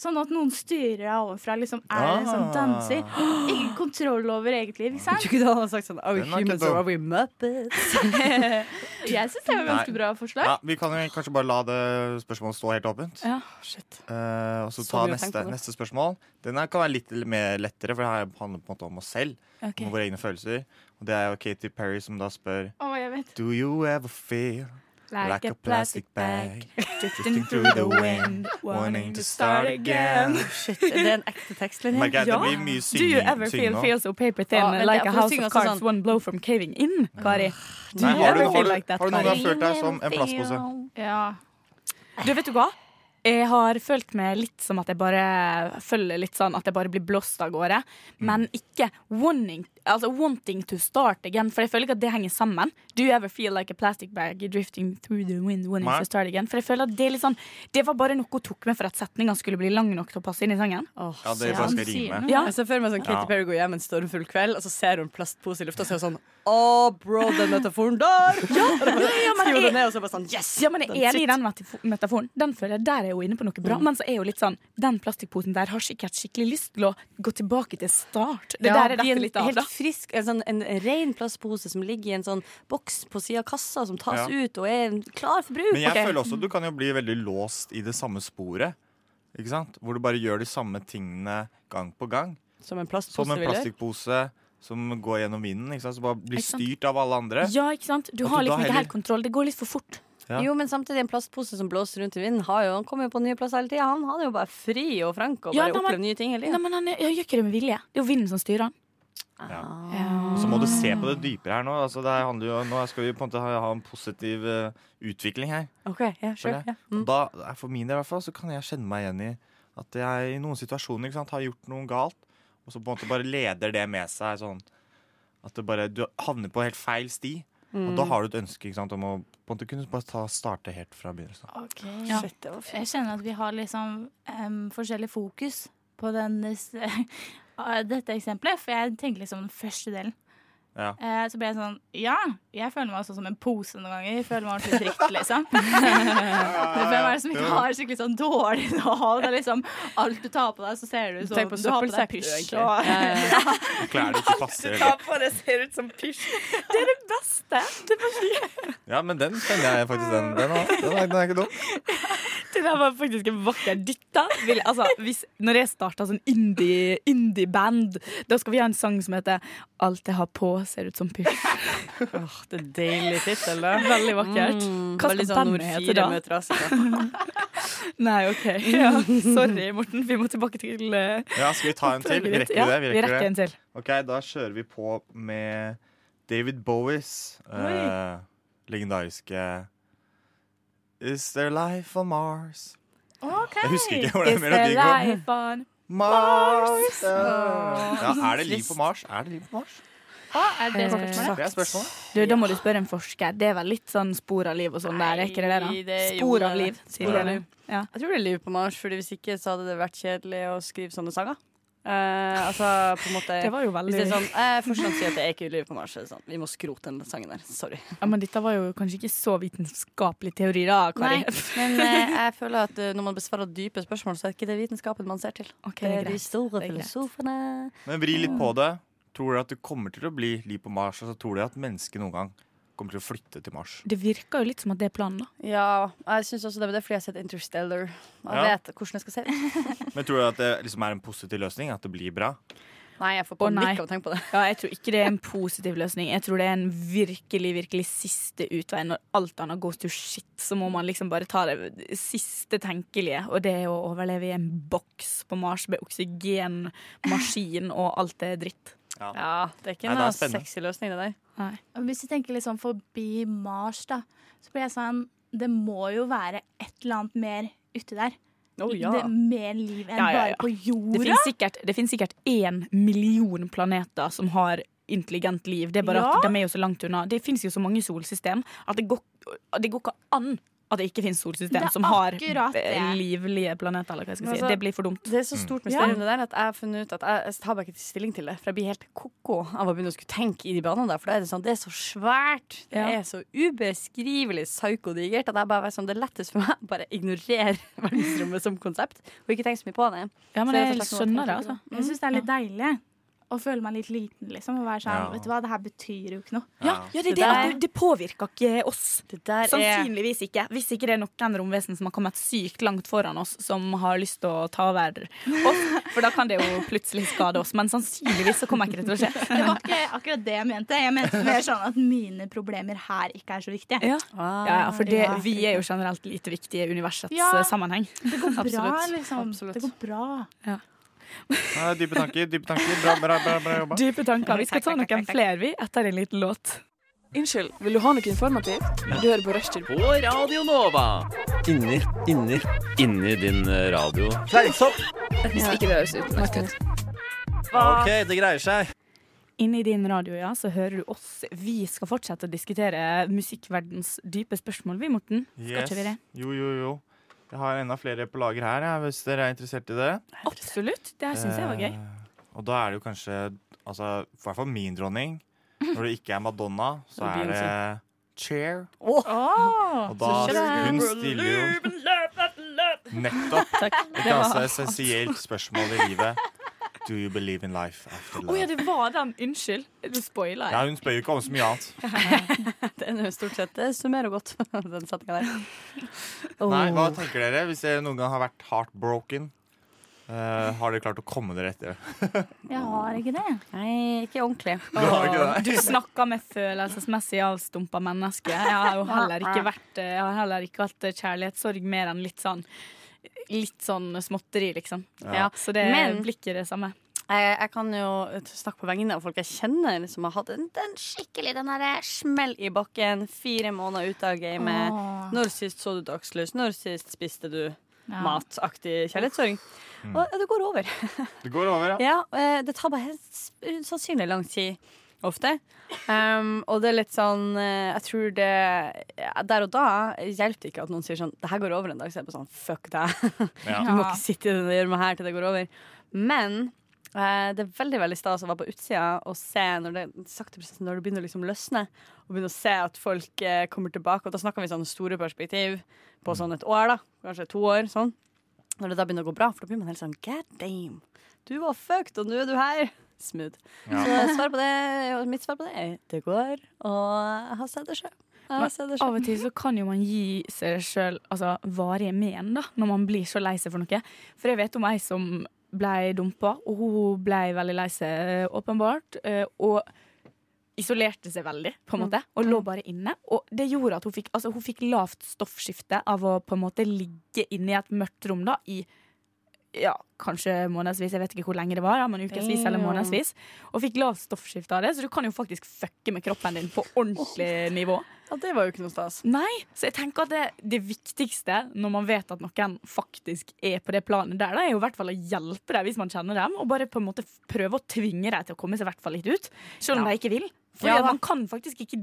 Speaker 5: Sånn at noen styrer deg overfra. Liksom, er det en som
Speaker 7: Ah.
Speaker 5: danser? Ikke kontroll over eget liv, ikke sant?
Speaker 7: Jeg tror ikke du hadde sagt sånn 'are we
Speaker 6: Den er ikke
Speaker 7: humans or
Speaker 6: dum.
Speaker 7: are we muppets'?
Speaker 5: Jeg syns det var et ganske
Speaker 6: Nei.
Speaker 5: bra forslag.
Speaker 6: Ja, vi kan jo kanskje bare la det spørsmålet stå helt åpent. Eh,
Speaker 5: Ja.
Speaker 6: og så
Speaker 7: Så
Speaker 6: ta
Speaker 7: mye å tenke
Speaker 6: neste,
Speaker 7: på.
Speaker 6: neste spørsmål. Den her kan være litt mer lettere, for det her handler på en måte om oss selv.
Speaker 5: Ok.
Speaker 6: Om våre egne følelser. Og det er jo Katy Perry som da spør
Speaker 5: Å, jeg vet.
Speaker 6: Do you ever feel
Speaker 5: Like
Speaker 6: Ah. like,
Speaker 5: a
Speaker 6: a plastic bag drifting through the wind, wanting to start again?
Speaker 7: Shit, er det en ekte tekstlinje?
Speaker 6: Merker jeg at det blir mye
Speaker 4: Do you
Speaker 6: synging-
Speaker 4: ever feel
Speaker 6: synging nå.
Speaker 4: feels so paper thin
Speaker 7: Ah, men
Speaker 4: like
Speaker 7: det-
Speaker 4: a
Speaker 7: for å
Speaker 4: house
Speaker 7: synge
Speaker 4: of
Speaker 7: også
Speaker 4: cards
Speaker 7: sånn-
Speaker 4: one blow from caving in, Kari? Do
Speaker 6: Nei,
Speaker 4: you
Speaker 6: har du-
Speaker 4: ever
Speaker 6: har
Speaker 4: feel
Speaker 6: du-
Speaker 4: like that,
Speaker 6: har du noen
Speaker 4: Kari?
Speaker 6: gang følt deg som en plastpose?
Speaker 5: Ja.
Speaker 4: Du, vet du hva? Jeg har følt meg litt som at jeg bare føler litt sånn at jeg bare blir blåst av
Speaker 6: Mm.
Speaker 4: gårde. Men ikke wanting, altså wanting to start again, for jeg føler ikke at det henger sammen. Do you ever feel like a plastic bag drifting through the wind wanting
Speaker 6: Nei.
Speaker 4: to start again? For jeg føler at det er litt sånn Det var bare noe hun tok med for at setninga skulle bli lang nok til å passe inn i sangen.
Speaker 6: Ja, det bare skal rime.
Speaker 4: Ja.
Speaker 7: Jeg ser for meg sånn
Speaker 6: Ja.
Speaker 7: Katy Perry går hjem en stormfull kveld, og så ser hun en plastpose i lufta og så er hun sånn Å, bro, den metaforen der! Ja,
Speaker 4: ja, men
Speaker 7: Skriver
Speaker 4: jeg-
Speaker 7: den ned, og så bare sånn Yes!
Speaker 4: Ja, men jeg
Speaker 7: den
Speaker 4: er enig i
Speaker 7: sitter.
Speaker 4: den metafo- metaforen. Den føler jeg Der er jo inne på noe bra. Men så er jo litt sånn Den plastikkposen der har sikkert skikkelig lyst til å gå tilbake til start. Det der er
Speaker 7: bli
Speaker 4: dette
Speaker 7: en
Speaker 4: litt av,
Speaker 7: helt
Speaker 4: da.
Speaker 7: frisk, en, sånn, en ren plastpose som ligger i en sånn boks på sida av kassa, som tas
Speaker 6: Ja.
Speaker 7: ut og er klar for bruk.
Speaker 6: Men jeg
Speaker 7: Ok.
Speaker 6: føler også at du kan jo bli veldig låst i det samme sporet. Ikke sant? Hvor du bare gjør de samme tingene gang på gang.
Speaker 7: Som en plastpose,
Speaker 6: Som en
Speaker 7: vil du?
Speaker 6: plastikkpose som går gjennom vinden. Ikke sant? Som bare blir
Speaker 7: Ikke sant?
Speaker 6: styrt av alle andre.
Speaker 4: Ja, ikke sant? Du
Speaker 6: At
Speaker 4: har
Speaker 6: da
Speaker 4: liksom ikke
Speaker 6: heller-
Speaker 4: helt kontroll. Det går litt for fort.
Speaker 6: Ja.
Speaker 7: Jo, men samtidig, en plastpose som blåser rundt i vinden, har jo, han kommer jo på nye plasser hele tida. Han hadde jo bare fri og frank og
Speaker 4: Ja,
Speaker 7: bare
Speaker 4: nei, men-
Speaker 7: opplevd nye ting hele tida.
Speaker 4: Nei, men han er- jeg gjør ikke det med vilje. Det er jo vinden som styrer han.
Speaker 7: Ah.
Speaker 6: Så må du se på det dypere her nå. Altså, det her handler jo, nå skal vi på en måte ha, ha en positiv eh, utvikling her.
Speaker 7: Ok, ja, sure,
Speaker 6: Føler
Speaker 7: ja.
Speaker 6: jeg.
Speaker 7: Mm.
Speaker 6: Og da, eh, for min del i hvert fall, så kan jeg kjenne meg igjen i at jeg i noen situasjoner ikke sant, har gjort noe galt, og så på en måte bare leder det med seg sånn at det bare, du havner på helt feil sti. Og
Speaker 5: Mm.
Speaker 6: da har du et ønske ikke sant, om å på en måte kunne bare ta, starte helt fra begynnelsen.
Speaker 5: Ja. Jeg kjenner at vi har liksom em, forskjellig fokus på den, s- av dette eksempelet, for jeg tenker liksom den første delen.
Speaker 6: Ja.
Speaker 5: Eh, så ble jeg sånn Ja, jeg føler meg også som en pose noen ganger. Jeg føler meg ordentlig dritt, liksom. Jeg føler meg som ikke har skikkelig sånn dårlig nav. Det er liksom alt du tar på deg, så ser du ut
Speaker 2: Tenk
Speaker 5: som
Speaker 2: på
Speaker 5: du har på deg
Speaker 2: søppelsekk, du,
Speaker 5: pysj.
Speaker 2: egentlig.
Speaker 5: Og...
Speaker 2: Ja,
Speaker 6: Klær det ikke passer.
Speaker 4: Ta
Speaker 6: eller-
Speaker 4: på det, ser ut som pysj. Det er det beste. Det, er bare-
Speaker 6: Ja, men den kjenner jeg faktisk. Den, den, er, den, er, den er ikke dum.
Speaker 4: det Det der var faktisk en vakker dytta. Vil, altså, hvis, når jeg starta sånn indie- indie-band, da skal vi ha en sang som heter 'Alt jeg har på ser ut som pysj'.
Speaker 2: Det er deilig tittel, da.
Speaker 4: Veldig vakkert.
Speaker 2: Mm,
Speaker 4: Hva
Speaker 2: veldig
Speaker 4: skal
Speaker 2: sånn
Speaker 4: bandet
Speaker 2: Nord
Speaker 4: hete
Speaker 2: 4
Speaker 4: da?
Speaker 2: møter Asia.
Speaker 7: altså.
Speaker 4: Nei, OK. Ja, sorry, Morten. Vi må tilbake til eh,
Speaker 6: Ja, skal vi ta en til? Vi rekker
Speaker 4: Ja,
Speaker 6: det.
Speaker 4: vi rekker en til.
Speaker 6: Ok, Da kjører vi på med David Bowies eh, legendariske Is there life on Mars? Jeg husker ikke hvor den
Speaker 4: Is there
Speaker 6: melodien går.
Speaker 4: life on
Speaker 6: Mars? Ja,
Speaker 4: Åh.
Speaker 6: er det liv på Mars? Er det liv på Mars?
Speaker 4: er
Speaker 6: det spørsmålet? Det er spørsmålet.
Speaker 4: Du, da må du spørre en forsker. Det er vel litt sånn spor av liv og sånn der, er ikke det det?
Speaker 7: Nei,
Speaker 4: da?
Speaker 7: det er jo
Speaker 4: Spor
Speaker 7: det.
Speaker 4: av liv,
Speaker 7: Spor
Speaker 4: sier
Speaker 7: av
Speaker 4: du.
Speaker 7: liv. Jeg tror det er liv på Mars, Fordi hvis ikke så hadde det vært kjedelig å skrive sånne sanger. Eh, altså på en måte
Speaker 4: Det var jo veldig-
Speaker 7: Hvis det er sånn eh, Forskerne sier at det er ikke liv på Mars. Så er det sånn, vi må skrote den sangen der. Sorry.
Speaker 4: Ja, men dette var jo kanskje ikke så vitenskapelig teori, da, Kari.
Speaker 7: Nei, men eh, jeg føler at eh, når man besvarer dype spørsmål, så er det ikke det vitenskapen man ser til. det
Speaker 4: det er
Speaker 7: er de
Speaker 4: greit.
Speaker 7: store
Speaker 4: Det er greit.
Speaker 7: filosofene.
Speaker 6: Men vri litt på det. Tror du at det kommer til å bli liv på Mars? Altså, tror du at mennesket noen gang kommer til å flytte til Mars?
Speaker 4: Det virker jo litt som at det er planen, da.
Speaker 7: Ja, jeg syns også det, men det er fordi jeg har sett Interstellar. Og jeg
Speaker 6: Ja.
Speaker 7: vet hvordan jeg skal se det.
Speaker 6: Men tror du at det liksom er en positiv løsning? At det blir bra?
Speaker 7: Nei, jeg får
Speaker 4: Å, nei.
Speaker 7: panikk av å tenke på det.
Speaker 4: Ja, jeg tror ikke det er en positiv løsning. Jeg tror det er en virkelig, virkelig siste utvei. Når alt annet går to shit, så må man liksom bare ta det siste tenkelige. Og det er å overleve i en boks på Mars med oksygenmaskin og alt det dritt.
Speaker 6: Ja.
Speaker 7: det er ikke
Speaker 4: Nei, det er
Speaker 7: noe
Speaker 4: spennende.
Speaker 7: sexy løsning, det der.
Speaker 5: Og Hvis vi tenker litt sånn forbi Mars, da, så blir jeg sånn Det må jo være et eller annet mer uti der.
Speaker 4: Å, Oh, ja.
Speaker 5: Det er mer liv enn
Speaker 4: Ja, ja, ja.
Speaker 5: bare på
Speaker 4: Det
Speaker 5: jorda.
Speaker 4: finnes sikkert, det finnes sikkert én million planeter som har intelligent liv. Det er bare at
Speaker 5: Ja.
Speaker 4: de er jo så langt unna. Det finnes jo så mange solsystem at det går, at det går ikke an at det ikke finnes
Speaker 7: Det
Speaker 4: solsystem
Speaker 7: er
Speaker 4: som har
Speaker 7: akkurat det.
Speaker 4: eh, livlige planeter. Eller hva jeg skal
Speaker 7: Men
Speaker 4: si.
Speaker 7: altså,
Speaker 4: det blir for dumt.
Speaker 7: Det er så stort mysterium det der at jeg har funnet ut at jeg, jeg tar bare ikke stilling til det. For jeg blir helt ko-ko av å begynne å skulle tenke i de banene der. For da er det sånn, det er så svært, det
Speaker 4: Ja.
Speaker 7: er så ubeskrivelig psykodigert at jeg bare er sånn, det er lettest for meg å bare ignorere verdensrommet som konsept. Og ikke tenke så mye på det.
Speaker 4: Ja, men
Speaker 7: Så
Speaker 4: jeg
Speaker 7: rett og slett
Speaker 4: skjønner
Speaker 7: noe å tenke
Speaker 4: det, altså.
Speaker 7: på.
Speaker 5: Jeg syns det er litt deilig å føle meg litt liten, liksom. Og være sånn
Speaker 4: Ja.
Speaker 5: Vet du hva, det her betyr jo ikke noe.
Speaker 4: Ja, ja, det, er det, at det, det påvirker ikke oss.
Speaker 7: der er-
Speaker 4: Sannsynligvis ikke. Hvis ikke det er noen romvesen som har kommet sykt langt foran oss, som har lyst til å ta over oss. For da kan det jo plutselig skade oss. Men sannsynligvis så kommer ikke det til å skje.
Speaker 5: Det var ikke akkurat det jeg mente. Jeg mente mer sånn at mine problemer her ikke er så viktige.
Speaker 4: Ja, ja, ja for det,
Speaker 5: Ja.
Speaker 4: vi er jo generelt lite viktige i universets
Speaker 5: Ja.
Speaker 4: eh, sammenheng.
Speaker 5: Det går bra,
Speaker 4: Absolutt.
Speaker 5: liksom. Det går bra.
Speaker 6: Nei, dype tanker, dype tanker. Bra, bra, bra, bra jobba.
Speaker 4: Dype tanker. Vi skal ta noen flere, vi, etter en liten låt.
Speaker 18: Unnskyld, vil du ha noe informativt? Du hører på Rushtid på Radio Nova.
Speaker 9: Inni, inni, inni din eh, radio.
Speaker 18: Fleinsopp! Hvis ikke det høres utenlandsk ut.
Speaker 4: Hva?
Speaker 9: Ok, det greier seg.
Speaker 4: Inni din radio, ja, så hører du oss. Vi skal fortsette å diskutere musikkverdens dype spørsmål, vi, Morten. Skal ikke vi det?
Speaker 6: Jo, jo, jo. Jeg har enda flere på lager her, ja, hvis dere er interessert i det.
Speaker 4: Absolutt. Det her syns jeg var gøy.
Speaker 6: Eh, Og da er det jo kanskje altså, I hvert fall min dronning. Når det ikke er Madonna, så
Speaker 19: Og
Speaker 6: er det
Speaker 19: Beyoncé.
Speaker 6: Chair.
Speaker 4: Oh.
Speaker 6: Og da hun stiller jo nettopp
Speaker 4: Takk.
Speaker 6: et
Speaker 4: Det var
Speaker 6: ganske
Speaker 4: alt.
Speaker 6: essensielt spørsmål i livet. Do you believe in life after
Speaker 4: Å
Speaker 6: love?
Speaker 4: ja, det var den. Unnskyld. Du spoila.
Speaker 6: Ja, hun spør jo ikke om så mye annet.
Speaker 7: Det er jo stort sett, det summerer godt, den setningen der.
Speaker 6: Nei, Hva tenker dere hvis dere noen gang har vært heartbroken? Eh, har dere klart å komme dere etter det?
Speaker 5: Jeg har ikke det.
Speaker 7: Nei, ikke ordentlig.
Speaker 6: Du har ikke
Speaker 4: Du
Speaker 6: det?
Speaker 4: snakker med følelsesmessig avstumpa mennesker. Jeg har jo heller ikke vært Jeg har heller ikke hatt kjærlighetssorg mer enn litt sånn Litt sånn småtteri, liksom.
Speaker 7: Ja.
Speaker 4: Så det
Speaker 7: Men-
Speaker 4: blir ikke det samme.
Speaker 7: Jeg, Eh, jeg kan jo snakke på vegne av folk jeg kjenner som har hatt en, den skikkelig den her smell i bakken. Fire måneder ute av gamet.
Speaker 5: Åh.
Speaker 7: Når sist så du dagslys? Når sist spiste du
Speaker 5: Ja.
Speaker 7: mataktig kjærlighetssorg? Og ja, det går over.
Speaker 6: Det går over, ja.
Speaker 7: Ja, eh, det tar bare helt s- usannsynlig lang tid ofte. Um, og det er litt sånn eh, Jeg tror det ja, Der og da hjelper det ikke at noen sier sånn Det her går over en dag. Så er jeg bare sånn Fuck deg.
Speaker 5: Ja.
Speaker 7: Du må ikke sitte i denne gjørma her til det går over. Men eh, det er veldig veldig stas å være på utsida og se når det sakte prosessen, når det begynner å liksom løsne. Og begynne å se at folk eh, kommer tilbake. Og da snakker vi sånn store perspektiv
Speaker 4: Mm.
Speaker 7: på sånn et år, da. Kanskje to år. sånn når det da begynner å gå bra, for da blir man helt sånn God damn, du var fucked, og nå er du her. Smooth.
Speaker 4: Ja.
Speaker 7: Så svar på det, mitt svar på det er det går, og jeg har sett det sjøl. Ja, jeg ser
Speaker 4: Men
Speaker 7: det
Speaker 4: av og til så kan jo man gi seg sjøl altså, varige men da, når man blir så lei seg for noe. For jeg vet om ei som ble dumpa, og hun ble veldig lei seg, åpenbart. eh, Og isolerte seg veldig, på en måte, og lå bare inne. Og det gjorde at hun fikk, altså, hun fikk lavt stoffskifte av å på en måte ligge inne i et mørkt rom da, i ja, kanskje månedsvis, jeg vet ikke hvor lenge det var, ja, men ukevis eller
Speaker 2: Damn.
Speaker 4: månedsvis. Og fikk lavt stoffskifte av det, så du kan jo faktisk fucke med kroppen din på ordentlig nivå.
Speaker 7: Ja, det var jo ikke noe stas.
Speaker 4: Nei, så jeg tenker at det, det viktigste når man vet at noen faktisk er på det planet der, da, er jo i hvert fall å hjelpe dem hvis man kjenner dem, og bare på en måte f- prøve å tvinge dem til å komme seg i hvert fall litt ut, selv om de ikke vil. For
Speaker 7: Ja, da.
Speaker 4: man kan faktisk ikke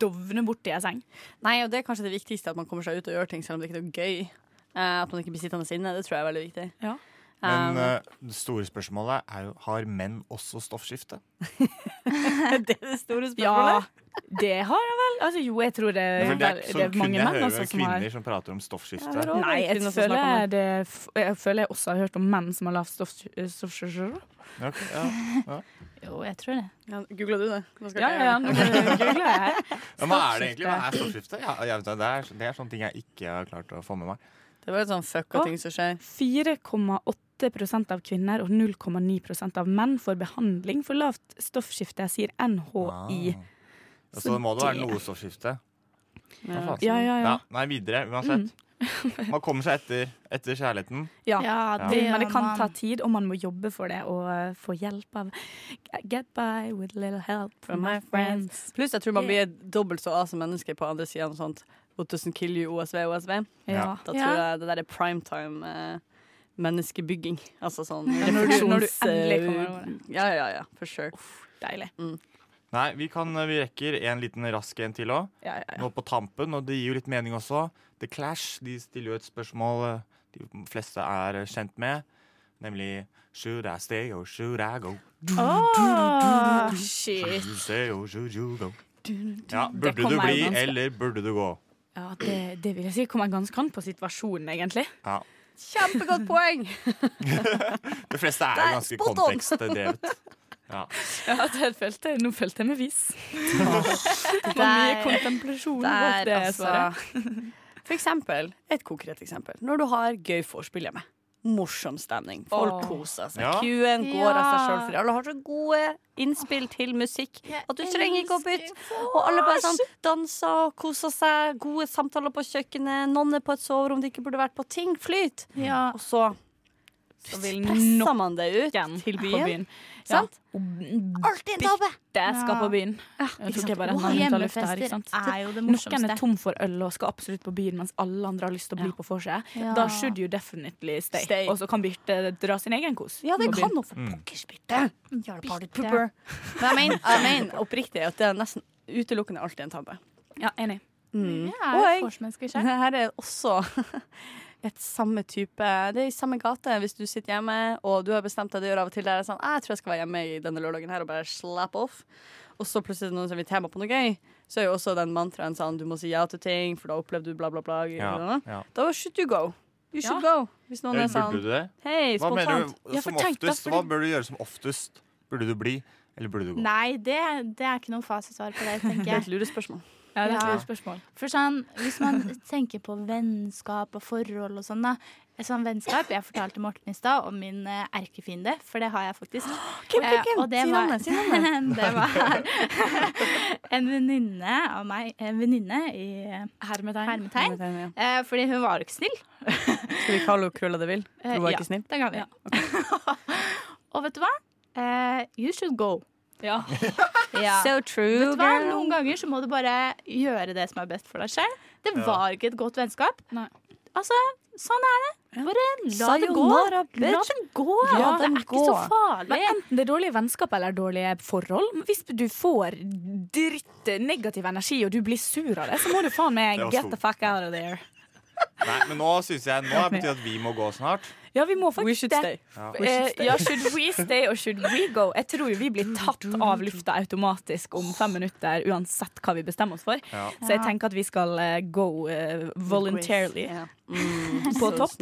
Speaker 4: dovne borti ei seng.
Speaker 7: Nei, og det er kanskje det viktigste, at man kommer seg ut og gjør ting selv om det ikke er noe gøy. Eh, at man ikke blir sittende inne. Det tror jeg er veldig viktig.
Speaker 6: Men
Speaker 7: Um,
Speaker 6: eh, det store spørsmålet er jo har menn også stoffskifte. eh,
Speaker 7: det er det store
Speaker 4: Ja,
Speaker 7: spørsmålet.
Speaker 4: det har han vel. Altså, jo, jeg tror det,
Speaker 6: For det er,
Speaker 4: vel-
Speaker 6: så
Speaker 4: det er
Speaker 6: kunne
Speaker 4: mange
Speaker 6: jeg
Speaker 4: menn
Speaker 6: høre
Speaker 4: også som
Speaker 6: kvinner
Speaker 4: har
Speaker 6: som prater om stoffskifte.
Speaker 4: Ja, det er også Nei, jeg
Speaker 7: kvinner som snakker om
Speaker 4: føler, det, f- jeg føler jeg også har hørt om menn som har lavt stoffskifte.
Speaker 6: Ok, ja, ja.
Speaker 5: Jo, jeg tror det.
Speaker 7: Ja, Googla du det? Nå skal
Speaker 4: Ja,
Speaker 7: ikke
Speaker 4: ja, ja, nå googler jeg her.
Speaker 6: Ja, men hva er det egentlig? Hva er stoffskifte? Ja, jeg vet, ikke, det, er, det er sånne ting jeg ikke har klart å få med meg.
Speaker 7: Det var litt sånn fucka ting som skjer.
Speaker 4: 4,8 av kvinner og 0,9 av menn får behandling for lavt stoffskifte, sier NHI.
Speaker 6: Så, det må da være noe stoffskifte. Hva faen?
Speaker 4: Ja, ja, Mm. ja.
Speaker 6: Nei, videre, uansett. Man kommer seg etter, etter kjærligheten.
Speaker 4: Ja,
Speaker 6: Ja.
Speaker 4: det, men det kan ta tid, og man må jobbe for det og eh, få hjelp av Get by with a little help from my friends.
Speaker 7: Pluss jeg tror man blir dobbelt så A som menneske på andre sida av sånt What doesn't kill you, OSV, OSV.
Speaker 4: Ja.
Speaker 7: Da tror
Speaker 4: Ja.
Speaker 7: jeg det der er prime time eh, menneskebygging. Altså sånn
Speaker 4: Ja, når du- når du
Speaker 7: refleksjons-
Speaker 4: endelig kommer over
Speaker 7: Ja, ja, ja. For sure.
Speaker 4: deilig.
Speaker 7: Mm.
Speaker 6: Nei, vi, kan, vi rekker en liten rask en til òg.
Speaker 4: Ja, ja, ja.
Speaker 6: Nå på tampen, og det gir jo litt mening også. The Clash de stiller jo et spørsmål eh, de fleste er eh, kjent med, nemlig Should I stay or should I go?
Speaker 4: Åh,
Speaker 6: Should
Speaker 4: shit.
Speaker 6: you stay or should you go?
Speaker 4: du.
Speaker 6: Ja,
Speaker 4: Det
Speaker 6: burde
Speaker 4: kom
Speaker 6: du
Speaker 4: meg
Speaker 6: bli,
Speaker 4: ganske-
Speaker 6: eller burde du gå?
Speaker 4: Ja, det, det vil jeg si kommer ganske an på situasjonen, egentlig.
Speaker 6: Ja.
Speaker 7: Kjempegodt poeng!
Speaker 6: De fleste er
Speaker 4: Det er
Speaker 6: jo ganske
Speaker 4: spot on.
Speaker 6: kontekstdrevet. Ja.
Speaker 4: Ja, det følte jeg. Nå følte jeg meg vis. Det var mye
Speaker 7: Der-
Speaker 4: kontemplasjon
Speaker 7: der,
Speaker 4: bak det
Speaker 7: altså.
Speaker 4: svaret.
Speaker 7: For eksempel, et konkret eksempel. Når du har gøy vorspiel hjemme. Morsom stemning. Folk
Speaker 4: Åh.
Speaker 7: koser seg.
Speaker 4: Ja.
Speaker 7: Q-en går av seg
Speaker 4: Ja.
Speaker 7: sjøl, for alle har så gode innspill til musikk at du trenger ikke å bytte. Og alle bare sånn danser og koser seg. Gode samtaler på kjøkkenet. Noen er på et soverom de ikke burde vært på. Ting flyter. Og så
Speaker 4: Så vil
Speaker 7: presser
Speaker 4: nok
Speaker 7: man det ut til
Speaker 4: på
Speaker 7: byen.
Speaker 4: byen.
Speaker 7: Sant?
Speaker 4: Alltid en tabbe! Jeg skal på byen. Jeg tok jeg bare
Speaker 5: Og
Speaker 4: en hånd ut av lufta her,
Speaker 5: hjemmefester
Speaker 4: ikke sant?
Speaker 5: er jo det
Speaker 4: Noen
Speaker 5: morsomste.
Speaker 4: er tom for øl og skal absolutt på byen, mens alle andre har lyst til å bli på vorset.
Speaker 5: Ja.
Speaker 4: Da should you definitely stay.
Speaker 7: Stay.
Speaker 4: Og så kan Birte dra sin egen kos.
Speaker 7: Ja, det
Speaker 4: på
Speaker 7: kan
Speaker 4: byen.
Speaker 7: hun for pokker spytte.
Speaker 4: Bitte.
Speaker 7: Men jeg mener, jeg mener oppriktig at det er nesten utelukkende alltid en tabbe.
Speaker 4: Ja, enig.
Speaker 7: Mm.
Speaker 5: Jeg er
Speaker 7: Og
Speaker 5: et vorsmenneske selv.
Speaker 7: det her er også et samme type Det er i samme gate hvis du sitter hjemme og du har bestemt deg, du gjør av og til det er sånn «Ah, Jeg tror jeg skal være hjemme i denne lørdagen her og bare slap off. Og så plutselig er det noen som vil tema på noe gøy. Så er jo også den mantraen sånn du må si ja til ting, for da opplevde du bla, bla, bla.
Speaker 6: Ja, ja.
Speaker 7: Da should you go. You should go. Hvis noen
Speaker 6: Ja,
Speaker 7: er sånn
Speaker 6: Burde du det?
Speaker 7: Hei,
Speaker 6: Hva mener
Speaker 7: spontant.
Speaker 6: du som oftest? Hva bør du gjøre som oftest? Burde du bli, eller burde du gå?
Speaker 5: Nei, det, det er ikke noe fasesvar på det, tenker
Speaker 7: Det er et
Speaker 5: jeg.
Speaker 7: lurespørsmål.
Speaker 5: Ja, det er et lurt
Speaker 4: spørsmål.
Speaker 5: For sånn, Hvis man tenker på vennskap og forhold og sånn, da. Sånn vennskap, Jeg fortalte Morten i stad om min eh, erkefiende, for det har jeg faktisk.
Speaker 7: Hvem, hvem,
Speaker 5: Eh,
Speaker 7: hvem?
Speaker 5: og det
Speaker 7: Si
Speaker 5: var-
Speaker 7: navnet, si navnet.
Speaker 5: det var en venninne av meg. En venninne i eh, hermetegn.
Speaker 7: Hermetegn,
Speaker 5: Eh, fordi hun var jo ikke snill.
Speaker 7: Skal vi kalle henne Krulla det vil?
Speaker 5: Eh,
Speaker 7: Hun var
Speaker 5: ja,
Speaker 7: ikke snill.
Speaker 5: Det kan vi. og vet du hva? Eh, you should go. Ja.
Speaker 7: So true,
Speaker 5: Vet du hva?
Speaker 7: girl.
Speaker 5: Noen ganger så må du bare gjøre det som er best for deg selv. Det
Speaker 7: Ja.
Speaker 5: var ikke et godt vennskap. Altså, sånn er det. Bare la det gå.
Speaker 7: Sayonara,
Speaker 5: La
Speaker 7: bitch.
Speaker 5: det gå.
Speaker 4: Ja,
Speaker 5: det
Speaker 4: den
Speaker 5: er ikke
Speaker 4: går.
Speaker 5: så farlig.
Speaker 4: Men enten det er dårlige vennskap eller dårlige forhold. men Hvis du får dritt negativ energi og du blir sur av det, så må du faen meg
Speaker 6: Det var
Speaker 4: get
Speaker 6: stort.
Speaker 4: the fuck out of there.
Speaker 6: Nei, men nå syns jeg Nå betyr det at vi må gå snart.
Speaker 4: Ja, vi må faktisk det.
Speaker 6: Ja.
Speaker 4: Eh, ja, should we stay og should we go? Jeg tror jo vi blir tatt av lufta automatisk om fem minutter, uansett hva vi bestemmer oss for.
Speaker 6: Ja.
Speaker 4: Så jeg tenker at vi skal eh, go eh, voluntarily
Speaker 7: Ja. Mm.
Speaker 4: på
Speaker 7: så
Speaker 4: topp.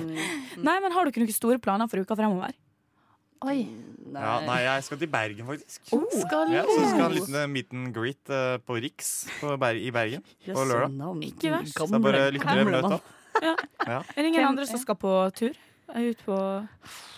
Speaker 4: Nei, men har dere noen store planer for uka fremover?
Speaker 5: Oi.
Speaker 6: Ja, nei, jeg skal til Bergen, faktisk.
Speaker 5: Skal
Speaker 6: ja, så skal jeg ha en
Speaker 5: du?
Speaker 6: liten eh, meet and greet eh, på Riks på Ber i Bergen på
Speaker 2: Jøsse
Speaker 6: lørdag.
Speaker 2: navn.
Speaker 4: Ikke verst.
Speaker 6: Så det er bare lyttere
Speaker 4: Gamle
Speaker 6: møte
Speaker 4: mann.
Speaker 6: opp.
Speaker 4: Ja.
Speaker 6: Ja.
Speaker 4: Er det ingen andre som skal på tur? Er Ut på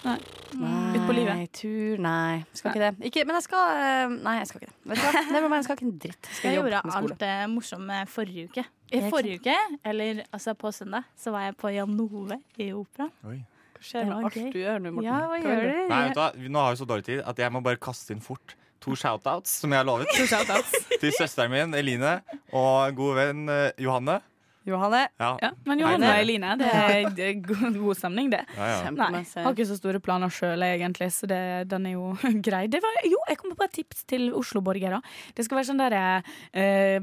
Speaker 4: Nei. Ut på livet?
Speaker 7: Tur, nei. Skal ikke det. Ikke, men jeg skal eh, Nei, jeg skal ikke det. Vet du hva? Never mind, jeg skal ikke en dritt. Jeg skal
Speaker 5: Jeg gjorde
Speaker 7: jobbe med
Speaker 5: alt
Speaker 7: skole.
Speaker 5: det morsomme forrige uke. Eh,
Speaker 7: Ja, ikke
Speaker 5: Forrige uke, eller altså på søndag, så var jeg på Jan Ove i operaen.
Speaker 2: Hva skjer med alt du gjør nå, Morten?
Speaker 5: Ja, hva gjør du?
Speaker 6: Nei, vet du hva? Vi- Nå har vi så dårlig tid at jeg må bare kaste inn fort to shoutouts som jeg har lovet. til søsteren min Eline og en god venn eh, Johanne.
Speaker 7: Johanne.
Speaker 6: Ja.
Speaker 4: Ja, men
Speaker 6: Nei,
Speaker 4: Johanne
Speaker 6: dere.
Speaker 4: og Eline, det er det er god god stemning, det.
Speaker 6: Ja, ja.
Speaker 4: Nei, jeg har ikke så store planer sjøl, egentlig, så det, den er jo grei. Det var, jo, jeg kommer på et tips til Oslo-borgere. Det skal være sånn der eh,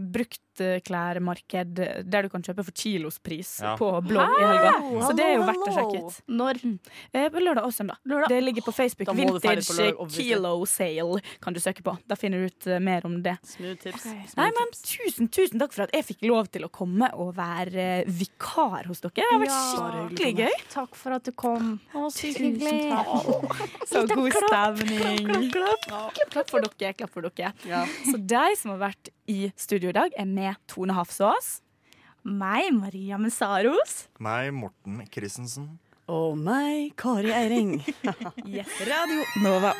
Speaker 4: bruktklærmarked der du kan kjøpe for kilospris
Speaker 2: Ja.
Speaker 4: på blå i helga. Så det er jo verdt å sjekke ut.
Speaker 5: Når?
Speaker 4: Eh, på lørdag og søndag. Det ligger på Facebook.
Speaker 2: Da må du ferdig på
Speaker 4: Vintage
Speaker 2: lørdag, obviously.
Speaker 4: Kilo Sale kan du søke på. Da finner du ut eh, mer om det.
Speaker 2: Smooth tips.
Speaker 4: Nei, men tusen, tusen takk for at jeg fikk lov til å komme og være eh, vikar hos dere. Det har vært skikkelig gøy.
Speaker 5: Takk for at du kom.
Speaker 4: Tusen takk. Så
Speaker 5: Liten
Speaker 4: god
Speaker 5: klapp,
Speaker 4: stemning.
Speaker 5: klapp,
Speaker 4: klapp, klapp for dere. klapp for dere. Så de som har vært i studio i dag, er med Tone Hafsås.
Speaker 5: Meg, Maria Messaros.
Speaker 6: Meg, Morten Christensen.
Speaker 2: Og meg, Kari Eiring.
Speaker 5: Yes.
Speaker 2: Radio Nova.